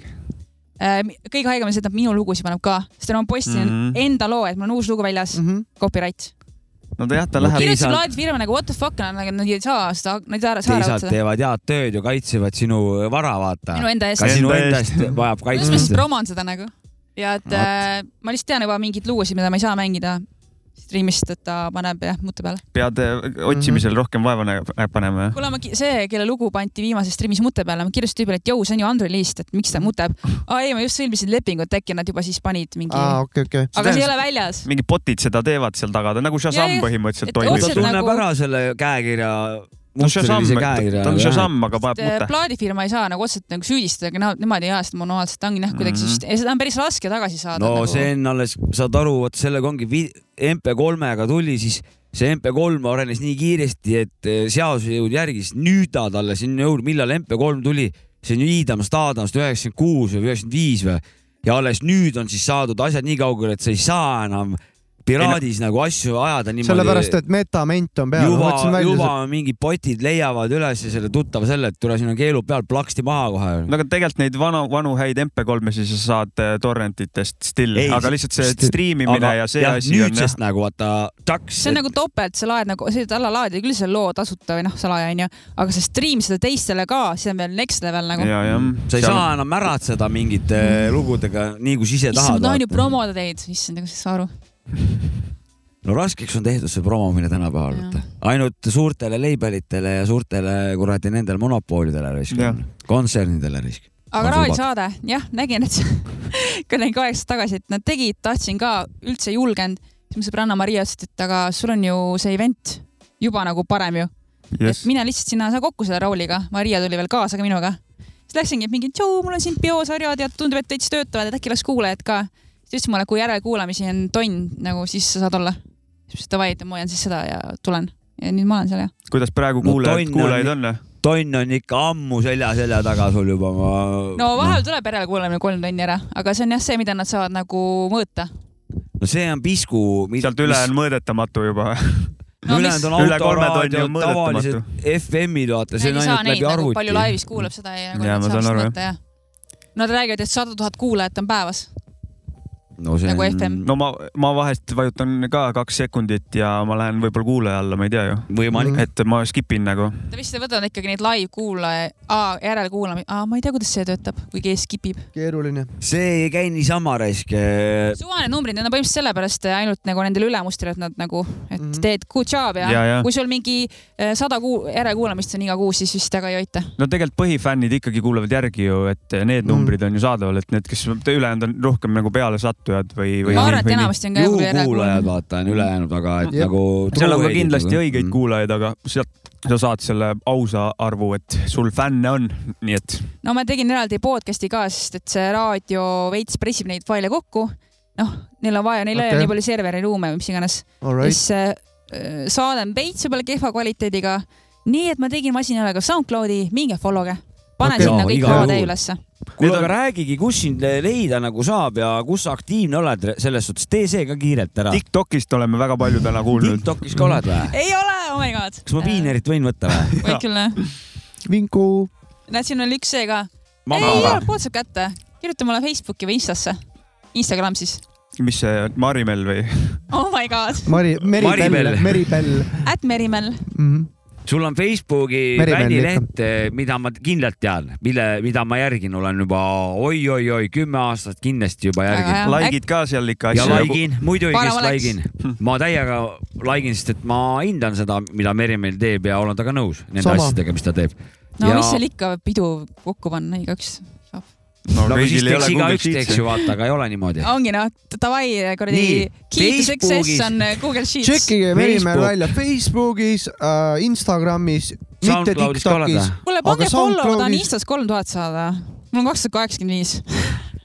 S4: Äh, kõige haigem on see , et nad minu lugusid paneb ka , sest ma postisin mm
S2: Mhm.
S4: -hmm. enda loo , et mul on uus lugu väljas
S1: Mhm.
S4: mm , -hmm. copyright .
S2: no ta jah , ta
S3: No
S2: läheb
S3: kirju-
S4: kirjutasin
S3: saanud-
S4: plaadifirma nagu what the fuck , nad ei saa seda , nad ei saa ära , saa ära
S3: teisalt
S4: võtta .
S3: teevad head tööd ja kaitsevad sinu vara , vaata .
S4: minu enda
S3: ka
S4: eest .
S3: sinu
S2: Enda
S3: enda
S2: eest.
S3: eest vajab
S4: kuidas ma siis
S3: kaitset .
S4: proman seda nagu ? ja et
S3: Vot.
S4: äh, ma lihtsalt tean juba mingeid lugusid , mida ma ei saa mängida stream'ist , et ta paneb jah , mute peale .
S2: pead äh, otsimisel rohkem vaeva nä- panema jah ?
S4: kuule , ma , see , kelle lugu pandi viimases stream'is mute peale , ma kirjutasin tüübile , et jõu , see on ju unreleased , et miks ta muteb . aa ei , ma just sõlmisin lepingut , äkki nad juba siis panid mingi ,
S1: aa , okei , okei .
S4: aga see ei ole väljas .
S2: mingid botid seda teevad seal taga , ta on nagu
S4: Jah,
S2: Shazam
S4: jah.
S2: põhimõtteliselt
S4: Et
S2: toimib
S3: ta
S4: otseselt- .
S3: tunneb
S4: nagu-
S3: ära selle käekirja .
S2: ta on Shazam , ta on Shazam , aga paneb
S4: et äh,
S2: mute .
S4: plaadifirma ei saa nagu otseselt nagu süüdistada , aga nad- nemad ei aja seda manuaalselt , ta ongi noh , kuidagi
S2: Mhm.
S4: mm -hmm. seda on päris raske tagasi saada .
S3: no
S4: nagu.
S3: see on alles , saad aru , vot sellega ongi , MP3-ga tuli siis see MP3 arenes nii kiiresti , et eh, seaduse jõud järgis , nüüd ta talle sinna jõud , millal MP3 tuli , see on ju Iidamast , Aadamast üheksakümmend kuus või üheksakümmend viis või ja alles nüüd on siis saadud asjad nii kaugele , et sa ei saa enam piraadis nagu asju ajada niimoodi .
S1: sellepärast , et metament on peal , ma
S3: juba
S1: võtsin , välja
S3: juba . mingid botid leiavad üles selle tuttava selle , et tule sinna keelu peal plaksti maha kohe .
S2: no aga tegelikult neid vanu , vanu häid MP3-si sa saad äh, torrentitest still ,
S3: Ei,
S2: aga lihtsalt see
S1: still-
S2: striimimine ja see asi on jah
S3: nüüdsest , nagu vaata , taks .
S4: see on nagu topelt , sa laed nagu , sa alla laadid küll selle loo tasuta või noh , salaja onju , aga sa stream seda teistele ka , see on veel next level nagu .
S2: ja , jah .
S3: Mm. sa ei saa enam märatseda mingite eh, lugudega nii , kui sa ise
S4: issand , ma
S3: tahad
S4: tahan ju . promoda teid , issand , ega sa ei saa aru .
S3: no raskeks on tehtud see promomine tänapäeval ,
S4: Jah.
S3: vaata . ainult suurtele leibelitele ja suurtele kuradi nendele monopoolidele risk
S2: Jah.
S3: on , kontsernidele risk .
S4: aga
S3: Ma
S4: raadiosaade , jah , nägin , et kui nägin kaheksa aastat tagasi , et nad tegid , tahtsin ka , üldse ei julgenud . siis mu sõbranna Maria ütles , et aga sul on ju see event juba nagu parem ju . yes. , et mine lihtsalt sinna , sa kokku selle Rauliga , Maria tuli veel kaasa ka minuga . siis läksingi et mingi , tšau , mul on siin biosarjad ja tundub , et täitsa töötavad , et äkki oleks kuulajad ka . siis ta ütles mulle , kui järelkuulamisi on tonn nagu , siis sa saad olla . siis ma ütlesin davai , et ma hoian siis seda ja tulen . ja nüüd ma olen seal ja .
S2: kuidas praegu
S3: No
S2: kuulajad ,
S3: tonn on-
S2: kuulajaid on ?
S3: tonn on ikka ammu selja selja taga sul juba , ma .
S4: no vahel tuleb järelkuulamine kolm tonni ära , aga see on jah see , mida nad saavad nagu mõõta .
S3: no see on pisku .
S2: sealt üle on mõõdetamatu juba .
S4: No
S3: ülejäänud on
S2: mis- Üle kolme tonni
S3: autoraadio
S2: on , mõõdetamatu.
S3: tavalised FM-id , vaata , see on
S4: Nad ei saa
S3: ainult
S4: neid
S3: läbi
S4: nagu palju
S3: arvuti .
S4: laivis kuulab seda ja
S2: Jaa,
S4: nagu
S2: ma
S4: nad
S2: saan
S4: saavad
S2: aru,
S4: seda mõõta jah . Nad räägivad , et sada tuhat kuulajat on päevas .
S3: no see
S4: Nagu
S3: on-
S4: FM.
S2: no ma , ma vahest vajutan ka kaks sekundit ja ma lähen võib-olla kuulaja alla , ma ei tea ju .
S3: võimalik .
S2: et ma skip in nagu .
S4: Te vist võtad ikkagi neid live-kuulaja , järelkuulamisi , ma ei tea , kuidas see töötab , kui keegi skip ib .
S1: keeruline .
S3: see ei käi niisama raisk .
S4: suvaline numbrid , need on põhimõtteliselt sellepärast ainult nagu nendele ülemustele , et nad nagu , et mm -hmm. teed good job ja,
S2: Ja,
S4: ja,
S2: ja.
S4: ja. kui sul mingi eh, sada kuu järelkuulamist on iga kuu , siis vist väga ei aita .
S2: no tegelikult põhifännid ikkagi kuulavad järgi ju , et
S3: Mm.
S2: need numbrid on ju saadaval , et need , kes ülejäänud on rohkem nagu pealesattujad või , või .
S4: ma arvan , et enamasti on ka
S3: ju
S4: võib-olla
S3: kuulajad ,
S4: järelkuulamine .
S3: vaata , on ülejäänud , aga et
S1: Jah.
S3: nagu . Mm.
S2: seal on ka kindlasti õigeid . kuulajaid , aga sealt sa saad selle ausa arvu , et sul fänne on , nii et
S4: no ma tegin eraldi podcast'i ka , sest et see raadio veits pressib neid faile kokku . noh , neil on vaja , neil ei
S1: Okei.
S4: ole nii palju serveriruume või mis iganes .
S1: Alright ,
S4: siis eh, saade on veits võib-olla kehva kvaliteediga . nii et ma tegin masinale ka SoundCloudi , minge follow ge . pane okay,
S1: Okei.
S4: sinna
S3: Jaa,
S4: kõik
S3: igal
S4: lood
S3: juhul.
S4: ülesse .
S3: kuule ,
S2: Need on-
S3: aga räägigi , kus sind le- leida nagu saab ja kus sa aktiivne oled re- selles suhtes , tee see ka kiirelt ära .
S2: Tiktokist oleme väga palju täna kuulnud .
S3: TikTokis ka oled või ?
S4: ei ole , oh my god .
S3: kas ma ? piinerit võin võtta või ?
S4: võid küll jah .
S1: vinku .
S4: näed , siin oli üks see ka . ei ,
S3: Mama
S4: ei
S3: või?
S4: ole , pood saab kätte . kirjuta mulle Facebooki või Instasse . Instagram siis .
S2: mis see Marimel või ?
S4: Oh my god .
S1: Mari , Meribell
S3: Maribel. ,
S1: Meribell
S4: At Merimel .
S1: mm . -hmm.
S3: sul on Facebooki
S1: Merimehel
S3: bändileht , mida ma kindlalt tean , mille , mida ma järgin , olen juba oi-oi-oi kümme aastat kindlasti juba
S4: Väga
S3: järgin
S4: hea.
S2: like'id ka seal ikka
S3: ja
S2: asju .
S3: laigin , muidugi
S4: Parem
S3: just
S4: oleks.
S3: laigin , ma täiega laigin , sest et ma hindan seda , mida Merimeel teeb ja olen temaga nõus nende
S1: Sama.
S3: asjadega , mis ta teeb .
S4: no
S3: ja...
S4: ja... mis seal ikka pidu kokku panna , igaüks .
S2: no
S3: nagu siis
S2: kõigil ei
S3: teeks
S2: ole
S3: igaüks
S2: Google
S3: teeks
S2: Sheets'i
S3: ju . vaata , aga ei ole niimoodi .
S4: ongi noh , davai kuradi
S3: Nii, .
S4: kiituseks
S3: Facebookis-
S4: S on äh, Google Sheets .
S1: tšekkige Merimell
S3: Facebook.
S1: välja Facebookis äh, , Instagramis , mitte
S3: SoundCloudis ka oled
S1: Tiktokis .
S3: või?
S4: kuule , pange follow , ma tahan Instas kolm tuhat saada . mul on kakssada kaheksakümmend viis .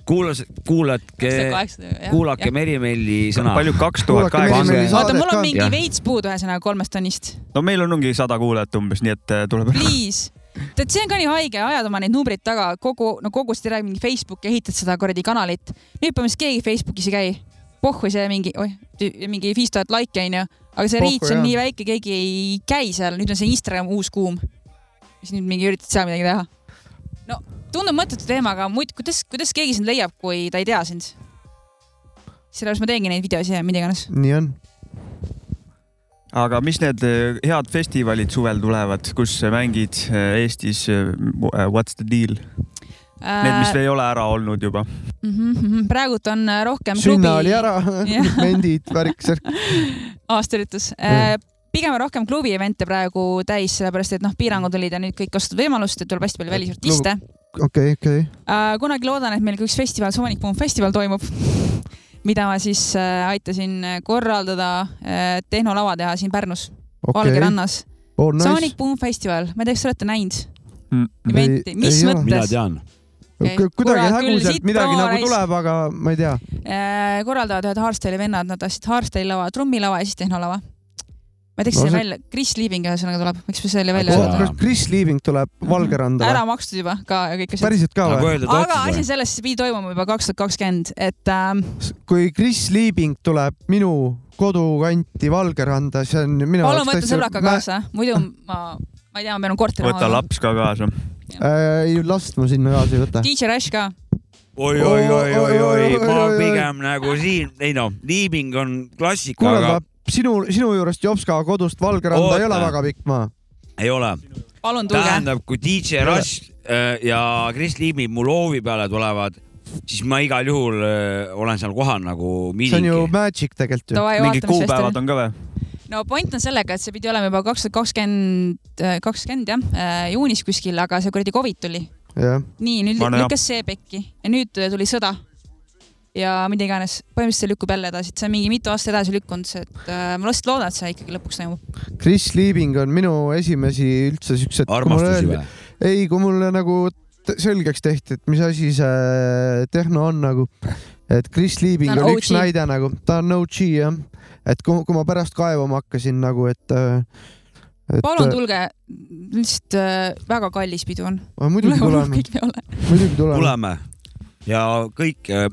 S3: kuulas , kuulake , kuulake
S4: kuulake .
S3: Merimeeli sõna .
S2: palju kaks tuhat
S1: Kuulake
S2: kaheksa .
S1: Merimelli
S4: vaata ,
S1: saadet
S4: mul
S1: ka
S4: on . mingi
S3: Jah.
S4: veits puudu ühesõnaga kolmest tonnist .
S2: no meil on ongi sada kuulajat umbes , nii et äh, tuleb .
S4: Please . tead , see on ka nii haige , ajad oma neid numbreid taga kogu , no kogu seda räägib mingi Facebook ja ehitad seda kuradi kanalit . nüüd põhimõtteliselt keegi Facebookis ei käi . pohhu see mingi , oih , mingi viis tuhat laiki onju , aga see
S1: Pohhu,
S4: reach on
S1: jah.
S4: nii väike , keegi ei käi seal , nüüd on see Instagram uus kuum . siis nüüd mingi üritad seal midagi teha . no tundub mõttetu teema , aga muid , kuidas , kuidas keegi sind leiab , kui ta ei tea sind ? sellepärast ma teengi neid videosid ja mida iganes .
S1: nii on .
S2: aga mis need äh, head festivalid suvel tulevad , kus sa mängid äh, Eestis ? What's the deal ? Need ,
S4: Äh,
S2: mis ei ole ära olnud juba .
S4: Mhm, praegult on äh, rohkem
S1: sünna oli
S4: klubi-
S1: ära
S4: Jah. ,
S1: vendid , värk , särk .
S4: aastaüritus . Äh, pigem on rohkem klubi event'e praegu täis , sellepärast et noh , piirangud olid ja nüüd kõik kasutavad võimalust , et tuleb hästi palju välisartiste .
S1: okei , okei .
S4: kunagi loodan , et meil ka üks festival , Sonic Boom festival toimub , mida ma siis äh, aitasin korraldada , tehnolava teha siin Pärnus ,
S1: okei ,
S4: Valgerannas .
S1: oh nice
S4: Sonic . Boom festival , ma ei tea , kas te olete näinud
S1: Ei-
S4: eventi , mis
S1: ei ole.
S3: mina
S4: mõttes ?
S3: tean .
S4: Okei.
S1: kuidagi
S4: Kurat, küll
S1: häguselt
S4: siit
S1: midagi
S4: proua
S1: nagu
S4: raisk.
S1: tuleb , aga ma ei tea .
S4: Äh, korraldavad ühed Hardstyle'i vennad , nad tahtsid Hardstyle'i lava , trummilava ja siis tehnolava . ma ei tea , kas see
S1: No see-
S4: välja , Chris Liiving ühesõnaga tuleb , miks me selle välja
S3: Oota.
S4: öeldud ?
S1: Oh, kas Chris Liiving tuleb Valgeranda
S4: ära
S1: või ?
S4: makstud juba ka ja kõik asjad .
S1: päriselt ka
S3: nagu
S1: või ?
S3: öeldud ,
S4: aga asi on
S3: otsus .
S4: selles , see pidi toimuma juba kaks tuhat kakskümmend , et ähm,
S1: kui Chris Liiving tuleb minu kodukanti Valgeranda , see on minu
S4: palun võta sõbraka . kaasa , muidu ma , ma ei tea , ma pean oma korteri
S2: võta . laps ka kaasa .
S1: Äh, ei , last ma sinna kaasa ei võta .
S4: DJ Rash ka ,
S3: oi-oi-oi-oi-oi , ma
S1: Oi-oi-oi-oi-oi.
S3: pigem nagu siin , ei noh , liiming on klassika ,
S1: kuule ,
S3: aga
S1: aga sinu , sinu juurest Jopska kodust Valgeranda
S3: Oota.
S1: ei ole väga pikk maa .
S3: ei ole .
S4: palun tulge .
S3: tähendab , kui DJ Rush äh, ja Kris Liimi mul hoovi peale tulevad , siis ma igal juhul äh, olen seal kohal nagu
S1: see on ju
S3: miilingi .
S1: magic tegelikult ju .
S2: mingid kuupäevad on ka või ?
S4: no point on sellega , et see pidi olema juba kaks tuhat kakskümmend , kakskümmend jah , juunis kuskil , aga see kuradi Covid tuli .
S1: jah ,
S4: nii , nüüd
S2: Vana
S4: lükkas see pekki ja nüüd tuli sõda . ja mida iganes , põhimõtteliselt see lükkub jälle edasi , et see on mingi mitu aastat edasi lükkunud , see , et äh, ma lihtsalt loodan , et see ikkagi lõpuks toimub .
S1: Chris Liiving on minu esimesi üldse siukseid .
S3: armastusi või ?
S1: ei , kui mulle nagu t- selgeks tehti , et mis asi see tehno on nagu , et Chris Liebing
S4: Ta on
S1: oli üks
S4: OG.
S1: näide nagu , ta on OG jah , et kui, kui ma pärast kaevama hakkasin nagu , et äh, et
S4: palun tulge , lihtsalt äh, väga kallis pidu on .
S1: äh, muidugi tuleme ,
S4: kõik peale .
S1: muidugi tuleme .
S3: tuleme ja kõik äh,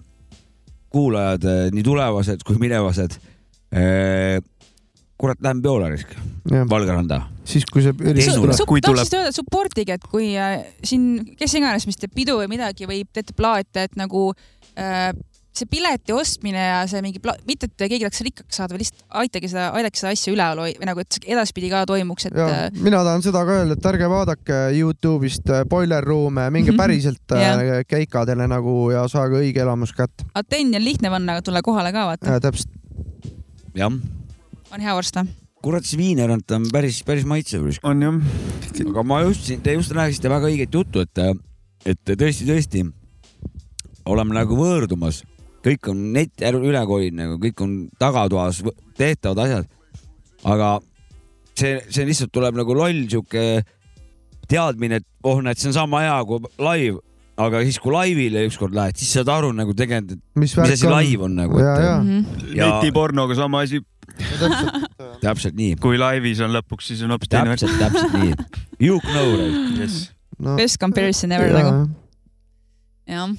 S3: kuulajad , nii tulevased kui minevased . kurat , lähen peole risk , Valgeranda .
S1: siis kui see üritus
S3: Tehno-
S1: tuleb .
S4: Sup-
S2: Kui
S4: tahaks
S2: tuleb-
S4: siis öelda , et supportige , et kui äh, siin kes iganes , mis teeb pidu või midagi või teete plaate , et nagu äh, see pileti ostmine ja see mingi pla- , mitte et keegi tahaks rikkaks saada , vaid lihtsalt aitage seda , aidake seda asja üleval hoi- või nagu , et see edaspidi ka toimuks , et
S1: ja
S4: äh,
S1: mina tahan seda ka öelda , et ärge vaadake Youtube'ist äh, Boiler Room'e , minge
S4: Mhm.
S1: päriselt
S4: Jah.
S1: äh, keikadele nagu ja saage õige elamus kätte .
S4: atendi on lihtne panna , aga tule kohale ka vaata ,
S1: täpselt .
S3: jah ,
S1: Äh.
S4: on hea varsti .
S3: kurat , see viinerant on päris , päris maitsev .
S2: on jah .
S3: aga ma just , te just rääkisite väga õiget juttu , et , et tõesti-tõesti oleme nagu võõrdumas , kõik on net üle koinud nagu , kõik on tagatoas võ- tehtavad asjad . aga see , see lihtsalt tuleb nagu loll sihuke teadmine , et oh , näed , see on sama hea kui live , aga siis , kui laivile ükskord lähed , siis saad aru nagu tegelikult , et
S1: Mis
S3: mis,
S1: värk
S3: mis asi
S1: on?
S3: live on nagu .
S1: Ja, ja. Mhm.
S2: netipornoga sama asi .
S3: täpselt nii .
S2: kui laivis on lõpuks , siis on hoopis teine .
S3: täpselt , täpselt nii . You know right
S2: yes. .
S1: no,
S4: Best comparison
S1: Äh.
S4: ever
S3: Jaa.
S4: nagu . jah .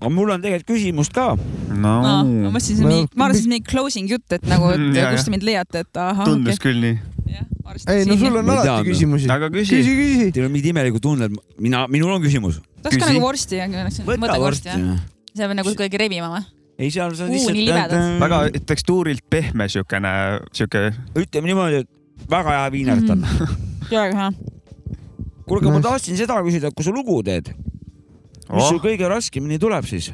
S3: aga mul on tegelikult küsimust ka .
S2: no
S4: Ah, ma mõtlesin , see on mingi , ma arvasin , see on mingi closing jutt , et nagu , et
S3: Mm,
S4: ja,
S3: jaa,
S4: kust
S3: jah.
S4: te mind leiate , et ahah .
S3: Tundus
S2: küll nii .
S1: ei no sul on alati küsimusi .
S4: Nagu
S3: aga
S1: küsi . küsi , küsi .
S3: Teil on mingid imelikud tunded , mina , minul on küsimus .
S4: tahaks ka nagu vorsti , mõtle vorsti jah . see peab nagu kuidagi rebima või ?
S3: ei , seal see
S4: Uu, nii libedad.
S2: väga tekstuurilt pehme siukene , siuke .
S3: ütleme niimoodi , et väga hea viinert on .
S4: Mm. väga hea .
S3: kuule , aga ma tahtsin seda küsida , et kui sa lugu teed , mis
S2: Oh.
S3: sul kõige raskemini tuleb siis ?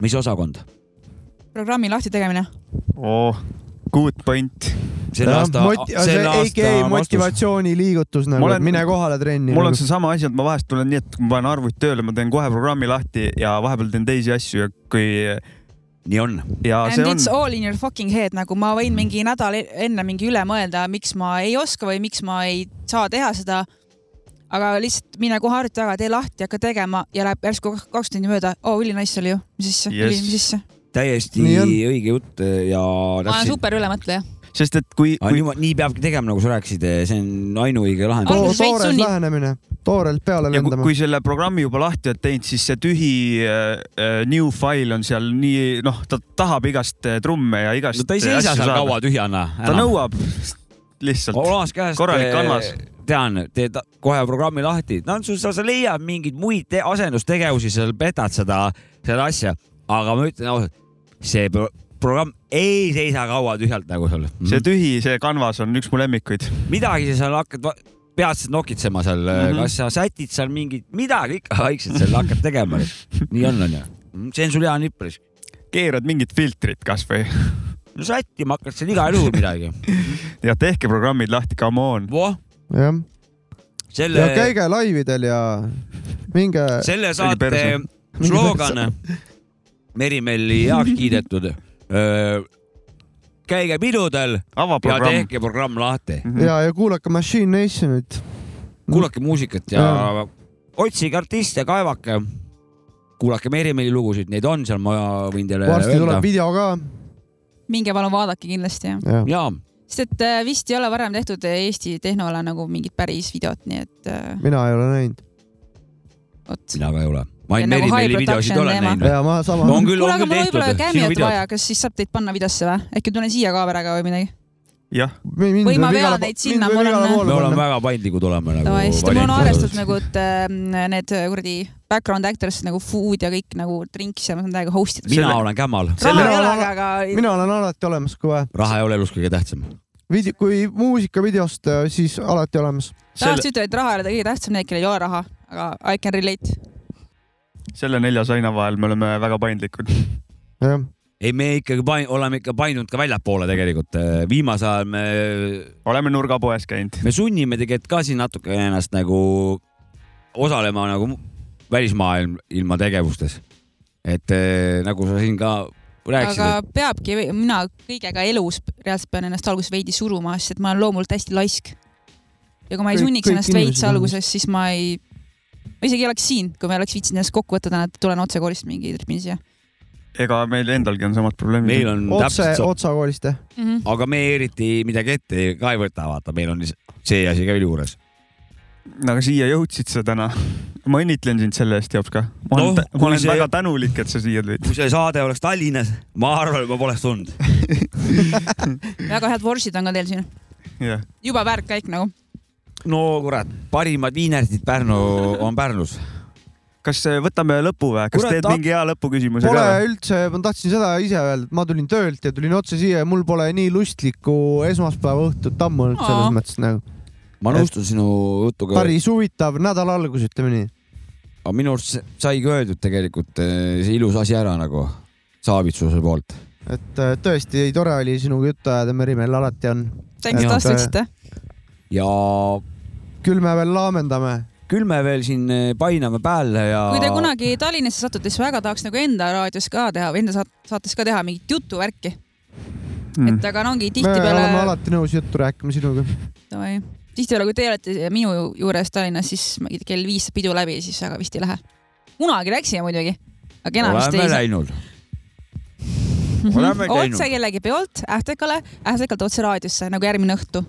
S3: mis osakond ?
S4: programmi lahti tegemine .
S2: oh, . Good point .
S3: Selle aasta-
S1: see AKA motivatsiooniliigutus nagu ,
S2: Ma
S1: et
S2: olen-
S1: mine kohale trenni . nagu.
S2: mul on seesama asi , et ma vahest tulen nii , et kui ma panen arvuti tööle , ma teen kohe programmi lahti ja vahepeal teen teisi asju ja kui .
S3: nii on .
S2: ja
S4: And
S2: see on
S4: it's . all in your fucking head , nagu ma võin mingi nädal e- enne mingi üle mõelda , miks ma ei oska või miks ma ei saa teha seda . aga lihtsalt mine kohe arvuti taga , tee lahti , hakka tegema ja läheb järsku kak- kaks tundi mööda . oo , ülinaiss oli ju , mis asja ,
S2: Yes.
S4: ülim sisse .
S3: täiesti
S2: Nii on.
S3: õige jutt eh, ja .
S4: ma olen super ülemõtleja .
S2: sest et kui ,
S3: kui . nii peabki tegema , nagu sa rääkisid , see on ainuõige
S1: To-
S3: lahendus .
S1: toores lähenemine , toorelt peale
S2: ja kui,
S1: lendama
S2: kui . selle programmi juba lahti oled teinud , siis see tühi äh, äh, new file on seal nii , noh , ta tahab igast äh, trumme ja igast .
S3: No ta ei seisa seal kaua tühjana
S2: ta
S3: enam.
S2: nõuab lihtsalt .
S3: olas käest .
S2: korralik kanvas .
S3: tean , teed kohe programmi lahti , no sul , sa sa leiad mingeid muid te- asendustegevusi , sa petad seda , seda asja , aga ma ütlen ausalt , see pro programm ei seisa kaua tühjalt nagu sul .
S2: see tühi , see kanvas on üks mu lemmikuid .
S3: midagi sa seal hakkad , peatselt nokitsema seal mm ,
S2: Mhm.
S3: -hmm. kas sa sätid seal mingit , midagi ikka vaikselt seal hakkad tegema . nii on , onju . see on sul hea nipp .
S2: keerad mingit filtrit kasvõi .
S3: no sättima hakkad seal igal juhul midagi .
S2: ja tehke programmid lahti , come on .
S1: jah .
S3: selle
S1: ja , käige laividel ja minge .
S3: selle saate slogan , Merimelli heaks kiidetud . käige pidudel ja
S2: avaprogramm.
S3: tehke programm lahti .
S1: ja , ja kuulake Machine Nationit .
S3: kuulake muusikat ja
S1: Jaa.
S3: otsige artiste , kaevake . kuulake Merimelli lugusid , neid on seal , ma võin teile
S1: varsti tuleb . video ka .
S4: minge palun vaadake kindlasti jah .
S3: ja
S4: sest et äh, vist ei ole varem tehtud äh, Eesti tehnole nagu mingit päris videot , nii et äh,
S1: mina ei ole näinud .
S3: mina ka ei ole . ma
S4: Ja
S3: ainult
S4: nagu
S3: Merimelli
S4: high
S3: videosid
S4: production
S3: olen
S4: teema.
S3: näinud .
S1: ja ma sama .
S3: on küll ,
S4: kuule ,
S3: on
S4: aga
S3: küll
S4: mul võib-olla
S3: tehtud . äh,
S4: kämijat vaja , kas siis saab teid panna videosse või ? äkki tulen siia kaameraga või midagi ?
S2: jah .
S4: Või ma vean neid sinna, mul on-
S3: me oleme väga paindlikud oleme nagu .
S4: Davai , sest mul on arvestatud nagu , et ähm, need kuradi background actors nagu food ja kõik nagu drinks ja ma saan täiega host ida .
S3: mina olen kämal .
S4: raha ei ole , aga , aga
S1: mina olen alati olemas , kui vaja .
S3: raha ei ole elus kõige tähtsam .
S1: Vidi- , kui muusikavideost , siis alati olemas .
S4: tahaks ütelda , et raha ei ole kõige tähtsam , need , kellel ei ole raha , aga I can relate .
S2: selle nelja seina vahel me oleme väga paindlikud .
S1: jah ,
S3: ei , me ikkagi pain- , oleme ikka painunud ka väljapoole tegelikult . viimasel ajal me .
S2: oleme nurgapoes käinud .
S3: me sunnime tegelikult ka siin natuke ennast nagu osalema nagu mu- välismaailm ilma tegevustes . et eh, nagu sa siin ka rääkisid
S4: aga
S3: aga... ,
S4: peabki , mina kõigega elus reaalselt pean ennast alguses veidi suruma , sest et ma olen loomult hästi laisk . ja kui ma ei
S1: Kõik-
S4: sunniks
S1: kõik
S4: ennast
S1: inimesed
S4: veits
S1: on
S4: alguses , siis ma ei , ma isegi ei oleks siin , kui ma ei oleks viitsinud ennast kokku võtta , täna et tulen otse koolist mingi tripin siia .
S2: ega meil endalgi on samad probleemid .
S3: meil on
S1: otse
S3: täpselt , so- ,
S1: otsa koolist jah .
S3: aga me eriti midagi ette ka ei võta , vaata , meil on see asi ka veel juures .
S2: aga siia jõudsid sa täna . ma õnnitlen sind selle eest , Jops ka . ma olen,
S3: Noh,
S2: no, ma
S3: kui
S2: olen
S3: see-
S2: see... väga tänulik , et sa siia tulid .
S3: kui see saade oleks Tallinnas , ma arvan , et ma poleks tulnud .
S4: väga head vorsid on ka teil siin ,
S2: jah ,
S4: juba väärt käik nagu .
S3: no kurat , parimad viineritid Pärnu on Pärnus .
S2: kas äh, võtame lõpu või , kas
S1: Kurat,
S2: teed
S1: ta-
S2: mingi hea lõpuküsimuse
S1: Pole
S2: ka või ?
S1: üldse , ma tahtsin seda ise öelda , et ma tulin töölt ja tulin otse siia ja mul pole nii lustlikku esmaspäeva õhtut ammu olnud selles
S4: Aa.
S1: mõttes nagu .
S3: ma nõustun sinu jutuga .
S1: päris huvitav nädala algus , ütleme nii .
S3: aga minu arust see- saigi öeldud tegelikult eh, see ilus asi ära nagu Saavitsuse poolt .
S1: et äh, tõesti tore oli sinuga juttu ajada , Meri , meil alati on .
S4: tänks , et astuksite .
S3: ja
S1: küll me veel laamendame .
S3: küll me veel siin eh, painame päälle ja .
S4: kui te kunagi Tallinnasse satute , siis väga tahaks nagu enda raadios ka teha või enda saat- saates ka teha mingit jutuvärki .
S2: Mm.
S4: et aga no ongi
S1: me oleme
S4: tihtipeale ,
S1: alati nõus juttu rääkima sinuga .
S4: tihtipeale , kui teie olete minu ju- juures Tallinnas , siis ma ei tea, kell viis saab pidu läbi , siis väga vist ei lähe . kunagi läksime muidugi , aga enamasti
S3: oleme
S4: ei saa .
S3: läinud . oleme
S4: otse
S3: käinud ,
S4: kellegi peolt Ähtekale , Ähtekalt otse raadiosse nagu järgmine õhtu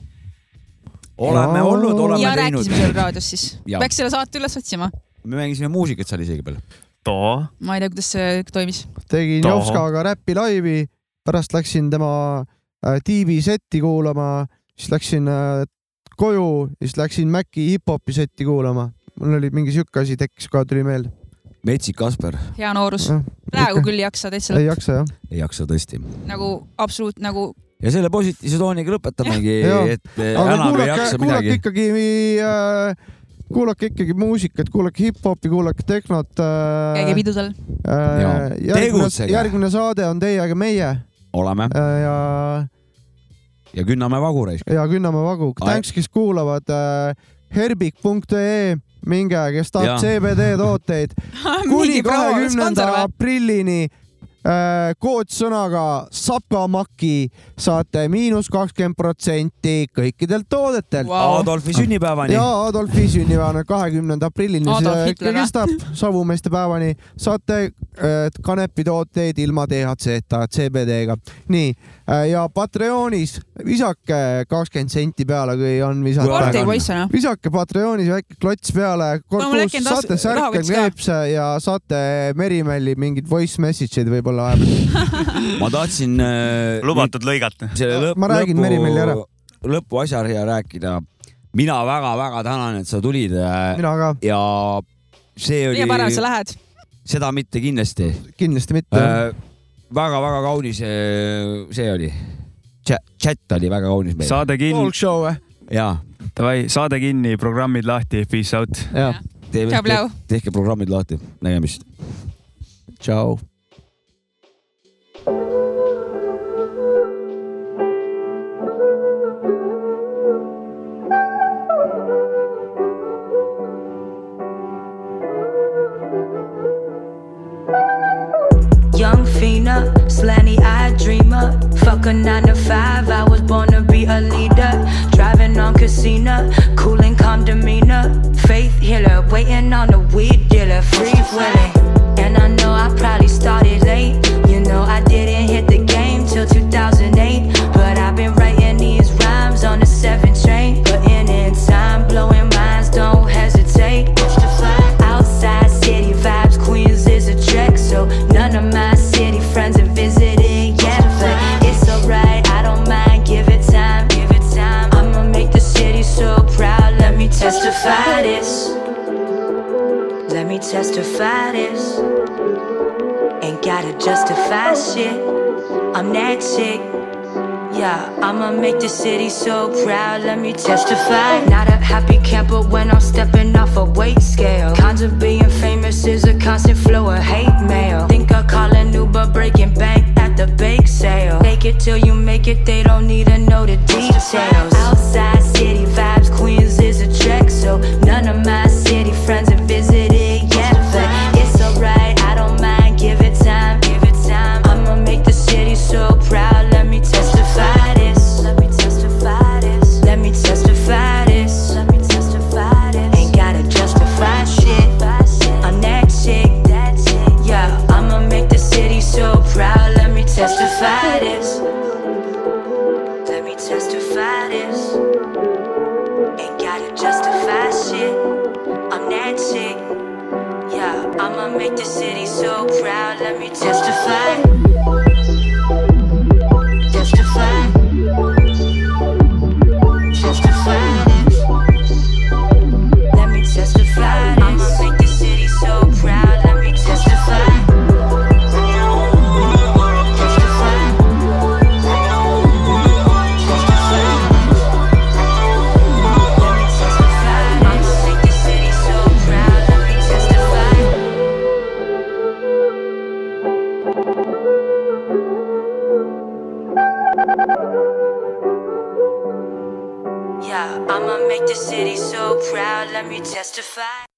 S3: oleme olnud ,
S4: ja
S3: oleme
S4: rääkisime seal
S3: teinud .
S4: raadios siis .
S3: Jaa.
S4: peaks selle saate üles otsima ,
S3: me mängisime muusikat seal isegi veel .
S2: too .
S4: ma ei tea , kuidas see toimis .
S1: tegin
S2: Tohoh.
S1: Jovskaga räpi laivi , pärast läksin tema äh, tiivi setti kuulama , siis läksin äh, koju , siis läksin Maci hip-hopi setti kuulama . mul oli mingi sihuke asi tekkis , kohe tuli meelde .
S3: Metsik Kasper
S4: hea noorus , praegu küll ei jaksa täitsa
S1: ei jaksa jah .
S3: ei jaksa tõesti .
S4: nagu absoluut nagu
S3: ja selle positiivse tooniga lõpetamegi
S1: Jah. ,
S3: et eh,
S1: aga
S3: enam ei
S1: kuulake
S3: jaksa ,
S1: kuulake
S3: midagi .
S1: ikkagi äh, kuulake ikkagi muusikat , kuulake hip-hopi , kuulake tehnot
S4: käige
S1: äh, .
S4: pidudel .
S1: Äh,
S3: Jaa.
S1: järgmine,
S3: Tegutsege.
S1: järgmine saade on teiega meie
S3: oleme
S1: äh, ja ,
S3: ja künname vagureis .
S1: ja künname vagu .
S3: Ai-
S1: tänks , kes kuulavad äh, herbik.ee , minge , kes
S3: Jaa.
S1: tahab CBD tooteid kuni kahekümnenda aprillini äh, koodsõnaga Sapamaki saate miinus kakskümmend protsenti kõikidelt toodetelt .
S3: Adolfi sünnipäevani
S1: ja . Adolfi sünnipäevane kahekümnenda aprillini ,
S4: Adolf
S1: see ikka
S4: Hitler, jah?
S1: kestab savumeeste päevani . saate äh, kanepitooteid ilma DHC-ta , CBD-ga . nii äh, ja Patreonis visake kakskümmend senti peale , kui on visata
S4: Party poissana .
S1: visake Patreonis väike klots peale ,
S4: Kuule, mul äkki on tas-
S1: saate särke
S4: rahakotis ka.
S1: kleepse ja saate Merimälli mingeid voice message eid võib-olla vahepeal .
S3: ma tahtsin äh,
S2: lubatud lõigata .
S3: selle lõpp ,
S1: Ma räägin Meri-Melli ära.
S3: lõpuasja siia rääkida . mina väga-väga tänan , et sa tulid äh,
S1: mina ka
S3: ja see
S4: ja parem sa
S3: oli ,
S4: lähed .
S3: seda mitte kindlasti
S1: kindlasti mitte äh, .
S3: äh, . väga-väga kaunis äh, see oli . chat oli väga kaunis meil
S2: saade kinni
S1: Talk , show eh? või ?
S3: ja
S2: davai , saade kinni , programmid lahti , peace out .
S1: jah ,
S3: te,
S4: Tšau,
S3: te,
S4: Blau.
S3: tehke programmid lahti , nägemist .
S1: tšau .
S11: Young Fina, slanty eyed dreamer. Fuck a nine to five, I was born to be a leader. Driving on casino, cool and calm demeanor. Faith healer, waiting on a weed dealer, free willing. And I know I probably started late. You know, I didn't hit the game till 2008. But I've been writing these rhymes on the seven train. Putting in time, blowing minds, don't hesitate. Push the flag. Outside city vibes, Queens is a trek. So none of my city friends have visited yet. But it's alright, I don't mind. Give it time, give it time. I'ma make the city so proud. Let me testify this. Let me testify this. Ain't gotta justify shit. I'm that chick. Yeah, I'ma make the city so proud, let me testify. Not a happy camper when I'm stepping off a weight scale. Cons of being famous is a constant flow of hate mail. Think of calling Uber, breaking bank at the bake sale. Take it till you make it, they don't need to know the details. Outside city vibes, Queens is a trek, so none of my city friends have visited yet. But it's alright, I don't mind, give it time, give it time. I'ma make the city so proud, let me testify this. Let me testify this. Let me testify this. Let me testify this. Ain't gotta justify shit. I'm that chick. Yeah, I'ma make the city so proud, let me testify this. Let me testify this. Ain't gotta justify shit. I'm that chick. Yeah, I'ma make the city so proud. Let me testify. Testify. Testify. Let me testify. I'ma make the city so proud. fight.